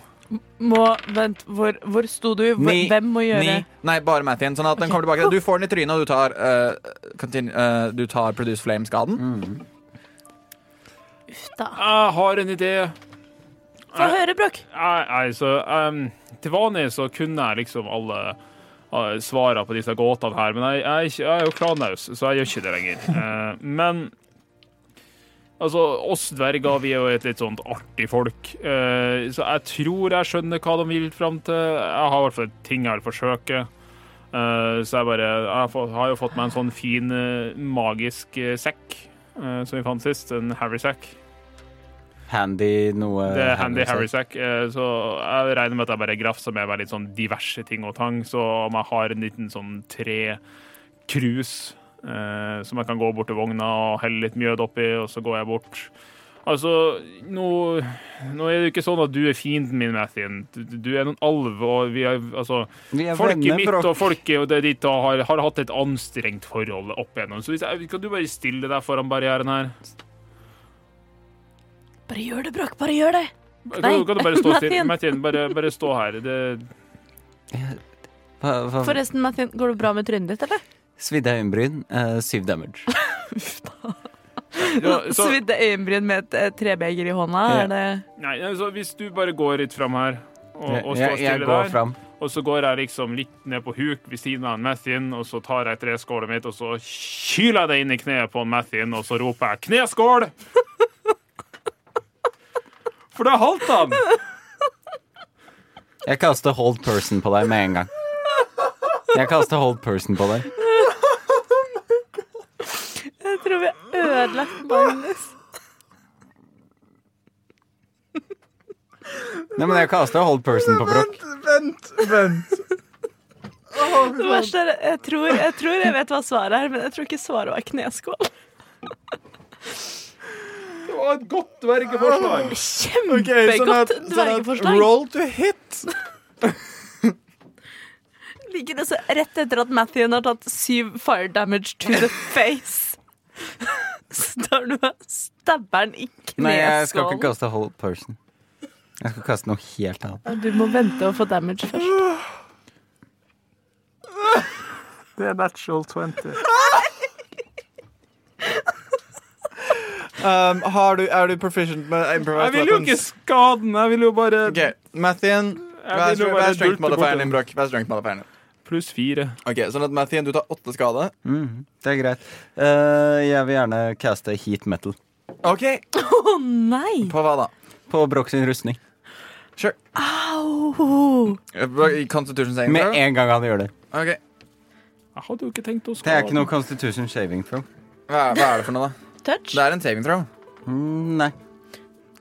Speaker 6: Må, vent, hvor, hvor sto du? Hvor,
Speaker 4: Ni.
Speaker 6: hvem må gjøre
Speaker 4: Ni. Nei, bare Mathien. Sånn at den
Speaker 6: Ok.
Speaker 4: kommer tilbake. Du får den i trynet, og du tar, eh, continue, eh, du tar Produce Flame-skaden.
Speaker 5: Mhm.
Speaker 6: Uff da.
Speaker 5: Jeg har en idé.
Speaker 6: Få høre, Brokk.
Speaker 5: Nei, nei, så ehm, Til vanlig så kunne jeg liksom alle eh, svarene på disse gåtene her, men jeg, jeg, er ikke- jeg er jo klanlaus, så jeg gjør ikke det lenger. Eh, men altså, oss dverger, vi er jo et litt sånt artig folk, eh, så jeg tror jeg skjønner hva de vil fram til. Jeg har i hvert fall ting jeg vil forsøke. Eh, så jeg bare Jeg har fått- har jo fått meg en sånn fin, eh, magisk eh, sekk eh, som vi fant sist, en Harry-sekk.
Speaker 1: Handy noe
Speaker 5: Det er
Speaker 1: Handy
Speaker 5: Handy Harrisack, eh, så jeg regner med at jeg bare grafser med meg litt sånn diverse ting og tang. Så om jeg har en liten sånn tre-krus eh, som jeg kan gå bort til vogna og helle litt mjød oppi, og så går jeg bort. Altså, nå, nå er det jo ikke sånn at du er fienden min, Mathien. Du, du er noen alv, og vi er altså
Speaker 1: Vi er
Speaker 5: Folket
Speaker 1: venner,
Speaker 5: mitt
Speaker 1: Brokk.
Speaker 5: og folket og det ditt da har, har hatt et anstrengt forhold opp igjennom. Så hvis jeg, kan du bare stille deg foran barrieren her?
Speaker 6: Bare gjør det, Brokk. Bare gjør det.
Speaker 5: Kan,
Speaker 6: Nei,
Speaker 5: du- kan du bare stå stille?
Speaker 6: Mathien.
Speaker 5: Mathien, bare, bare stå her. Det,
Speaker 1: Hva, hva,
Speaker 6: Forresten, Mathien, går det bra med trynet ditt, eller?
Speaker 1: Svidde øyenbryn, eh, syv damage.
Speaker 5: ja, så,
Speaker 6: Svidde øyenbryn med et eh, trebeger i hånda,
Speaker 1: Ja.
Speaker 6: er det
Speaker 5: Nei, altså, hvis du bare går litt fram her og, og står
Speaker 1: jeg, jeg
Speaker 5: stille
Speaker 1: går
Speaker 5: der,
Speaker 1: fram.
Speaker 5: og så går jeg liksom litt ned på huk ved siden av en Mathien, og så tar jeg treskålet mitt, og så kyler jeg det inn i kneet på en Mathien, og så roper jeg 'kneskål'! For da halter han!
Speaker 1: Jeg kaster hold person på deg med en gang. Jeg kaster hold person på deg.
Speaker 6: Jeg tror vi har ødelagt Magnus.
Speaker 1: Nei, men jeg kaster hold person på Brokk.
Speaker 4: Vent, vent.
Speaker 6: Det verste er jeg tror, jeg tror jeg vet hva svaret er, men jeg tror ikke svaret var kneskål.
Speaker 5: Det var et godt dvergeforslag. sånn
Speaker 6: Kjempegodt dvergeforslag.
Speaker 4: roll to hit.
Speaker 6: Ligger også rett etter at Mathien har tatt syv fire damage to the face. Står du og stabber den i kneskålen?
Speaker 1: Nei, jeg skal ikke kaste hold person. Jeg skal kaste noe helt annet.
Speaker 6: Du må vente og få damage først.
Speaker 5: Det er natural 20.
Speaker 1: Mm.
Speaker 4: Um, har du, er du proficient med improvised
Speaker 5: Jeg vil jo ikke skade den, jeg vil jo bare
Speaker 4: OK, Mathien, hva
Speaker 5: Jeg
Speaker 4: er
Speaker 5: vil jo bare
Speaker 4: hva er strength
Speaker 5: dulte bort
Speaker 4: modifieren
Speaker 5: den.
Speaker 4: din, Brokk? Hva er strength modifieren din?
Speaker 5: Pluss fire.
Speaker 4: Ok, sånn at Mathien, du tar åtte skade.
Speaker 1: Mhm, det er greit. Eh, jeg vil gjerne caste heat metal
Speaker 4: OK,
Speaker 6: Å nei!
Speaker 4: på hva da?
Speaker 1: på Brokk sin rustning.
Speaker 4: Sure.
Speaker 6: Au!
Speaker 4: Brokk, Eh, i Constitution saving
Speaker 1: Med
Speaker 4: throw?
Speaker 1: en gang han gjør det.
Speaker 4: Ok,
Speaker 5: Jeg hadde jo ikke tenkt å
Speaker 1: Det
Speaker 5: skade
Speaker 1: er ikke noe constitution shaving throw.
Speaker 4: hva, er- hva er det for noe, da?
Speaker 6: Touch?
Speaker 4: Det er en saving throw.
Speaker 1: Mm, nei.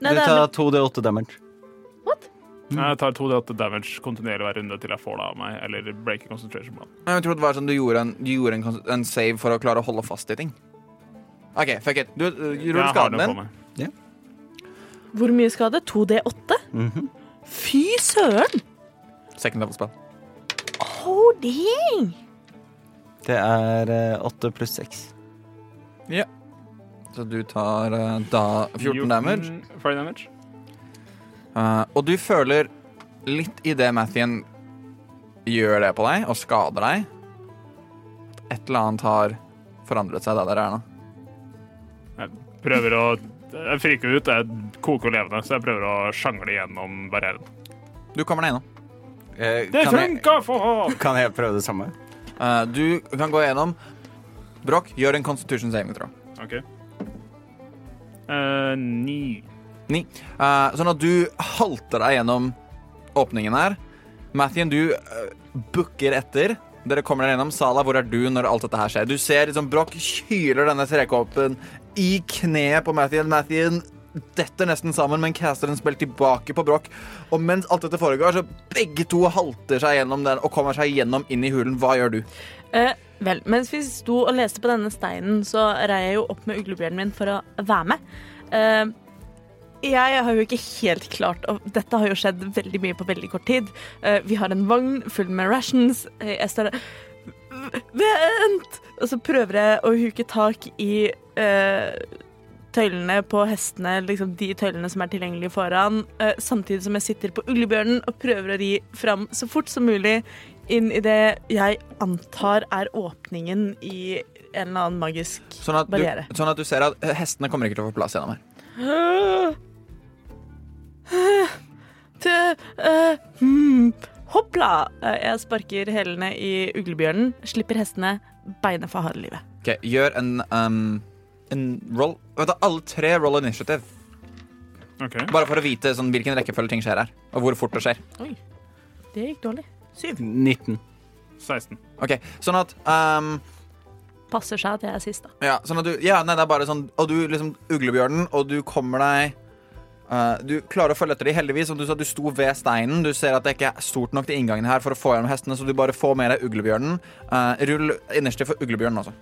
Speaker 6: Nei,
Speaker 1: Du
Speaker 6: det er
Speaker 1: tar 2D8 damage.
Speaker 5: Nei, Jeg tar 2D8 damage kontinuerlig hver runde til jeg får det av meg, eller breaking concentration plan.
Speaker 4: Jeg trodde det var sånn du gjorde en, du gjorde en, kons- en save for å klare å holde fast i ting. OK, fuck it. Du, du ruller skaden din.
Speaker 6: Hvor mye skade? 2D8?
Speaker 1: Mhm.
Speaker 6: Fy søren!
Speaker 4: Second level spell.
Speaker 6: Oh, dang!
Speaker 1: Det er 8 pluss 6.
Speaker 4: Så du tar eh, da 14 damage.
Speaker 5: Fire damage.
Speaker 4: Eh, og du føler litt i det Mathien gjør det på deg og skader deg, at et eller annet har forandret seg der dere er nå.
Speaker 5: Jeg prøver å Jeg friker ut, jeg koker levende, så jeg prøver å sjangle gjennom barrieren.
Speaker 4: Du kommer deg gjennom.
Speaker 5: Det
Speaker 1: kan, jeg,
Speaker 5: funka for ham!
Speaker 1: Eh, kan jeg prøve det samme?
Speaker 4: Eh, du kan gå gjennom. Brokk, gjør en constitution saving throw.
Speaker 5: OK. Eh, ni.
Speaker 4: Eh, sånn at du halter deg gjennom åpningen her. Mathien, du eh, bukker etter. Dere kommer dere gjennom. Sala, hvor er du når alt dette her skjer? Du ser liksom Brokk kyler denne trekåpen i kneet på Mathien. Mathien detter nesten sammen, men caster en spill tilbake på Brokk. Og mens alt dette foregår, så begge to halter seg gjennom den og kommer seg gjennom inn i hulen. Hva gjør du?
Speaker 6: Eh, Vel, mens vi sto og leste på denne steinen, så rei jeg jo opp med uglebjørnen min for å være med. Eh, jeg har jo ikke helt klart og Dette har jo skjedd veldig mye på veldig kort tid. Eh, vi har en vogn full med rations. Eh, jeg står der "V- Vent! Og så prøver jeg å huke tak i eh, tøylene på hestene, liksom de tøylene som er tilgjengelige foran, eh, samtidig som jeg sitter på uglebjørnen og prøver å ri fram så fort som mulig inn i det jeg antar er åpningen i en eller annen magisk
Speaker 4: Sånn at,
Speaker 6: Barriere.
Speaker 4: du, sånn at du ser at eh, hestene kommer ikke til å få plass gjennom her.
Speaker 6: Til eh, hmm, Hoppla! Eh, Jeg sparker hælene i uglebjørnen, slipper hestene, beinet for harde livet.
Speaker 4: Ok, Gjør en, ehm, en roll Vet du, Alle tre roll initiative.
Speaker 5: Ok.
Speaker 4: Bare for å vite sånn, hvilken rekkefølge ting skjer her. Og hvor fort det skjer.
Speaker 6: Det gikk dårlig. Syv.
Speaker 1: 19.
Speaker 5: 16.
Speaker 4: Ok, Sånn at ehm,
Speaker 6: Passer seg at jeg er sist, da.
Speaker 4: Ja, sånn at du, ja nei, det er bare sånn Og du liksom uglebjørnen, og du kommer deg eh, Du klarer å følge etter dem, heldigvis. Som du sa, du sto ved steinen. Du ser at det ikke er stort nok til inngangen her for å få gjennom hestene, så du bare får med deg uglebjørnen. Eh, rull innerste for uglebjørnen også.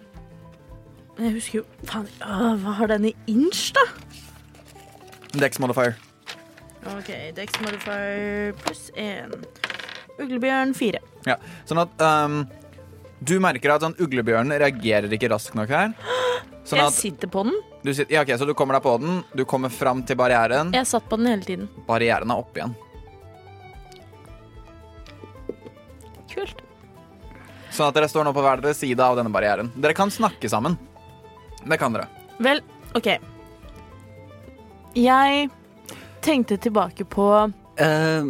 Speaker 6: Men Jeg husker jo Faen, øh, hva har den i inch, da?
Speaker 4: Dex modifier.
Speaker 3: OK, Dex modifier pluss én. Uglebjørn fire.
Speaker 4: Ja, sånn at ehm, Du merker at sånn uglebjørnen reagerer ikke raskt nok her. Sånn
Speaker 6: Jeg
Speaker 4: at
Speaker 6: sitter på den.
Speaker 4: du sitter, ja, ok, Så du kommer deg på den, du kommer fram til barrieren.
Speaker 6: Jeg satt på den hele tiden.
Speaker 4: Barrieren er oppe igjen.
Speaker 6: Kult.
Speaker 4: Sånn at dere står nå på hver deres side av denne barrieren. Dere kan snakke sammen. Det kan dere.
Speaker 6: Vel, OK. Jeg tenkte tilbake på Eh,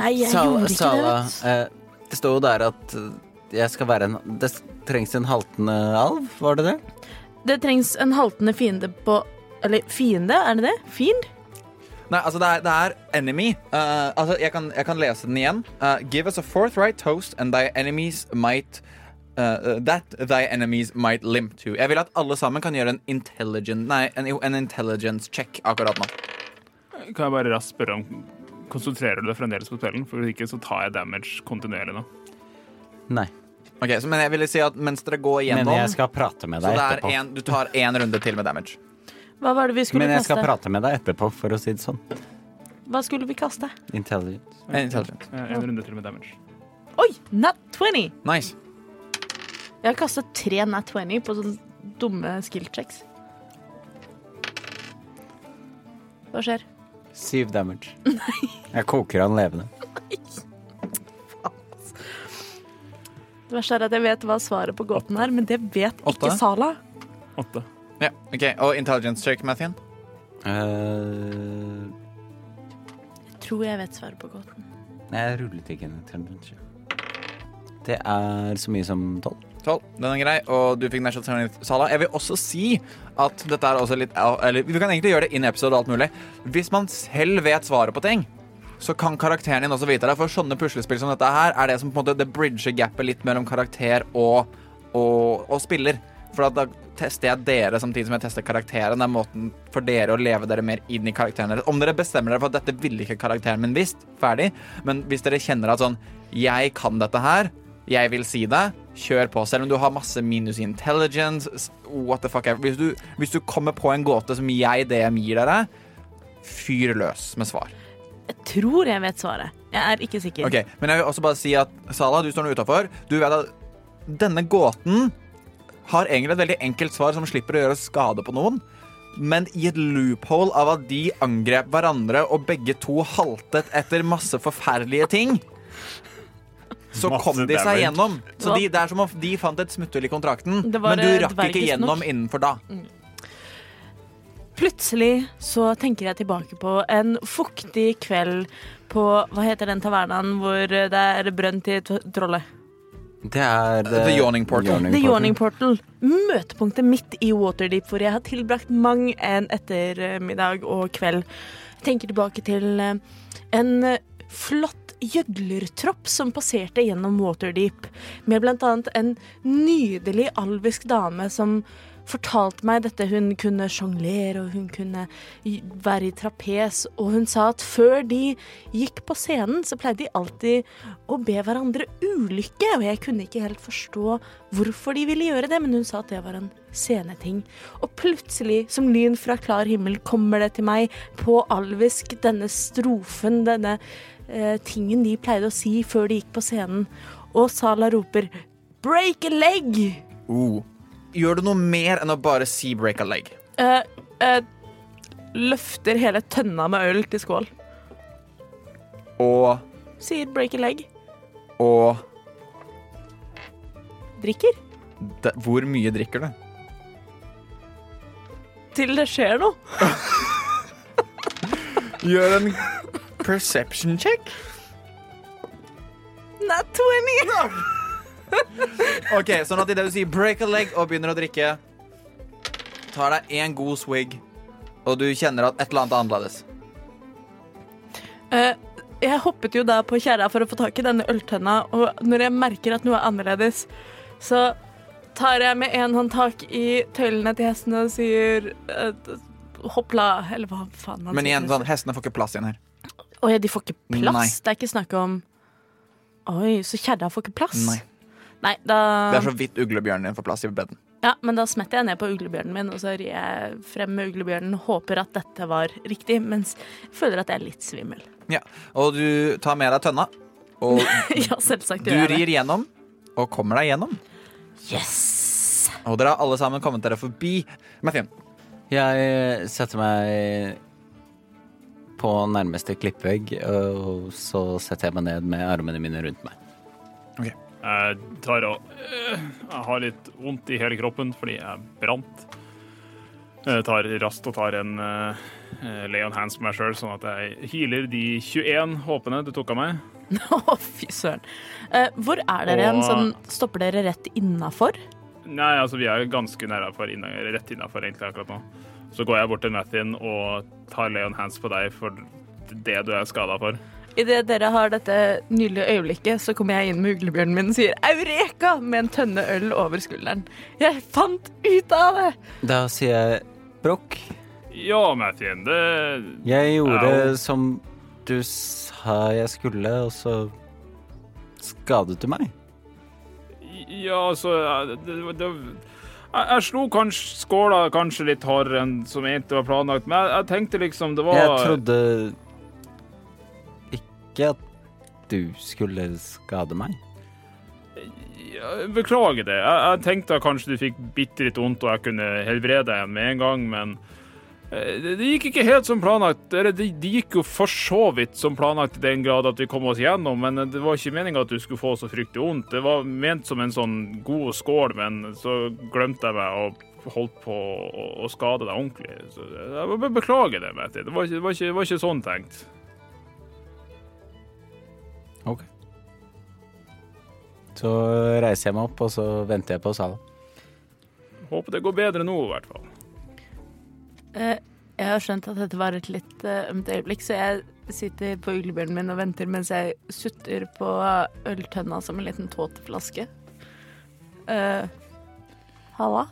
Speaker 6: Nei, jeg gjorde ikke det, vet du.
Speaker 1: eh, det. det står jo der at eh, jeg skal være en Det s- trengs en haltende alv, var det det?
Speaker 6: Det trengs en haltende fiende på Eller fiende, er det det? Fiend?
Speaker 4: Nei, altså det er, det er enemy. Eh, altså jeg kan, jeg kan lese den igjen. Eh, Give us a forthright toast and thy enemies might eh, that thy enemies might limp to. Jeg vil at alle sammen kan gjøre en intelligent Nei, en, jo, en intelligence check akkurat nå.
Speaker 5: Kan jeg bare raskt spørre om Konsentrerer du deg fremdeles på spillen? For hvis ikke så tar jeg damage kontinuerlig nå.
Speaker 1: Nei.
Speaker 4: Ok, så, Men jeg ville si at mens dere går
Speaker 1: Men
Speaker 4: gjennom
Speaker 1: jeg skal prate med
Speaker 4: Så
Speaker 1: deg
Speaker 4: det
Speaker 1: etterpå.
Speaker 4: er en, du tar én runde til med damage.
Speaker 6: Hva var det vi skulle
Speaker 1: Men jeg
Speaker 6: kaste?
Speaker 1: skal prate med deg etterpå, for å si det sånn.
Speaker 6: Hva skulle vi kaste?
Speaker 1: Intelligent.
Speaker 4: En Intelligence.
Speaker 5: Eh, En runde til med damage.
Speaker 6: Oi, nat 20!
Speaker 4: Nice.
Speaker 6: Jeg har kastet tre nat 20 på sånne dumme skill checks. Hva skjer?
Speaker 1: Syv damage. Jeg koker han levende.
Speaker 6: Det verste er at jeg vet hva svaret på gåten er, men det vet
Speaker 4: Åtte?
Speaker 6: ikke Sala.
Speaker 5: Åtte.
Speaker 4: Ja, ok, Og intelligence check, Mathien?
Speaker 1: Eh,
Speaker 6: Jeg tror jeg vet svaret på gåten.
Speaker 1: Nei, jeg rullet ikke en intelligent check. Det er så mye som tolv.
Speaker 4: Tolv. Den er grei, og du fikk National Talent Sala. Jeg vil også si at dette er også litt Eller vi kan egentlig gjøre det in episode og alt mulig. Hvis man selv vet svaret på ting, så kan karakteren din også vite det. For sånne puslespill som dette her er det som på en måte det bridger gapet litt mellom karakter og, og, og spiller. For at da tester jeg dere samtidig som jeg tester karakteren. Det er måten for dere å leve dere mer inn i karakteren deres. Om dere bestemmer dere for at dette ville ikke karakteren min visst, ferdig. Men hvis dere kjenner at sånn Jeg kan dette her. Jeg vil si det. Kjør på. Selv om du har masse minus i intelligence. s- What the fuck ever. Hvis du, hvis du kommer på en gåte som jeg DM gir dere, fyr løs med svar.
Speaker 6: Jeg tror jeg vet svaret. Jeg er ikke sikker.
Speaker 4: Ok, Men jeg vil også bare si at Sala, du står nå utafor. Du vet at denne gåten har egentlig et veldig enkelt svar som slipper å gjøre skade på noen. Men i et loophole av at de angrep hverandre, og begge to haltet etter masse forferdelige ting, så
Speaker 5: Masse
Speaker 4: kom de seg
Speaker 5: damage.
Speaker 4: gjennom. Så de, det er som om de fant et smutthull i kontrakten,
Speaker 6: Det var
Speaker 4: men du
Speaker 6: et
Speaker 4: rakk ikke
Speaker 6: dvergknop.
Speaker 4: gjennom innenfor da.
Speaker 6: Plutselig så tenker jeg tilbake på en fuktig kveld på Hva heter den tavernaen hvor det er brønn til t- trollet?
Speaker 1: Det er eh,
Speaker 4: The Yawning Portal.
Speaker 6: The Yawning Portal. Møtepunktet mitt i Waterdeep, hvor jeg har tilbrakt mang en ettermiddag og kveld. Jeg tenker tilbake til eh, en eh, flott gjøglertropp som passerte gjennom Waterdeep, med blant annet en nydelig alvisk dame som fortalte meg dette. Hun kunne sjonglere, og hun kunne i- være i trapes. Og hun sa at før de gikk på scenen, så pleide de alltid å be hverandre ulykke. Og jeg kunne ikke helt forstå hvorfor de ville gjøre det, men hun sa at det var en sceneting. Og plutselig, som lyn fra klar himmel, kommer det til meg på alvisk denne strofen, denne eh, tingen de pleide å si før de gikk på scenen. Og Sala roper 'break a leg'!
Speaker 4: Oh. Gjør du noe mer enn å bare si break a leg?
Speaker 6: Eh, eh, løfter hele tønna med øl til skål.
Speaker 4: Og
Speaker 6: Sier 'break a leg'.
Speaker 4: og
Speaker 6: Drikker.
Speaker 4: de, Hvor mye drikker du?
Speaker 6: Til det skjer noe.
Speaker 4: Gjør en perception check.
Speaker 6: Not 20!
Speaker 4: Ok, Sånn at idet du sier break a leg og begynner å drikke, tar deg én god swig, og du kjenner at et eller annet er annerledes.
Speaker 6: Eh, jeg hoppet jo da på kjerra for å få tak i denne øltønna, og når jeg merker at noe er annerledes, så tar jeg med en hånd tak i tøylene til hestene og sier eh, hoppla, eller hva faen han
Speaker 4: Men
Speaker 6: sier.
Speaker 4: igjen, sånn, hestene får ikke plass igjen her.
Speaker 6: Å ja, de får ikke plass?
Speaker 4: Nei.
Speaker 6: Det er ikke snakk om Oi, så kjerra får ikke plass?
Speaker 4: Nei.
Speaker 6: Nei, da
Speaker 4: Det er så vidt uglebjørnen din får plass i beden.
Speaker 6: Ja, men da smetter jeg ned på uglebjørnen min, og så rir jeg frem med uglebjørnen og håper at dette var riktig, mens jeg føler at jeg er litt svimmel.
Speaker 4: Ja, Og du tar med deg tønna, og
Speaker 6: ja, selvsagt
Speaker 4: du
Speaker 6: gjør jeg det.
Speaker 4: rir gjennom, og kommer deg gjennom.
Speaker 6: Yes!
Speaker 4: Og dere har alle sammen kommet dere forbi. Mathien,
Speaker 1: Jeg eh, setter meg på nærmeste klippvegg, og så setter jeg meg ned med armene mine rundt meg.
Speaker 5: Jeg tar og øh, Jeg har litt vondt i hele kroppen fordi jeg brant. Jeg tar raskt og tar en øh, lay on hands på meg sjøl, sånn at jeg healer de 21 håpene du tok av meg.
Speaker 6: Å, fy søren. Eh, hvor er dere igjen?
Speaker 5: Og-
Speaker 6: Sånn, stopper dere rett innafor?
Speaker 5: Nei, altså, vi er ganske nære for inna, rett innafor egentlig akkurat nå. Så går jeg bort til Nathin og tar lay on hands på deg for det du er skada for.
Speaker 6: Idet dere har dette nydelige øyeblikket, så kommer jeg inn med uglebjørnen min og sier 'Eureka!' med en tønne øl over skulderen. Jeg fant ut av det!
Speaker 1: Da sier jeg brokk.
Speaker 5: Ja, Nathin, det
Speaker 1: Jeg gjorde
Speaker 5: Au.
Speaker 1: som du sa jeg skulle, og så skadet du meg.
Speaker 5: Ja, altså jeg- det, det, jeg, jeg slo kanskje skåla kanskje litt hardere enn som egentlig var planlagt, men jeg, jeg tenkte liksom det var
Speaker 1: Jeg trodde ikke at du skulle skade meg.
Speaker 5: Ja, Beklager det. Jeg, jeg tenkte at kanskje du fikk bitte litt vondt og jeg kunne helbrede deg med en gang, men eh, det, det gikk ikke helt som planlagt. Eller det, det gikk jo for så vidt som planlagt i den grad at vi kom oss gjennom, men eh, det var ikke meninga at du skulle få så fryktelig vondt. Det var ment som en sånn god skål, men så glemte jeg meg og holdt på å, å skade deg ordentlig. Så eh, jeg må bare beklage det, Mette. Det var ikke, det var ikke, det var ikke sånn tenkt.
Speaker 1: Så reiser jeg meg opp, og så venter jeg på Sala.
Speaker 5: Håper det går bedre nå, i hvert fall.
Speaker 6: Eh, Jeg har skjønt at dette var et litt eh, ømt øyeblikk, så jeg sitter på uglebjørnen min og venter mens jeg sutter på øltønna som en liten tåteflaske. Eh, Halla?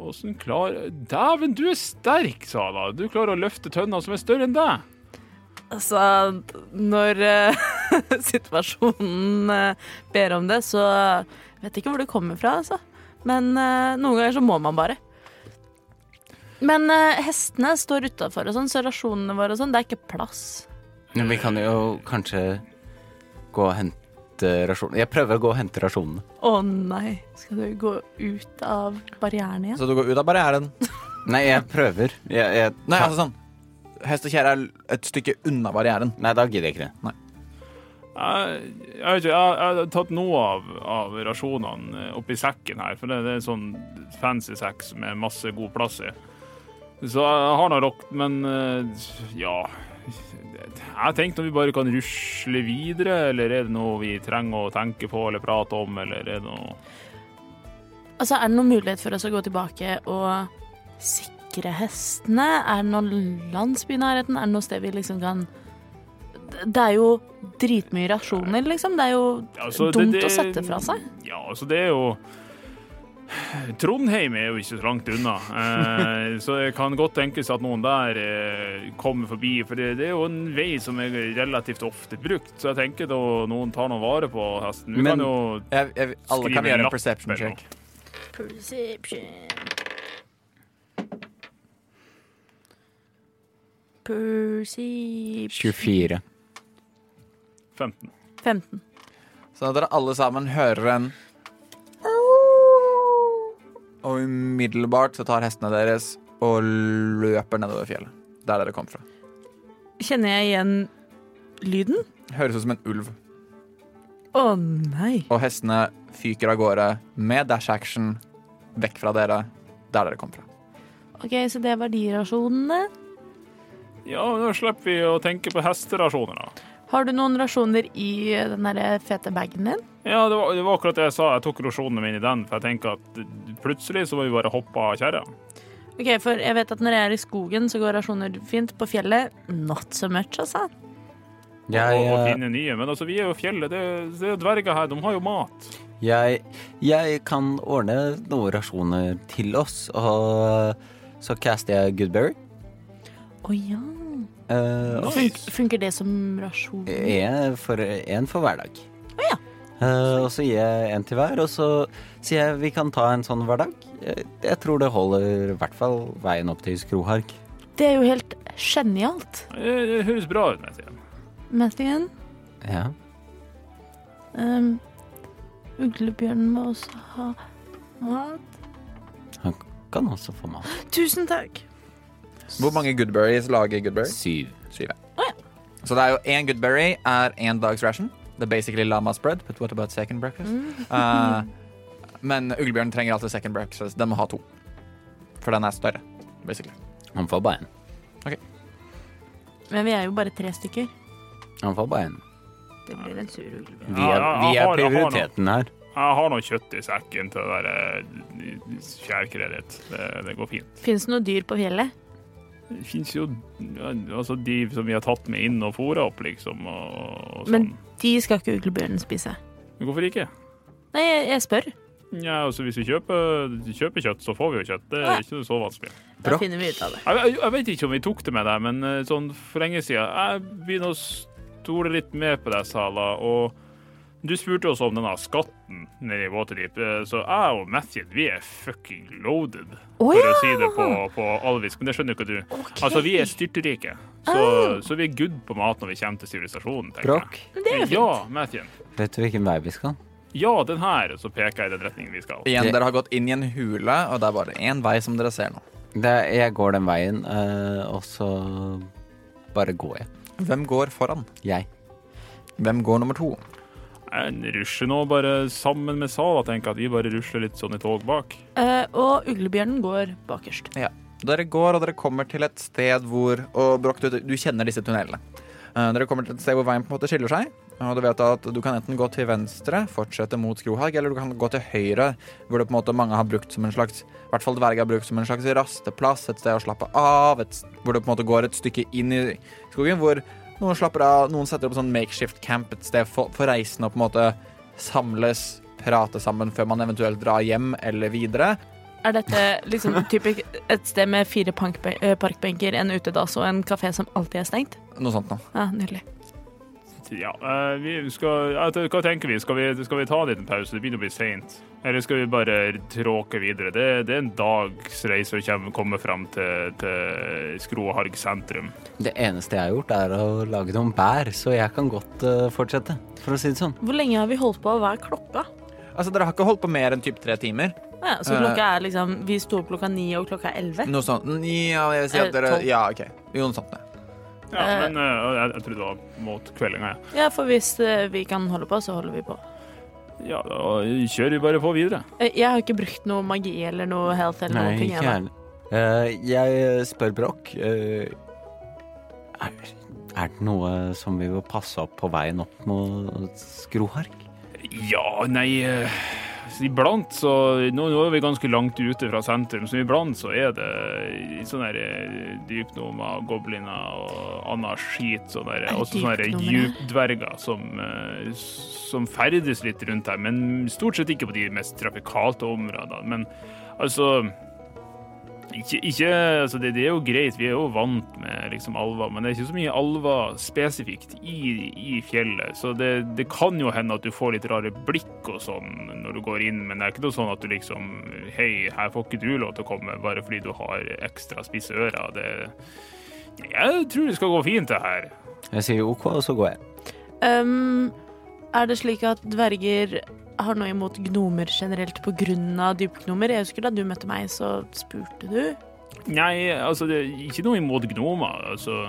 Speaker 5: Åssen sånn klar Dæven, du er sterk, Sala. Du klarer å løfte tønna som er større enn deg.
Speaker 6: Altså, når eh, situasjonen eh, ber om det, så vet jeg ikke hvor det kommer fra, altså. Men eh, noen ganger så må man bare. Men eh, hestene står utafor og sånn, så rasjonene våre og sånn, det er ikke plass.
Speaker 1: Men vi kan jo kanskje gå og hente rasjonene. Jeg prøver å gå og hente rasjonene.
Speaker 6: Å nei, skal du gå ut av barrieren igjen?
Speaker 4: så du går ut av barrieren.
Speaker 1: Nei, jeg prøver. Jeg, jeg,
Speaker 4: Nei, altså sånn. Hest og kjerre er et stykke unna barrieren.
Speaker 1: altså- Nei, da gidder jeg ikke det.
Speaker 5: Jeg, jeg vet ikke, jeg, jeg har tatt noe av, av rasjonene eh, oppi sekken her, for det, det er en sånn fancy sekk med masse god plass i. Så jeg har nå rokt, men eh, ja Jeg tenkte om vi bare kan rusle videre, eller er det noe vi trenger å tenke på eller prate om, eller er det noe
Speaker 6: Altså, er det noen mulighet for oss å gå tilbake og sikre hestene? Er det noen landsby i nærheten? Er det noe sted vi liksom kan Det er jo dritmye rasjoner, liksom. Det er jo
Speaker 5: Altså, det-
Speaker 6: dumt
Speaker 5: det-
Speaker 6: å sette fra seg.
Speaker 5: Ja, altså det er jo Trondheim er jo ikke så langt unna, eh, så det kan godt tenkes at noen der eh, kommer forbi. For det, det er jo en vei som er relativt ofte brukt, så jeg tenker da noen tar noe vare på hesten. Vi
Speaker 4: Men-
Speaker 5: kan jo
Speaker 4: Jeg, jeg, alle
Speaker 5: Skriv
Speaker 4: kan
Speaker 5: en
Speaker 4: gjøre en
Speaker 5: lapp
Speaker 4: perception
Speaker 5: eller
Speaker 4: check.
Speaker 10: Perception. Perception
Speaker 1: 24.
Speaker 5: 15.
Speaker 6: 15.
Speaker 4: Sånn at dere alle sammen hører en Og umiddelbart så tar hestene deres og løper nedover fjellet. Der dere kom fra.
Speaker 6: Kjenner jeg igjen lyden?
Speaker 4: Høres ut som en ulv.
Speaker 6: Å nei.
Speaker 4: Og hestene fyker av gårde med dash action vekk fra dere, der dere kom fra.
Speaker 6: OK, så det var de rasjonene.
Speaker 5: Ja, da slipper vi å tenke på hesterasjoner, da.
Speaker 6: Har du noen rasjoner i den der fete bagen din?
Speaker 5: Ja, det var, det var akkurat det jeg sa. Jeg tok rosjonene mine i den, for jeg tenker at plutselig så må vi bare hoppe av kjerra.
Speaker 6: OK, for jeg vet at når jeg er i skogen, så går rasjoner fint. På fjellet not so much, altså.
Speaker 1: Jeg,
Speaker 5: og, og
Speaker 1: eh,
Speaker 5: finne nye. Men altså, vi er jo fjellet. Det, det er jo dverger her. De har jo mat.
Speaker 1: Jeg, jeg kan ordne noen rasjoner til oss, og så caster jeg Goodberry.
Speaker 6: Å ja.
Speaker 1: Eh, og
Speaker 6: Fun funker det som rasjon?
Speaker 5: Eh.
Speaker 1: en for, en for hver dag. Eh, og så gir jeg en til hver, og så sier jeg vi kan ta en sånn hver dag. Jeg, jeg tror det holder i hvert fall veien opp til Skrohark.
Speaker 6: Det er jo helt genialt.
Speaker 5: Det, Eh, det høres bra ut. Med
Speaker 6: Mathien,
Speaker 1: Ja.
Speaker 6: um, uglebjørnen må også ha mat.
Speaker 1: Han kan også få mat.
Speaker 6: Tusen takk.
Speaker 4: Hvor mange goodberries lager goodberry?
Speaker 1: Syv.
Speaker 4: Syv. Så det er jo én goodberry er én dags ration. Det er basically lama spread, but what about second breakfast?
Speaker 6: Mm.
Speaker 4: Eh, men uglebjørn trenger alltid second breakfast. Den må ha to. For den er større, basically.
Speaker 1: Han får bare en.
Speaker 6: Men vi er jo bare tre stykker.
Speaker 1: Han får bare en.
Speaker 6: Det blir en sur uglebjørn.
Speaker 1: Vi er, vi er prioriteten her.
Speaker 5: Jeg har noe kjøtt i sekken til å være fjærkreditt. Det, det går fint.
Speaker 6: Fins det noe dyr på fjellet?
Speaker 5: Det fins jo ja, altså de som vi har tatt med inn og fôra opp, liksom, og, og sånn.
Speaker 6: Men de skal ikke uglebjørnen spise.
Speaker 5: Men hvorfor ikke?
Speaker 6: Nei, jeg, jeg spør.
Speaker 5: Ja, altså Hvis vi kjøper, kjøper kjøtt, så får vi jo kjøtt. Det er ikke så vanskelig.
Speaker 6: Da finner vi ut av det.
Speaker 5: Jeg, jeg, jeg vet ikke om vi tok det med deg, men eh, sånn for lenge siden Jeg begynner å stole litt mer på deg, Sala, og du spurte oss om denne skatten nede i Waterdeep, eh, så jeg og Matthew, vi er fucking loaded,
Speaker 6: Å
Speaker 5: for
Speaker 6: ja!
Speaker 5: å si det på, på alvisk, men det skjønner jo ikke du.
Speaker 6: Ok.
Speaker 5: Altså, vi er styrterike, så,
Speaker 6: Ah.
Speaker 5: så vi er good på mat når vi kommer til sivilisasjonen, tenker jeg.
Speaker 1: Bråk,
Speaker 6: Men Det er jo
Speaker 5: Ja,
Speaker 6: fint.
Speaker 5: Matthew.
Speaker 1: vet du hvilken vei vi skal?
Speaker 5: Ja, den her, og så peker jeg i den retningen vi skal.
Speaker 4: Igjen,
Speaker 1: Det-
Speaker 4: dere har gått inn i en hule, og det er bare én vei som dere ser nå.
Speaker 1: Det, jeg går den veien, eh, og så bare går jeg.
Speaker 4: Hvem går foran?
Speaker 1: Jeg.
Speaker 4: Hvem går nummer to?
Speaker 5: Jeg rusler nå bare sammen med Sala, tenker jeg at vi bare rusler litt sånn i tog bak.
Speaker 6: Eh, og uglebjørnen går bakerst.
Speaker 4: Dere går, og dere kommer til et sted hvor Og Broch, du, du kjenner disse tunnelene. Eh, dere kommer til et sted hvor veien på en måte skiller seg. Og du vet at du kan enten gå til venstre, fortsette mot Skrohag, eller du kan gå til høyre, hvor det på en måte mange har brukt som en slags I hvert fall dverger har brukt som en slags rasteplass, et sted å slappe av, et, s- hvor du på en måte går et stykke inn i skogen, hvor noen slapper av, noen setter opp sånn makeshift camp et sted for, for reisende å på en måte samles, prate sammen før man eventuelt drar hjem eller videre.
Speaker 6: Er dette liksom typisk et sted med fire pankbe- eh, parkbenker, en utedass og en kafé som alltid er stengt?
Speaker 4: Noe sånt noe.
Speaker 6: Ja, Nydelig.
Speaker 5: Ja, eh, vi skal, jeg vet- hva tenker vi? Skal vi, skal vi ta en liten pause? Det begynner å bli seint. Eller skal vi bare tråke videre? Det, det er en dags reise å kjem- komme fram til, til Skroharg sentrum.
Speaker 1: Det eneste jeg har gjort, er å lage noen bær, så jeg kan godt eh, fortsette, for å si det sånn.
Speaker 6: Hvor lenge har vi holdt på? Hva er klokka?
Speaker 4: Altså, dere har ikke holdt på mer enn typ tre timer.
Speaker 6: Ja, så
Speaker 4: Eh.
Speaker 6: klokka er liksom Vi sto opp klokka ni, og klokka er elleve.
Speaker 4: Noe sånt. Ja, jeg vil si at
Speaker 6: Eller
Speaker 4: dere
Speaker 6: tolv.
Speaker 4: Ja, OK. Jo, noe sånt. ja.
Speaker 5: Ja,
Speaker 6: Eh.
Speaker 5: men eh, jeg, jeg trodde det var mot kveldinga, jeg.
Speaker 6: Ja, for hvis eh, vi kan holde på, så holder vi på.
Speaker 5: Ja, da kjører vi bare på videre.
Speaker 6: Eh, Jeg har ikke brukt noe magi eller noe health eller noen ting. ennå.
Speaker 1: gjerne. Eh, jeg spør Broch eh, er, er det noe som vi må passe opp på veien opp mot Skrohark?
Speaker 5: Ja, nei eh, iblant så nå, nå er vi ganske langt ute fra sentrum, så iblant så er det sånne der, eh, dypnomer, gobliner og annet skit. Sånne der,
Speaker 6: Er det
Speaker 5: også sånne der
Speaker 6: dypnomene?
Speaker 5: djupdverger som, eh, s- som ferdes litt rundt her, men stort sett ikke på de mest trafikale områdene. Men altså ikke, ikke, altså det, det er jo greit, vi er jo vant med liksom alver, men det er ikke så mye alver spesifikt i, i fjellet. Så det, det kan jo hende at du får litt rare blikk og sånn når du går inn, men det er ikke noe sånn at du liksom Hei, her får ikke du lov til å komme bare fordi du har ekstra spisse ører. Det Jeg tror det skal gå fint, det her.
Speaker 1: Jeg sier OK, og så går jeg.
Speaker 6: Ehm, er det slik at dverger har noe imot gnomer generelt på grunn av dypgnomer? Jeg husker da du møtte meg, så spurte du.
Speaker 5: Nei, altså det er ikke noe imot gnomer. Altså,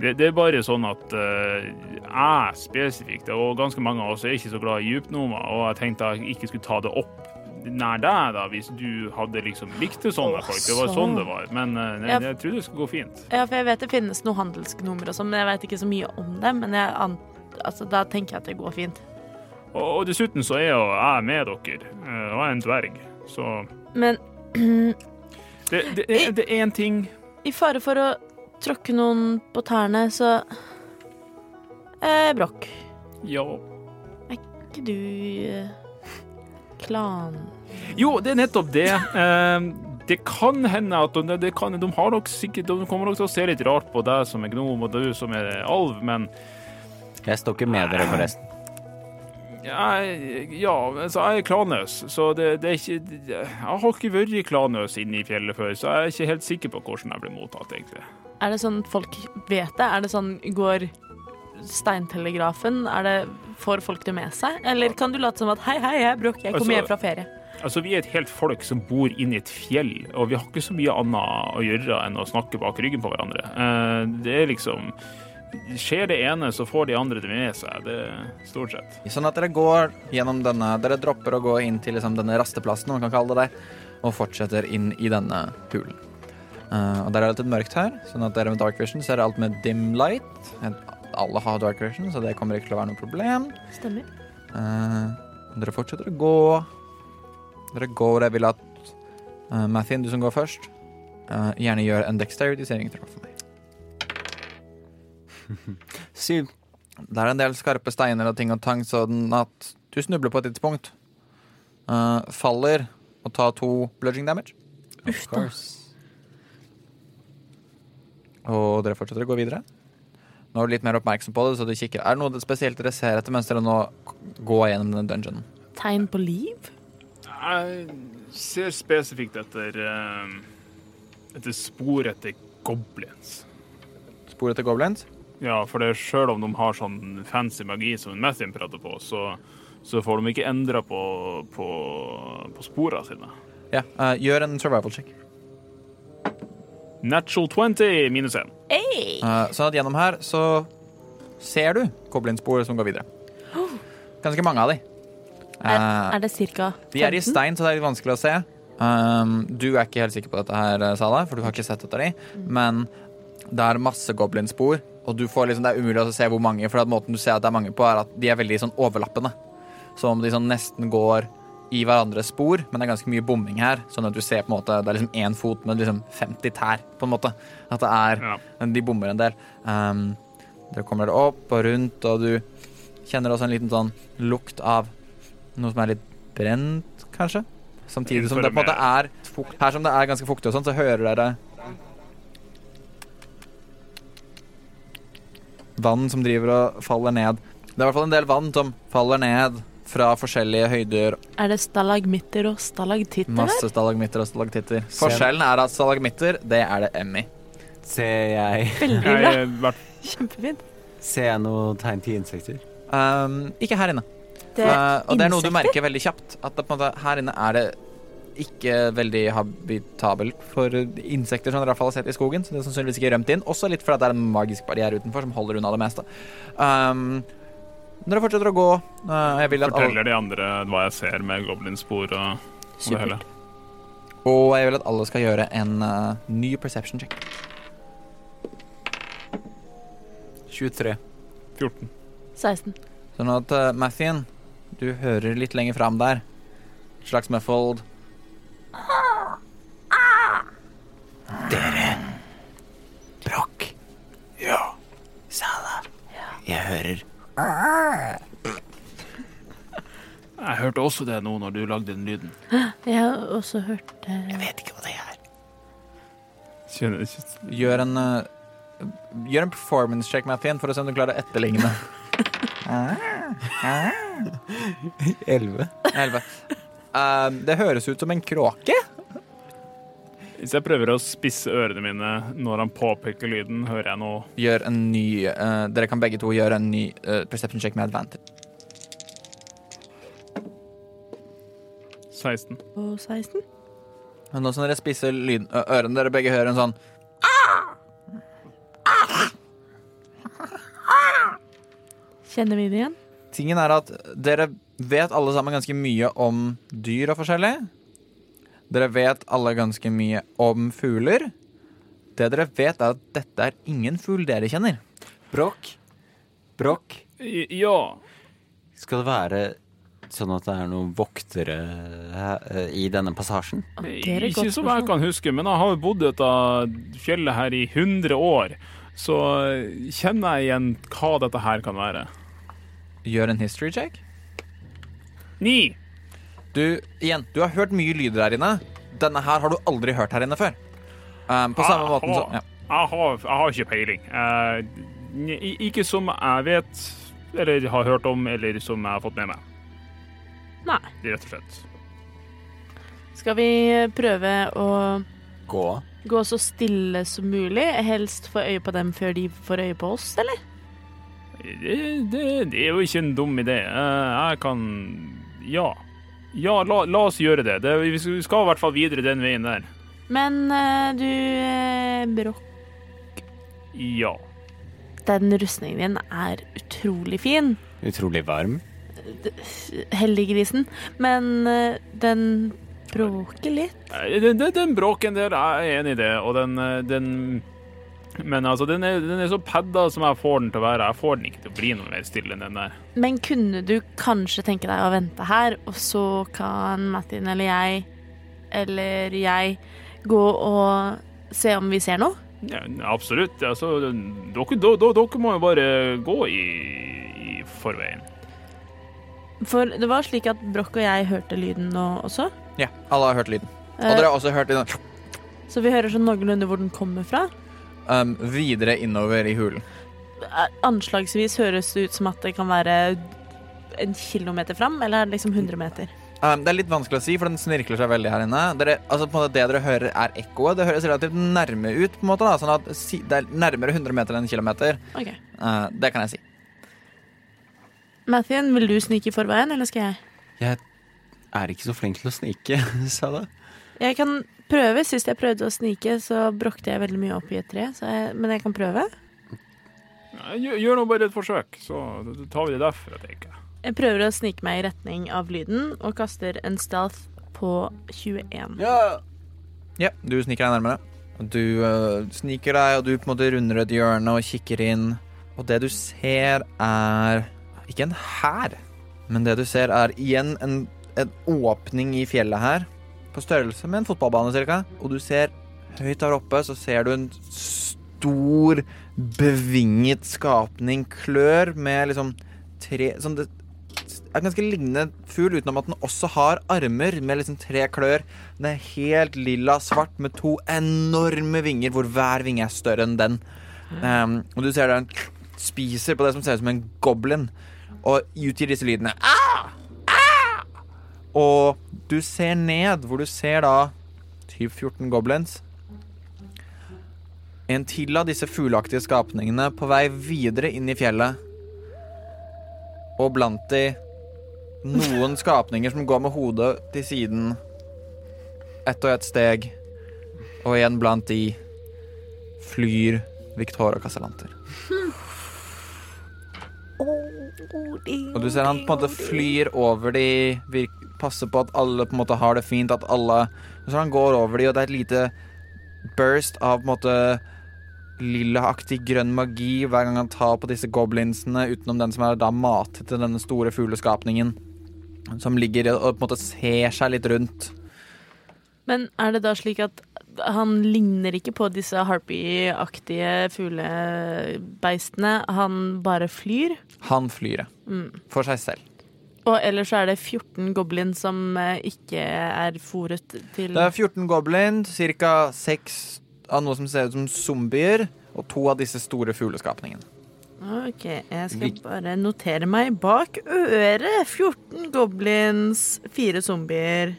Speaker 5: det, det er bare sånn at eh, jeg spesifikt, og ganske mange av oss, er ikke så glad i djupgnomer, og jeg tenkte jeg ikke skulle ta det opp nær deg da, hvis du hadde liksom likte sånne
Speaker 6: Å,
Speaker 5: folk. Det var
Speaker 6: sånn.
Speaker 5: sånn det var. Men eh, nei,
Speaker 6: Ja.
Speaker 5: jeg tror det skal gå fint.
Speaker 6: Ja, for jeg vet det finnes noen handelsgnomer og sånn, men jeg vet ikke så mye om dem. Men jeg an altså, da tenker jeg at det går fint.
Speaker 5: Og, og dessuten så er jo jeg med dere, eh, og jeg er en dverg, så
Speaker 6: Men
Speaker 5: det, det, det, det er én ting
Speaker 6: i fare for å tråkke noen på tærne, så eh, Brokk,
Speaker 5: Ja.
Speaker 6: er ikke du eh, klan...
Speaker 5: Jo, det er nettopp det. Eh, det kan hende at de, det kan, de, har nok sikkert, de kommer nok til å se litt rart på deg som er gnom og du som er alv, men
Speaker 1: Jeg står ikke med dere, forresten.
Speaker 5: jeg, ja, altså, jeg er klanøs, så det, det er ikke Jeg har ikke vært klanøs inne i fjellet før, så jeg er ikke helt sikker på hvordan jeg blir mottatt, egentlig.
Speaker 6: Er det sånn at folk vet det? Er det sånn går steintelegrafen? Er det Får folk det med seg? Eller kan du late som at hei, hei, jeg er Brokk, jeg kommer
Speaker 5: Altså-
Speaker 6: hjem fra ferie.
Speaker 5: Altså, Vi er et helt folk som bor inni et fjell, og vi har ikke så mye annet å gjøre enn å snakke bak ryggen på hverandre. Eh, det er liksom Skjer det ene, så får de andre det med seg. Det er stort sett.
Speaker 4: Sånn at dere går gjennom denne Dere dropper å gå inn til liksom, denne rasteplassen, om man kan kalle det det, og fortsetter inn i denne hulen. Eh, og Det er relativt mørkt her, sånn at dere med dark vision ser alt med dim light. Alle har dark vision, så det kommer ikke til å være noe problem.
Speaker 6: Stemmer.
Speaker 4: Eh, dere fortsetter å gå. Dere går. Jeg vil at uh, Mathien, du som går først, eh, gjerne gjør en dexterity-sering til for meg.
Speaker 1: Syv.
Speaker 4: Det er en del skarpe steiner og ting og tang, sånn at du snubler på et tidspunkt. eh, faller og tar to bludging damage.
Speaker 1: Of course.
Speaker 4: Og dere fortsetter å gå videre. Nå er du litt mer oppmerksom på det, så du kikker. Er det noe spesielt dere ser etter mens dere nå går gjennom denne dungeonen?
Speaker 6: Tegn på liv?
Speaker 5: Jeg ser spesifikt etter eh, etter spor etter goblins.
Speaker 4: Spor etter goblins?
Speaker 5: Ja, for det er selv om de har sånn fancy magi som Matthew prater på, så, så får de ikke endra på, på, på sporene sine.
Speaker 4: Ja. eh, gjør en survival check.
Speaker 5: Natural 20 minus 1.
Speaker 6: Hey!
Speaker 4: Eh, sånn at gjennom her så ser du goblinspor som går videre. Ganske mange av de.
Speaker 6: Er,
Speaker 4: Eh,
Speaker 6: er det ca. 15?
Speaker 4: de er i stein, så det er litt vanskelig å se. Um, du er ikke helt sikker på dette her, eh, Sala, for du har ikke sett etter de. Men det er masse goblinspor, og du får liksom, det er umulig å se hvor mange. For at måten du ser at det er mange på, er at de er veldig sånn overlappende. Som om de sånn nesten går i hverandres spor, men det er ganske mye bomming her. Sånn at du ser på en måte, det er liksom én fot med liksom 50 tær, på en måte. At det er
Speaker 5: Ja.
Speaker 4: men De bommer en del. Um, dere kommer dere opp og rundt, og du kjenner også en liten sånn lukt av noe som er litt brent, kanskje. Samtidig som det på en måte er fukt. Her som det er ganske fuktig og sånn, så hører dere Vann som driver og faller ned. Det er i hvert fall en del vann som faller ned fra forskjellige høyder.
Speaker 6: Er det stalagmitter og stalagtitter der?
Speaker 4: Masse stalagmitter og stalaktitter.
Speaker 1: Ser-
Speaker 4: Forskjellen er at stalagmitter, det er det Emmy.
Speaker 1: Ser jeg,
Speaker 6: Veldig bra.
Speaker 5: Jeg er vært
Speaker 6: Kjempefint.
Speaker 1: ser jeg noe tegn til insekter?
Speaker 4: Um, ikke her inne.
Speaker 6: Det
Speaker 4: Eh, og det er noe du
Speaker 6: insekter.
Speaker 4: merker veldig kjapt. At det, på en måte, her inne er det ikke veldig habitabelt for insekter som dere i hvert fall har sett i skogen. Så det er sannsynligvis ikke rømt inn. Også litt fordi det er en magisk barriere utenfor som holder unna det meste. Um, dere fortsetter å gå eh, jeg vil at alle,
Speaker 5: forteller de andre hva jeg ser med goblinspor og, og det hele.
Speaker 6: Supert.
Speaker 4: Og jeg vil at alle skal gjøre en eh, ny perception check.
Speaker 1: 23.
Speaker 5: 14.
Speaker 6: 16.
Speaker 4: eh, Sånn at uh, Mathien, du hører litt lenger fram der. slags muffled.
Speaker 1: Brokk. Ja. Sala. Jeg hører
Speaker 2: Jeg hørte også det nå når du lagde den lyden.
Speaker 6: Jeg har også hørt eh, det.
Speaker 1: Vet ikke hva det er.
Speaker 5: Kjenner ikke
Speaker 4: Gjør en, eh, gjør en performance check, Mathien, for å se om du klarer å etterligne.
Speaker 1: Elleve.
Speaker 4: Helvete. Eh, det høres ut som en kråke.
Speaker 5: Hvis jeg prøver å spisse ørene mine når han påpeker lyden, hører jeg noe
Speaker 4: Gjør en ny eh, Dere kan begge to gjøre en ny eh, perception check med advantage.
Speaker 5: 16.
Speaker 6: Og 16.
Speaker 4: Men nå som dere spisser lyd, ø- ørene, dere begge hører en sånn
Speaker 6: Kjenner vi det igjen?
Speaker 4: Tingen er at dere vet alle sammen ganske mye om dyr og forskjellig. Dere vet alle ganske mye om fugler. Det dere vet, er at dette er ingen fugl dere kjenner.
Speaker 1: Brokk. Brokk.
Speaker 5: I- Ja.
Speaker 1: Skal det være sånn at det er noen voktere eh, i denne passasjen?
Speaker 6: er et
Speaker 5: Ikke
Speaker 6: godt
Speaker 5: som jeg
Speaker 6: spørsmål.
Speaker 5: kan huske, men jeg har jo bodd i dette fjellet her i 100 år. Så eh, kjenner jeg igjen hva dette her kan være.
Speaker 4: Gjør en history check.
Speaker 5: Ni!
Speaker 4: Du, igjen, du har hørt mye lyder her inne. Denne her har du aldri hørt her inne før. Um, på
Speaker 1: Ah,
Speaker 4: samme måten så ja.
Speaker 5: Jeg har, jeg har ikke peiling. Eh, n- i- ikke som jeg vet, eller har hørt om, eller som jeg har fått med meg.
Speaker 6: Nei.
Speaker 5: Rett og slett.
Speaker 6: Skal vi prøve å
Speaker 1: Gå.
Speaker 6: gå så stille som mulig? Helst få øye på dem før de får øye på oss, eller?
Speaker 5: Det, det, det er jo ikke en dum idé. Eh, jeg kan Ja. Ja, la, la oss gjøre det. det. Vi skal vi skal i hvert fall videre den veien der.
Speaker 6: Men eh, du, eh, Brokk,
Speaker 5: Ja.
Speaker 6: den rustningen din er utrolig fin.
Speaker 1: Utrolig varm.
Speaker 6: Heldiggrisen. Men eh, den bråker litt.
Speaker 5: Eh, Den, den, den bråken der, jeg er enig i det, og den, eh, den Men altså, den er, den er så padda som jeg får den til å være. Jeg får den ikke til å bli noe mer stille enn den der.
Speaker 6: Men kunne du kanskje tenke deg å vente her, og så kan Martin eller jeg eller jeg gå og se om vi ser noe?
Speaker 5: Ja, absolutt. Altså, dere, da- da- dere må jo bare gå i, i forveien.
Speaker 6: For det var slik at Brokk og jeg hørte lyden nå også.
Speaker 4: ja, alle har hørt lyden. Og
Speaker 6: Eh,
Speaker 4: dere har også hørt lyden
Speaker 6: Så vi hører sånn noenlunde hvor den kommer fra.
Speaker 4: um, videre innover i hulen.
Speaker 6: Eh, Anslagsvis høres det ut som at det kan være en kilometer fram, eller er det liksom 100 meter?
Speaker 4: Um, det er litt vanskelig å si, for den snirkler seg veldig her inne. Dere, altså på en måte Det dere hører, er ekkoet. Det høres relativt nærme ut. på en måte da Sånn at si, Det er nærmere 100 meter enn kilometer.
Speaker 6: Ok.
Speaker 4: Uh, det kan jeg si.
Speaker 6: Mathien, vil du snike i forveien, eller skal jeg?
Speaker 1: Jeg er ikke så flink til å snike, Sala.
Speaker 6: Jeg kan prøve. Sist jeg prøvde å snike, så brokte jeg veldig mye opp i et tre. Så jeg, men jeg kan prøve.
Speaker 5: Nei, Gjør, gjør nå bare et forsøk, så tar vi det derfra, tenker jeg.
Speaker 6: Jeg prøver å snike meg i retning av lyden og kaster en stealth på 21.
Speaker 4: Ja, du sniker deg nærmere. Og Du uh, sniker deg, og du på en måte runder et hjørne og kikker inn. Og det du ser, er ikke en hær, men det du ser, er igjen en, en åpning i fjellet her. På størrelse med en fotballbane, cirka. Og du ser høyt der oppe, så ser du en stor, bevinget skapning. Klør med liksom tre Som det er en ganske lignende fugl, utenom at den også har armer med liksom tre klør. Den er helt lilla svart med to enorme vinger, hvor hver vinge er større enn den. Ehm, og du ser den spiser på det som ser ut som en goblin, og utgir disse lydene. Ah! Ah! Og du ser ned, hvor du ser da typ 14 goblins. En til av disse fugleaktige skapningene på vei videre inn i fjellet. Og blant de noen skapninger som går med hodet til siden ett og ett steg, og igjen blant de flyr Victoria Casalanter. Og du ser han på en måte flyr over de, virk, passer på at alle på en måte har det fint, at alle Så han går over de, og det er et lite burst av på en måte lillaaktig grønn magi hver gang han tar på disse goblinsene, utenom den som er da matet til denne store fugleskapningen. Som ligger og på en måte ser seg litt rundt.
Speaker 6: Men er det da slik at han ligner ikke på disse harpy-aktige fuglebeistene? Han bare flyr?
Speaker 4: Han flyr det.
Speaker 6: Mm.
Speaker 4: for seg selv.
Speaker 6: Og ellers så er det 14 goblin som eh, ikke er fòret til
Speaker 4: Det er 14 goblin, ca. 6 av noe som ser ut som zombier, og to av disse store fugleskapningene.
Speaker 6: OK, jeg skal
Speaker 1: Vi-
Speaker 6: bare notere meg bak øret. 14 goblins, fire zombier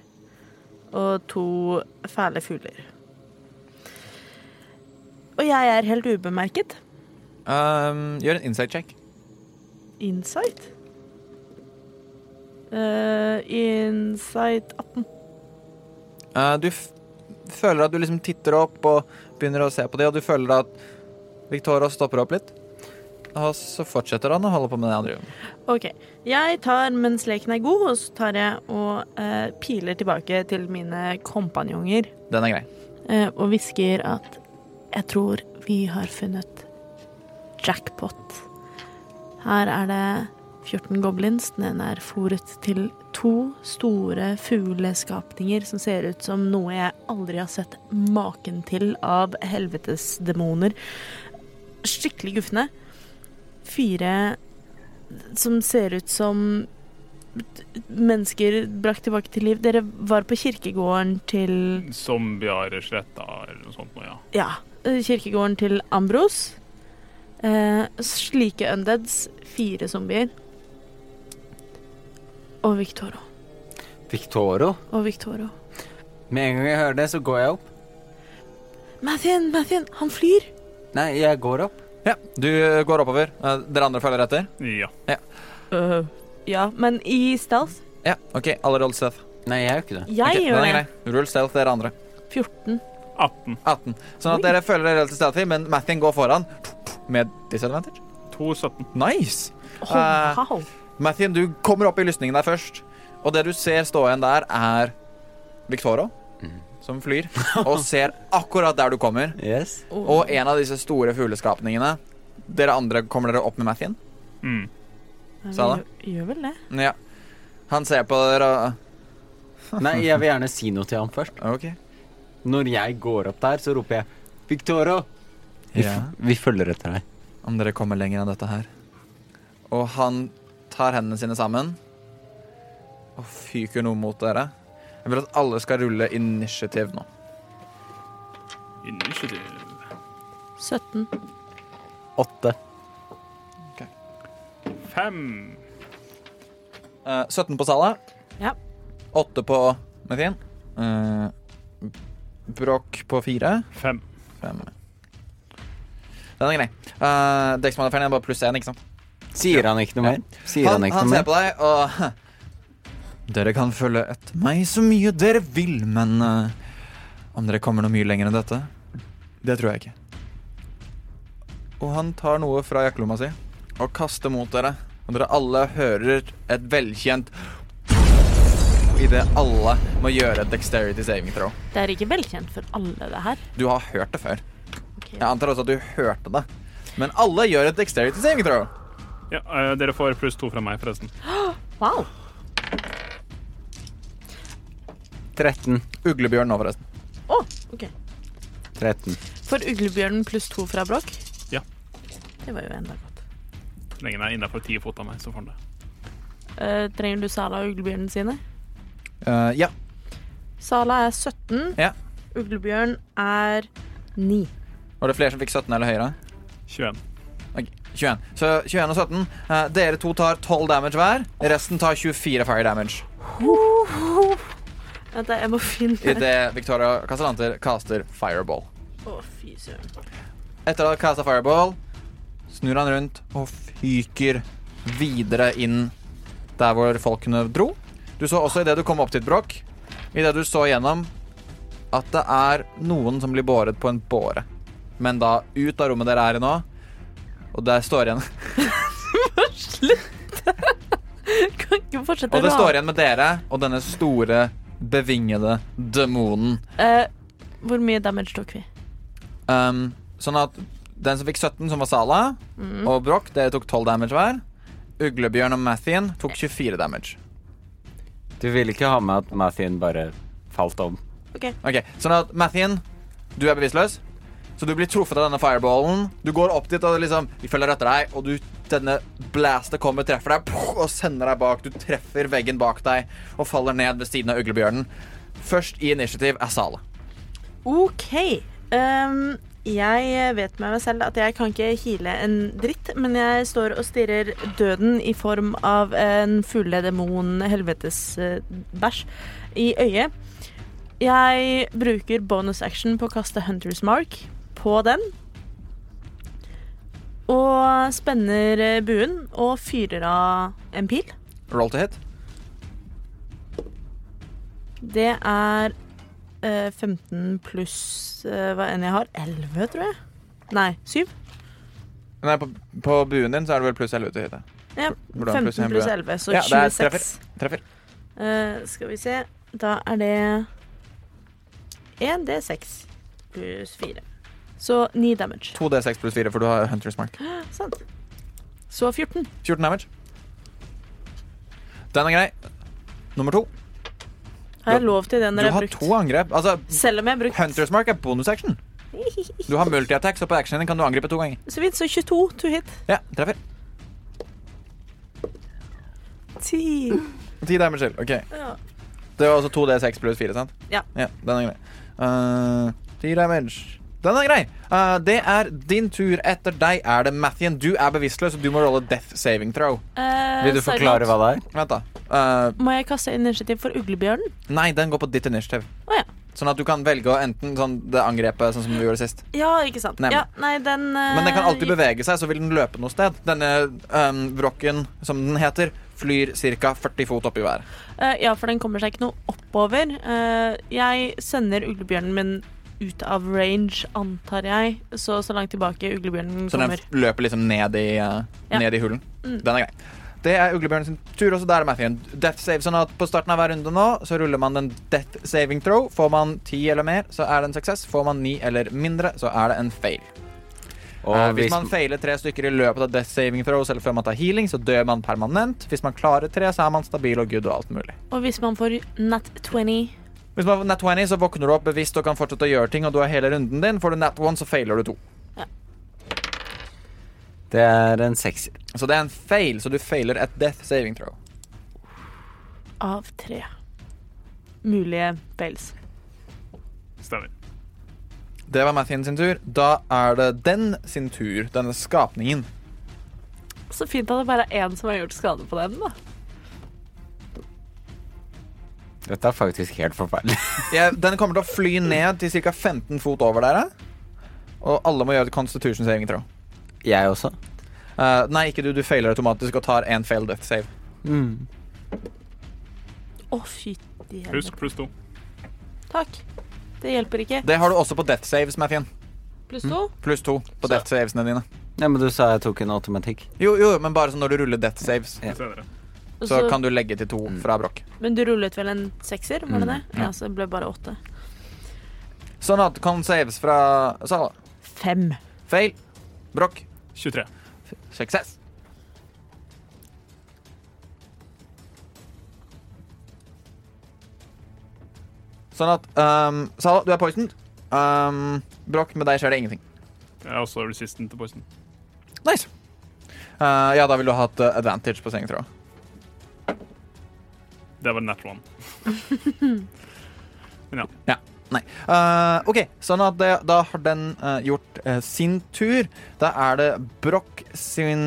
Speaker 6: og to fæle fugler. Og jeg er helt ubemerket.
Speaker 4: Ehm, gjør en insight check.
Speaker 6: Insight? Eh, insight 18.
Speaker 4: Eh, du f føler at du liksom titter opp og begynner å se på dem, og du føler at Victoria stopper opp litt. Og så fortsetter han å holde på med det han driver med.
Speaker 6: OK. Jeg tar mens leken er god, og så tar jeg og eh, piler tilbake til mine kompanjonger
Speaker 4: Den er grei.
Speaker 6: eh, og hvisker at jeg tror vi har funnet jackpot. Her er det 14 goblins. Den ene er fòret til to store fugleskapninger som ser ut som noe jeg aldri har sett maken til av helvetesdemoner. Skikkelig gufne. Fire som ser ut som mennesker brakt tilbake til liv. Dere var på kirkegården til
Speaker 5: Zombier sletta eller noe sånt. nå, Ja.
Speaker 6: ja, eh, kirkegården til Ambros. Eh, slike undeads, fire zombier. Og Victoro.
Speaker 1: Victoro?
Speaker 6: Og Victoro.
Speaker 1: Med en gang jeg hører det, så går jeg opp.
Speaker 6: Mathien, Mathien, han flyr!
Speaker 1: Nei, jeg går opp.
Speaker 4: Ja, du går oppover. Eh, dere andre følger etter?
Speaker 5: ja.
Speaker 4: Eh,
Speaker 6: ja, men i stealth.
Speaker 4: Ja, OK. Alle rull stealth.
Speaker 1: Nei, jeg gjør ikke det.
Speaker 6: Jeg
Speaker 4: Ok, den
Speaker 6: gjør
Speaker 4: er Eh,
Speaker 6: det.
Speaker 4: grei. Rull stealth, dere andre.
Speaker 6: 14.
Speaker 5: 18.
Speaker 4: 18. Sånn at
Speaker 6: Oi.
Speaker 4: dere føler dere relativt stealthy, men Mathien går foran med disadvantage.
Speaker 5: 217.
Speaker 4: Nice!
Speaker 6: Oh,
Speaker 4: Eh,
Speaker 6: wow.
Speaker 4: Mathien, du kommer opp i lysningen der først. Og det du ser stå igjen der, er Victoro,
Speaker 1: Mhm.
Speaker 4: som flyr. Og ser akkurat der du kommer.
Speaker 1: Yes.
Speaker 4: Og en av disse store fugleskapningene. Dere andre kommer dere opp med Mathien.
Speaker 5: Mm.
Speaker 6: Ja, vi
Speaker 4: sa det.
Speaker 6: Gjør, gjør vel det.
Speaker 4: Ja. Han ser på dere og
Speaker 1: Nei, jeg vil gjerne si noe til ham først.
Speaker 4: OK.
Speaker 1: Når jeg går opp der, så roper jeg Victoro! Vi, f
Speaker 4: Ja.
Speaker 1: vi følger etter deg.
Speaker 4: Om dere kommer lenger enn dette her. Og han tar hendene sine sammen og fyker noe mot dere. Jeg vil at alle skal rulle initiativ nå.
Speaker 5: Initiative.
Speaker 6: 17.
Speaker 1: Åtte.
Speaker 5: 5.
Speaker 4: Eh, 17 på Sala.
Speaker 6: Ja.
Speaker 4: 8 på Methin. Uh, Brokk på 4.
Speaker 5: 5.
Speaker 4: 5. Den er grei. Uh, Dexmodifieren er bare pluss 1, ikke sant?
Speaker 1: Sier han ikke noe
Speaker 4: Ja.
Speaker 1: mer? Sier han,
Speaker 4: Han,
Speaker 1: ikke
Speaker 4: han
Speaker 1: noe
Speaker 4: ser
Speaker 1: mer?
Speaker 4: på deg og Dere kan følge etter meg så mye dere vil, men eh, om dere kommer noe mye lenger enn dette Det tror jeg ikke. Og han tar noe fra jakkelomma si og kaster mot dere. Og dere alle hører et velkjent Idet alle må gjøre et dexterity saving throw.
Speaker 6: Det er ikke velkjent for alle, det her.
Speaker 4: Du har hørt det før.
Speaker 6: Ok.
Speaker 4: Jeg antar også at du hørte det. Men alle gjør et dexterity saving throw.
Speaker 5: Ja, eh, dere får pluss to fra meg, forresten.
Speaker 6: Wow.
Speaker 1: 13.
Speaker 4: Uglebjørn nå, forresten.
Speaker 6: Å, OK.
Speaker 1: 13.
Speaker 6: For uglebjørnen pluss to fra Brokk?
Speaker 5: Ja.
Speaker 6: Det var jo enda godt.
Speaker 5: Så lenge den er innafor ti fot av meg, så får den det.
Speaker 6: Eh, trenger du Sala og uglebjørnen sine?
Speaker 4: Eh, ja.
Speaker 6: Sala er 17.
Speaker 4: Ja.
Speaker 6: Uglebjørn er 9.
Speaker 4: Var det flere som fikk 17 eller høyere?
Speaker 5: 21.
Speaker 4: Ok, 21. Så 21 og 17. Eh, dere to tar 12 damage hver. Resten tar 24 fire damage.
Speaker 6: Vent, da, jeg må finne
Speaker 4: Idet Victoria Castellanter caster fireball.
Speaker 6: Å, fy søren.
Speaker 4: Etter å ha casta fireball snur han rundt og fyker videre inn der hvor folkene dro. Du så også idet du kom opp til et brokk, idet du så gjennom at det er noen som blir båret på en båre. Men da ut av rommet dere er i nå, og der står igjen
Speaker 6: Kan ikke fortsette
Speaker 4: Og det står igjen med dere og denne store, bevingede demonen.
Speaker 6: Eh, hvor mye damage tok vi?
Speaker 4: Um, sånn at den som fikk 17, som var Sala, og Broch, dere tok 12 damage hver. Uglebjørn og Mathien tok 24 damage.
Speaker 1: Du vil ikke ha med at Mathien bare falt om?
Speaker 4: Ok, Sånn at Mathien, du er bevisstløs. Så du blir truffet av denne fireballen. Du går opp dit, og liksom, vi følger etter deg, og du, denne blastet kommer, treffer deg puff, og sender deg bak. Du treffer veggen bak deg og faller ned ved siden av uglebjørnen. Først i initiativ er Sala.
Speaker 3: OK. Ehm, jeg vet med meg selv at jeg kan ikke hile en dritt, men jeg står og stirrer døden i form av en fugledemon-helvetes-bæsj i øyet. Jeg bruker bonus action på å kaste Hunters Mark på den. Og spenner eh, buen og fyrer av en pil.
Speaker 4: Roll to hit.
Speaker 3: Det er eh, 15 pluss eh, hva enn jeg har. 11, tror jeg. Nei, 7.
Speaker 4: Nei, på, på buen din så er det vel pluss 11 til hit.
Speaker 3: Ja,
Speaker 4: Hvordan
Speaker 3: 15
Speaker 4: pluss en
Speaker 3: pluss
Speaker 4: bue?
Speaker 3: 11, så
Speaker 4: Ja, det er
Speaker 3: 26.
Speaker 4: Treffer.
Speaker 3: Eh, skal vi se. Da er det 1 D6 pluss 4. Så 9 damage.
Speaker 4: 2D6 pluss 4, for du har Hunter's Mark.
Speaker 3: Sånn. Så 14.
Speaker 4: 14 damage. Den er grei. Nummer to.
Speaker 3: Har jeg lov til det
Speaker 4: Du
Speaker 3: når jeg
Speaker 4: har
Speaker 3: har brukt
Speaker 4: to angrep. Altså,
Speaker 3: Selv om jeg har brukt
Speaker 4: Hunter's Mark er bonus action. Du har multi-attack, så på actionen din kan du angripe to ganger.
Speaker 3: så vidt, så 22 to hit.
Speaker 4: Ja, treffer.
Speaker 3: 10.
Speaker 4: Ti damage til. Ok.
Speaker 3: Ja.
Speaker 4: Det var altså 2D6 pluss 4, sant?
Speaker 3: Ja.
Speaker 4: ja den er grei. Eh, Ti damage. Den er grei. Eh, det er din tur. Etter deg er det Mathien. Du er bevisstløs, og du må rolle death saving throw.
Speaker 3: Eh,
Speaker 1: Vil du
Speaker 6: Sargon.
Speaker 1: forklare hva det er?
Speaker 4: Vent, da. Eh,
Speaker 3: Må jeg kaste initiativ for uglebjørnen?
Speaker 4: nei, den går på ditt initiativ.
Speaker 3: Å, ja.
Speaker 4: Sånn at du kan velge å enten sånn det angrepet, sånn som vi gjorde sist.
Speaker 3: Ja, ikke sant.
Speaker 4: Nei, men-
Speaker 3: ja, nei, den eh,
Speaker 4: Men den kan alltid bevege seg, så vil den løpe noe sted. Denne um, vrokken, som den heter, flyr ca. 40 fot opp i været.
Speaker 6: Eh, ja, for den kommer seg ikke noe oppover. Eh, jeg sender uglebjørnen min ut av range, antar jeg. Så så langt tilbake uglebjørnen
Speaker 4: Så den
Speaker 6: kommer.
Speaker 4: løper liksom ned i, uh,
Speaker 6: Ja.
Speaker 4: ned i hulen.
Speaker 6: Mm.
Speaker 4: Den er grei. Det er uglebjørnen sin tur, og så der er Mathien. Death save, sånn at på starten av hver runde nå, så ruller man den death saving throw. Får man 10 eller mer, så er det en suksess. Får man 9 eller mindre, så er det en fail. Eh,
Speaker 1: Og
Speaker 4: hvis
Speaker 1: hvis
Speaker 4: man feiler tre stykker i løpet av death saving throws eller før man tar healing, så dør man permanent. Hvis man klarer tre, så er man stabil og good og alt mulig.
Speaker 6: Og hvis man får nat 20
Speaker 4: Hvis man får nat 20, så våkner du opp bevisst og kan fortsette å gjøre ting, og du har hele runden din. Får du nat 1, så feiler du to.
Speaker 1: Det er en sekser.
Speaker 4: Så det er en fail, så du feiler et death saving throw.
Speaker 6: av tre mulige fails.
Speaker 2: Stemmer.
Speaker 4: Det var Mathien sin tur. Da er det den sin tur, denne skapningen.
Speaker 6: Så fint at det bare er én som har gjort skade på dem, da.
Speaker 1: Dette er faktisk helt forferdelig.
Speaker 4: Jeg, den kommer til å fly ned til ca. 15 fot over dere. Og alle må gjøre et constitution saving throw.
Speaker 1: Jeg også.
Speaker 4: Eh, nei, ikke du. Du feiler automatisk og tar én fail death save.
Speaker 1: Mm.
Speaker 6: Å, fytti helvete.
Speaker 5: Husk pluss to.
Speaker 6: Takk. Det hjelper ikke.
Speaker 4: Det har du også på death saves, Mathien.
Speaker 6: Pluss to.
Speaker 4: Pluss to på death savesene dine.
Speaker 1: Ja, men du sa jeg tok en automatikk.
Speaker 4: Jo, jo, men bare sånn når du ruller death saves,
Speaker 1: Ja.
Speaker 5: Senere.
Speaker 6: og
Speaker 4: så
Speaker 6: så-
Speaker 4: kan du legge til to fra brokk.
Speaker 6: Men du rullet vel en sekser, var det
Speaker 1: Mm,
Speaker 6: det? Ja, så det ble bare åtte.
Speaker 4: Sånn at con saves fra Sala.
Speaker 6: Fem.
Speaker 4: Fail. Brokk.
Speaker 5: 23.
Speaker 4: Suksess. Sånn at um, Sala, du er poisoned. Um, Brokk, med deg skjer det ingenting.
Speaker 5: Jeg er også resistant til poison.
Speaker 4: Nice. Uh, ja, da ville du hatt uh, advantage på sengetråd.
Speaker 5: Det var nat one.
Speaker 4: Nei. Eh, OK, sånn at det, da har den eh, gjort eh, sin tur. Da er det Broch sin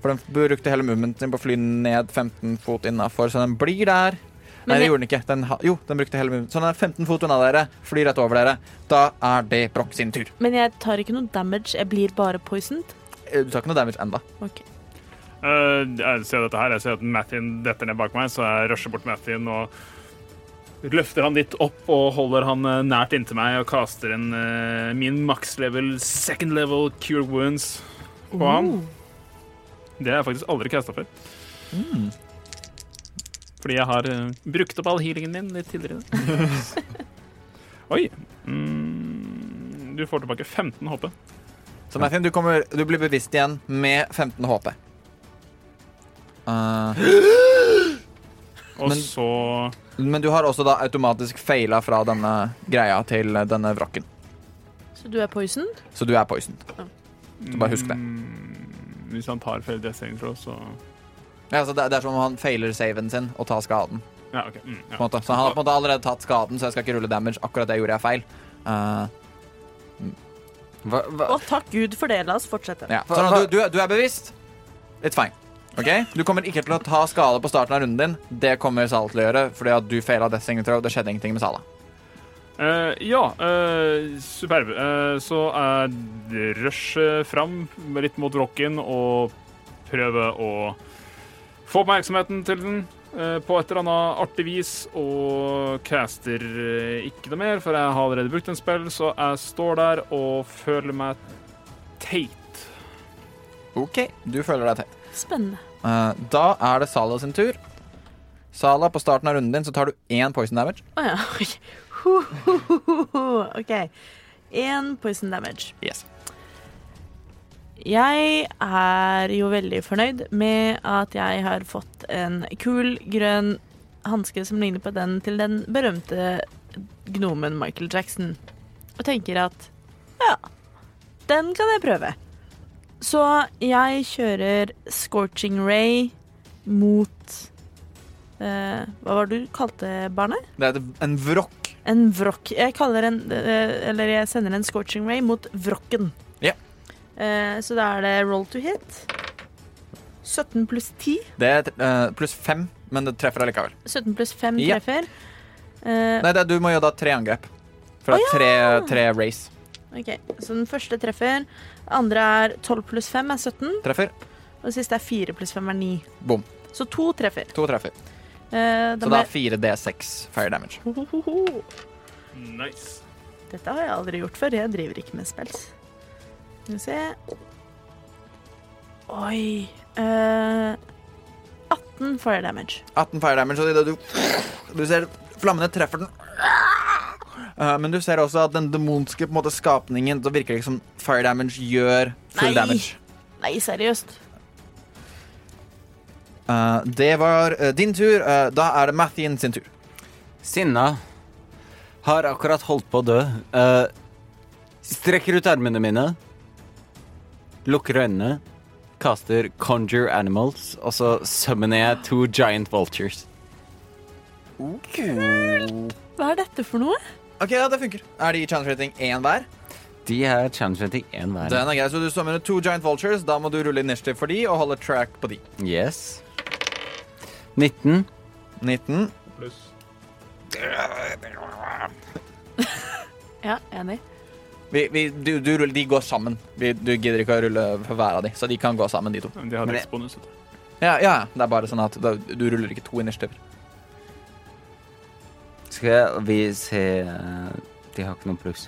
Speaker 4: For den brukte hele movementen sin på å fly ned 15 fot innafor, så den blir der. Nei,
Speaker 6: Men
Speaker 4: det
Speaker 6: jeg-
Speaker 4: gjorde den ikke. Den ha, jo, den brukte hele movementen. Så den er 15 fot unna dere, flyr rett over dere. Da er det Broch sin tur.
Speaker 6: Men jeg tar ikke noe damage, jeg blir bare poisoned.
Speaker 4: Eh, Du tar ikke noe damage enda
Speaker 5: Eh, jeg ser dette her. Jeg ser at Mattin detter ned bak meg, så jeg rusher bort Mattin og løfter han litt opp og holder han eh, nært inntil meg og kaster en eh, min max level, second level cure wounds på han. Det har jeg faktisk aldri casta før. Fordi jeg har eh, brukt opp all healingen min litt tidligere. Oi. Mm, du får tilbake 15 HP.
Speaker 4: Så Mathin, du, kommer, du blir bevisst igjen med 15 HP. Eh,
Speaker 5: Og
Speaker 4: Men
Speaker 5: og
Speaker 4: Men du har også da automatisk faila fra denne greia til denne vrakken.
Speaker 6: Så du er poison?
Speaker 4: Så du er poisoned. Så bare husk det.
Speaker 5: Mm, Hvis han tar feil dressing fra oss, så
Speaker 4: Ja, så det, det er som om han failer saven sin og tar skaden.
Speaker 5: Ja, OK. Mm,
Speaker 4: På en
Speaker 5: ja.
Speaker 4: måte. Så han har på en måte allerede tatt skaden, så jeg skal ikke rulle damage. Akkurat det gjorde jeg feil. Eh,
Speaker 1: Hva, hva?
Speaker 3: Og takk Gud for det. La oss fortsette.
Speaker 4: ja. Sånn at du, du, du er bevisst. It's fine. Ok? Du kommer ikke til å ta skade på starten av runden din. Det kommer Sala til å gjøre, fordi at du faila Death Signature, og det skjedde ingenting med Sala.
Speaker 5: Eh, ja eh, superb. Eh, så jeg rusher fram litt mot rocken og prøver å få oppmerksomheten til den eh, på et eller annet artig vis, og caster eh, ikke noe mer, for jeg har allerede brukt en spill, så jeg står der og føler meg teit.
Speaker 4: OK, du føler deg teit.
Speaker 6: Spennende.
Speaker 4: Eh, da er det Sala sin tur. Sala, på starten av runden din så tar du én poison damage.
Speaker 6: Å ja. ok. Ho, ho, ho, ho, ho. OK. Én poison damage.
Speaker 4: Yes.
Speaker 6: Jeg er jo veldig fornøyd med at jeg har fått en kul, grønn hanske som ligner på den til den berømte gnomen Michael Jackson, og tenker at ja, den kan jeg prøve. Så jeg kjører Scorching Ray mot eh, Hva var det du kalte barnet?
Speaker 4: Det er et- en vrokk.
Speaker 6: En vrokk. Jeg kaller en eh, Eller jeg sender en scorching ray mot vrokken.
Speaker 4: Ja.
Speaker 6: Eh, Så da er det roll to hit. 17 pluss 10.
Speaker 4: Det er eh, pluss fem, men det treffer allikevel.
Speaker 6: 17 pluss 5
Speaker 4: Ja.
Speaker 6: treffer. Eh,
Speaker 4: Nei, det, er- du må gjøre da tre angrep. For det er tre, tre race.
Speaker 6: ok, Så den første treffer. Andre er 12 pluss 5 er 17.
Speaker 4: Treffer.
Speaker 6: Og det siste er 4 pluss 5 er 9.
Speaker 4: Bom.
Speaker 6: Så to treffer.
Speaker 4: To treffer.
Speaker 6: Eh, da
Speaker 4: Så
Speaker 6: må
Speaker 4: det er
Speaker 6: jeg-
Speaker 4: fire D6 fire damage.
Speaker 6: Ho, ho, ho, ho.
Speaker 5: Nice.
Speaker 6: Dette har jeg aldri gjort før. Jeg driver ikke med spels. Skal vi se Oi eh, 18 fire damage.
Speaker 4: 18 fire damage, og idet du Du ser flammene treffer den. Eh, men du ser også at den demonske på en måte, skapningen Så virker det ikke som fire damage gjør full
Speaker 6: Nei.
Speaker 4: damage.
Speaker 6: Nei, seriøst.
Speaker 4: Eh, det var eh, din tur. Eh, da er det Mathien sin tur.
Speaker 1: Sinna har akkurat holdt på å dø. Eh, strekker ut armene mine, lukker øynene, kaster Conjure Animals, og så summoner jeg to giant vultures.
Speaker 6: Hva er dette for noe?
Speaker 4: OK, ja, det funker. Er de challenge rating én hver?
Speaker 1: De er challenge rating én hver.
Speaker 4: Den er grei, så du summerer to giant vultures. Da må du rulle initiativ for de og holde track på de.
Speaker 1: Yes. 19.
Speaker 4: 19.
Speaker 5: Pluss.
Speaker 6: Ja, enig.
Speaker 4: Vi, vi, du, du ruller, de går sammen. Vi, du gidder ikke å rulle for hver av de, så de kan gå sammen, de to.
Speaker 5: De har
Speaker 1: Men det-
Speaker 5: dekksbonus. vet du.
Speaker 4: Ja, ja, det er bare sånn at da, du ruller ikke to initiativer.
Speaker 1: Skal vi se eh, De har ikke noe pluss.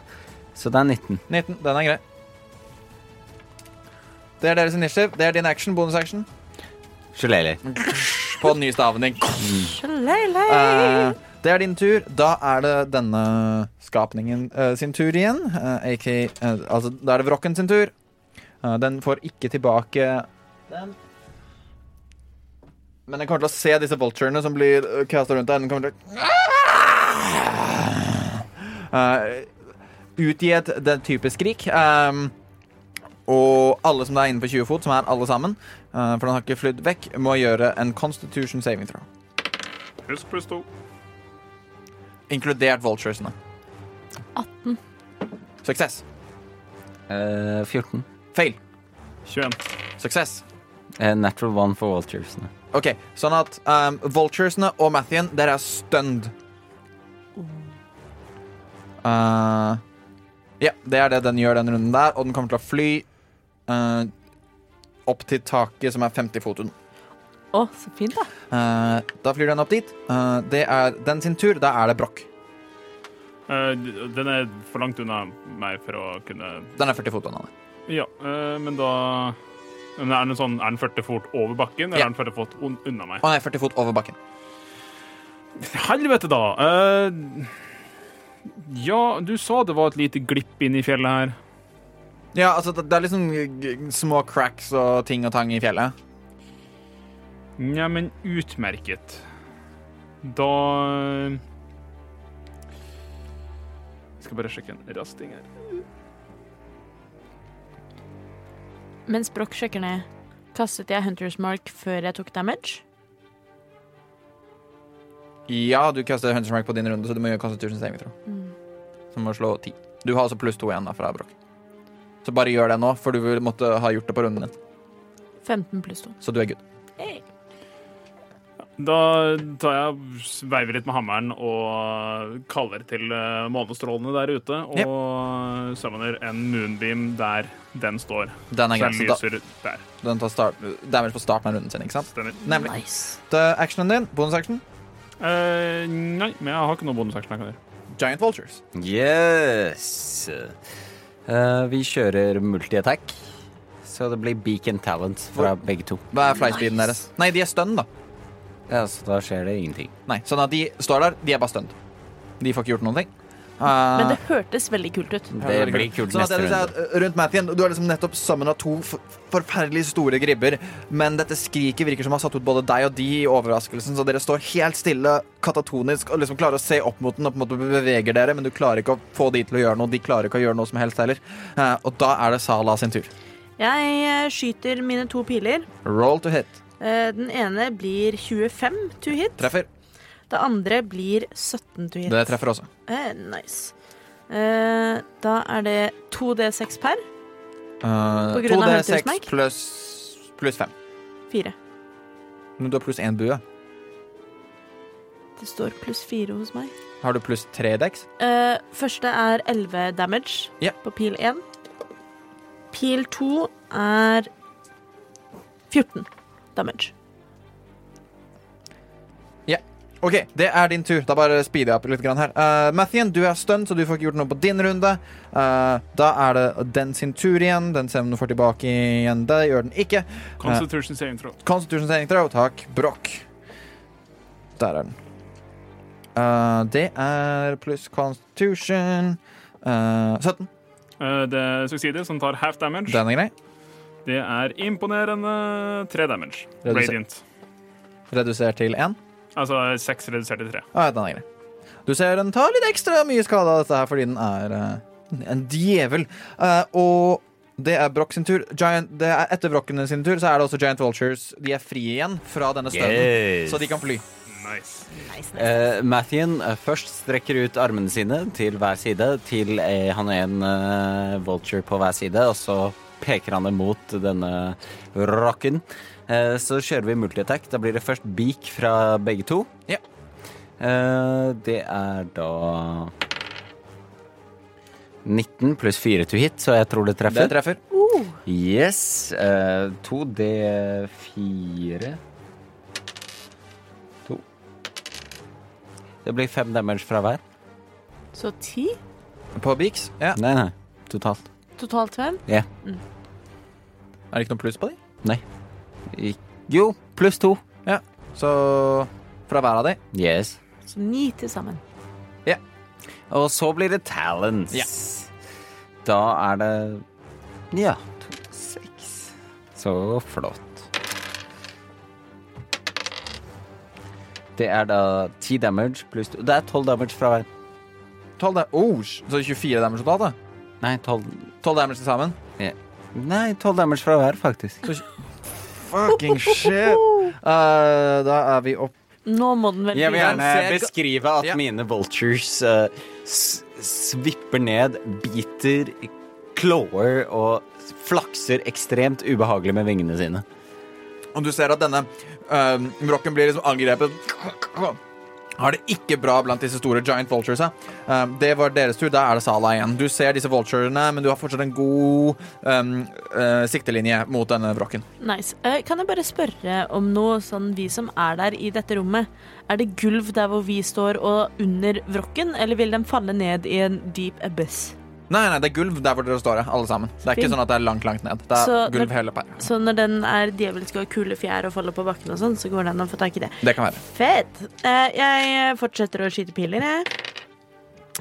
Speaker 1: Så det er 19.
Speaker 4: 19. Den er grei. Det er deres initiativ. Det er din action, bonusaction.
Speaker 1: Shillelagh.
Speaker 4: På den nye staven din.
Speaker 6: Shalala.
Speaker 4: Eh, det er din tur. Da er det denne skapningen eh, sin tur igjen. Eh, AK, eh, altså, da er det Vrokken sin tur. Eh, den får ikke tilbake den. Men den kommer til å se disse vulturene som blir uh, casta rundt deg. Den kommer til å Eh, utgi et den type skrik. ehm, og alle som er innenfor 20 fot, som er alle sammen, eh, for den har ikke flydd vekk, må gjøre en constitution saving throw.
Speaker 5: Husk pluss to.
Speaker 4: Inkludert vulturesene.
Speaker 6: 18.
Speaker 4: Suksess.
Speaker 1: Eh, 14.
Speaker 4: Fail.
Speaker 5: 21.
Speaker 4: Suksess.
Speaker 1: Eh, natural one for vulturesene.
Speaker 4: OK, sånn at um, vulturesene og Mathien, dere er stunned. Uh, ja, det er det den gjør den runden der, og den kommer til å fly uh, opp til taket som er 50 fot unna.
Speaker 6: Å, så fint, da.
Speaker 4: Uh, da flyr den opp dit. Uh, det er den sin tur. Da er det brokk.
Speaker 5: Eh, d- den er for langt unna meg for å kunne
Speaker 4: Den er 40 fot unna.
Speaker 5: Ja, eh, men da men er den, sånn, er den 40 fot over bakken,
Speaker 4: Ja.
Speaker 5: eller er den 40 fot un unna meg?
Speaker 4: Å nei, 40 fot over bakken.
Speaker 5: Helvete, da! Eh, ja, du sa det var et lite glipp inn i fjellet her.
Speaker 4: Ja, altså, det det er liksom uh, små cracks og ting og tang i fjellet.
Speaker 5: Neimen, utmerket. Da Jeg skal bare sjekke en rask ting her.
Speaker 6: Mens Broch sjekker ned, kastet jeg Hunters Mark før jeg tok damage.
Speaker 4: Ja, du kaster Hunter's Mark på din runde, så du må gjøre Constitution saving throw. Som må slå ti. Du har altså pluss to igjen da fra Brokk. Så bare gjør det nå, for du vil måtte ha gjort det på runden din.
Speaker 6: 15 pluss 2.
Speaker 4: Så du er good.
Speaker 5: Da tar jeg sveiver litt med hammeren og kaller til eh, månestrålene der ute, og summoner en moonbeam der den står.
Speaker 4: Den er
Speaker 5: Så
Speaker 4: grei.
Speaker 5: den
Speaker 4: Så da,
Speaker 5: lyser der.
Speaker 4: den tar start, damage på starten av runden sin, ikke sant?
Speaker 5: Stemmer.
Speaker 4: Nemlig.
Speaker 6: Nice.
Speaker 4: Det er Actionen din, bonusaction,
Speaker 5: Eh, nei, men jeg har ikke noe bonusaction jeg kan gjøre.
Speaker 4: Giant Vultures.
Speaker 1: Yes! Eh, vi kjører multi-attack, så det blir beacon talent fra begge to.
Speaker 4: Hva er flyspeeden deres? Nei, de er stønn, da.
Speaker 1: Ja, Så da skjer det ingenting.
Speaker 4: Nei, sånn at de står der, de er bare stønt. De får ikke gjort noen ting.
Speaker 6: Men
Speaker 4: Ah.
Speaker 6: det hørtes veldig kult
Speaker 4: Ja,
Speaker 6: ut.
Speaker 1: Det
Speaker 4: veldig
Speaker 1: blir kult
Speaker 4: Sånn at
Speaker 1: neste
Speaker 4: jeg vil si
Speaker 1: runde.
Speaker 4: at uh, rundt Mathien, Du har liksom nettopp sammen av to for- forferdelig store gribber, men dette skriket virker som har satt ut både deg og de i overraskelsen, så dere står helt stille, katatonisk, og liksom klarer å se opp mot den og på en måte beveger dere, men du klarer ikke å få de til å gjøre noe. De klarer ikke å gjøre noe som helst heller. Eh, og da er det Salah sin tur.
Speaker 6: Jeg eh, skyter mine to piler.
Speaker 4: Roll to hit.
Speaker 6: Eh, Den ene blir 25 to hit.
Speaker 4: Treffer.
Speaker 6: Det andre blir 17 to hit.
Speaker 4: Det treffer også.
Speaker 6: Eh, Nice. Eh, Da er det 2D6 per.
Speaker 4: Uh,
Speaker 6: På grunn av Hunters
Speaker 4: 2D6
Speaker 6: Mark?
Speaker 4: pluss pluss 5.
Speaker 6: 4.
Speaker 4: Men du har pluss 1 bue.
Speaker 6: Det står pluss 4 hos meg.
Speaker 4: Har du pluss 3 dex?
Speaker 6: Eh, første er 11 damage
Speaker 4: Ja.
Speaker 6: på pil 1. Pil 2 er 14 damage.
Speaker 4: Ok, det er din tur. Da bare speeder jeg opp litt grann her. Uh, Mathien, du er stønn, så du får ikke gjort noe på din runde. Eh, da er det den sin tur igjen. Den sevnen får tilbake igjen. Det gjør den ikke.
Speaker 5: Constitution saving throw.
Speaker 4: Constitution saving throw, takk. Brokk. Der er den. Eh, det er pluss constitution eh, 17.
Speaker 5: Eh, det succeeder, som tar half damage.
Speaker 4: Den er grei.
Speaker 5: Det er imponerende tre damage.
Speaker 4: Reduser-
Speaker 5: Radiant.
Speaker 4: Redusert til 1.
Speaker 5: Altså seks redusert til tre.
Speaker 4: Ja, Ah, den er grei. Du ser den tar litt ekstra mye skade av dette her fordi den er eh, en djevel. Eh, og det er Broch sin tur. Giant, det er etter Brochene sin tur så er det også Giant Vultures. De er frie igjen fra denne stønnen,
Speaker 1: Yes.
Speaker 4: så de kan fly.
Speaker 5: Nice.
Speaker 1: Eh, Mathien eh, først strekker ut armene sine til hver side, til eh, han er en eh, vulture på hver side, og så peker han det mot denne rocken. Eh, så kjører vi multiattack. Da blir det først beak fra begge to.
Speaker 4: Ja.
Speaker 1: Eh, det er da 19 pluss 4 to hit, så jeg tror det
Speaker 4: Det
Speaker 1: treffer.
Speaker 4: treffer.
Speaker 1: Yes. eh, 2D4 2 Det blir fem damage fra hver.
Speaker 6: Så 10
Speaker 4: På Beaks. Ja.
Speaker 1: Nei, nei. Totalt.
Speaker 6: totalt hvem?
Speaker 4: Er det ikke noe pluss på de?
Speaker 1: Ik jo, pluss to.
Speaker 4: Så fra hver av de.
Speaker 1: Yes.
Speaker 6: Så 9 til sammen.
Speaker 1: Og så blir det talents.
Speaker 4: Ja.
Speaker 1: Da er det Ja, to, seks. Så flott. Det er da ti damage pluss to Det er tolv damage fra hver.
Speaker 4: 12 da- oh, sh- så 24 damage totalt, da?
Speaker 1: Nei, tolv
Speaker 4: 12 damage til sammen?
Speaker 1: Nei, tolv damage fra hver, faktisk.
Speaker 4: Fucking shit. Eh, da er vi opp
Speaker 6: Nå må den vel
Speaker 1: Jeg vil
Speaker 6: fly.
Speaker 1: gjerne
Speaker 4: ser ga-
Speaker 1: beskrive at
Speaker 4: Ja.
Speaker 1: mine vultures eh, s svipper ned, biter, klår og flakser ekstremt ubehagelig med vingene sine.
Speaker 4: Og du ser at denne uh, Brokken blir liksom angrepet Har det ikke bra blant disse store giant vultures Det var deres tur, da er det Sala igjen Du ser disse vulturene, men du har fortsatt en god ehm, eh, Siktelinje mot denne brokken
Speaker 6: Nice. Eh, kan jeg bare spørre om noe, sånn vi som er der i dette rommet. Er det gulv der hvor vi står og under vrokken, eller vil den falle ned i en deep abyss?
Speaker 4: Nei, nei, det er gulv der hvor dere står, ja, alle sammen Det er ikke
Speaker 6: Fint.
Speaker 4: sånn at det er langt, langt ned Det er
Speaker 6: Så
Speaker 4: gulv
Speaker 6: når-
Speaker 4: hele per
Speaker 6: Så når den er djevelsk og har kule fjær og faller på bakken og sånn, så går det an å få tak i det.
Speaker 4: Det kan være
Speaker 6: Fett! Eh, jeg fortsetter å skyte piler, jeg.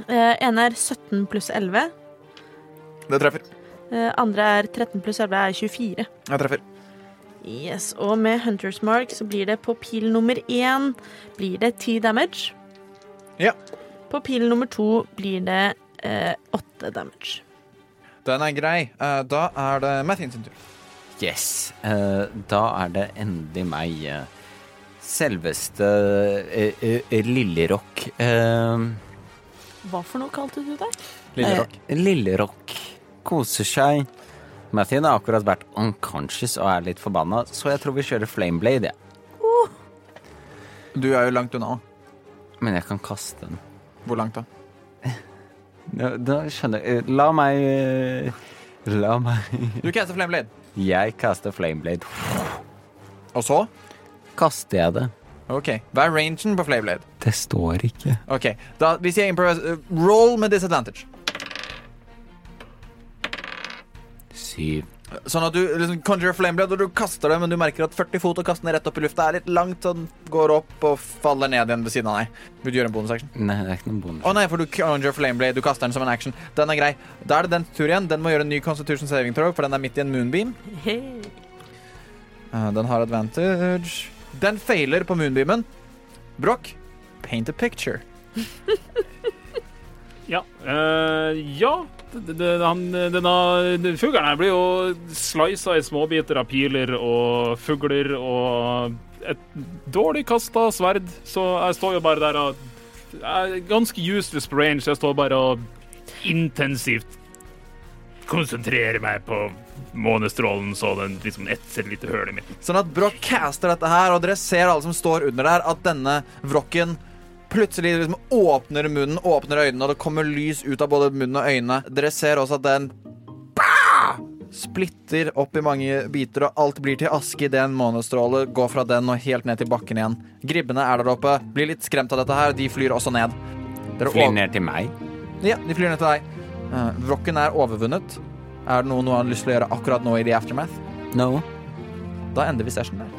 Speaker 6: Eh, ene er 17 pluss 11.
Speaker 4: Det treffer
Speaker 6: Eh, andre er 13 pluss 11 er 24.
Speaker 4: Jeg treffer
Speaker 3: Yes, og med Hunters Mark så blir det på pil nummer én blir det ti damage.
Speaker 4: Ja.
Speaker 3: På pil nummer to blir det eh, åtte damage.
Speaker 4: Den er grei. Eh, da er det Mathien sin tur.
Speaker 1: Yes. Eh, da er det endelig meg. eh, Selveste eh, eh, Lillerock. Eh,
Speaker 6: Hva for noe kalte du det?
Speaker 4: Lillerock.
Speaker 1: Eh, Lillerock koser seg. Mathien har akkurat vært unconscious og er litt forbanna, så jeg tror vi kjører Flameblade, jeg.
Speaker 4: Du er jo langt unna. da.
Speaker 1: Men jeg kan kaste den.
Speaker 4: Hvor langt, da?
Speaker 1: Da, da skjønner jeg eh, La meg eh, La meg
Speaker 4: Du caster Flameblade.
Speaker 1: Jeg kaster Flameblade.
Speaker 4: Og så?
Speaker 1: Kaster jeg det?
Speaker 4: OK. Hva er rangen på Flameblade?
Speaker 1: Det står ikke.
Speaker 4: OK. Da, hvis jeg improviser eh, Roll med disadvantage.
Speaker 1: Syv.
Speaker 4: Sånn at du liksom conjurer flameblade, og du kaster det, men du merker at 40 fot og kaste den rett opp i lufta er litt langt, så den går opp og faller ned igjen ved siden av deg. Vil du gjøre en bonusaction?
Speaker 1: Nei, det er ikke noen bonus.
Speaker 4: Å nei, for du conjurer flameblade, du kaster den som en action. Den er grei. Da er det dens tur igjen. Den må gjøre en ny constitution saving throw, for den er midt i en moonbeam.
Speaker 6: Hey.
Speaker 4: Eh, Den har advantage. Den feiler på moonbeamen. Brokk, paint a picture.
Speaker 5: Ja. eh, ja. D- d- han, denne fuglen her blir jo slisa i småbiter av piler og fugler og et dårlig kasta sverd, så jeg står jo bare der og Jeg er ganske useless på range, jeg står bare og intensivt konsentrerer meg på månestrålen så den liksom etser litt i hølet mitt.
Speaker 4: Sånn at Broch caster dette her, og dere ser alle som står under der, at denne vrokken plutselig liksom åpner munnen, åpner øynene, og det kommer lys ut av både munnen og øynene. Dere ser også at den bah! splitter opp i mange biter, og alt blir til aske idet en månestråle går fra den og helt ned til bakken igjen. Gribbene er der oppe, blir litt skremt av dette her, de flyr også ned. Dere
Speaker 1: Flyr
Speaker 4: åp-
Speaker 1: ned til meg.
Speaker 4: Ja, de flyr ned til deg. Eh, Vrokken er overvunnet. Er det noe, noe han har lyst til å gjøre akkurat nå i The Aftermath?
Speaker 1: No.
Speaker 4: Da ender vi session der.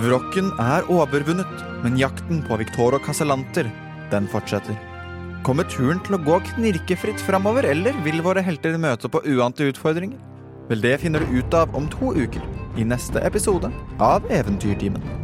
Speaker 4: Vrokken er overvunnet, men jakten på Victor og Casalanter, den fortsetter. Kommer turen til å gå knirkefritt framover, eller vil våre helter møte på uante utfordringer? Vel, det finner du ut av om to uker, i neste episode av Eventyrtimen.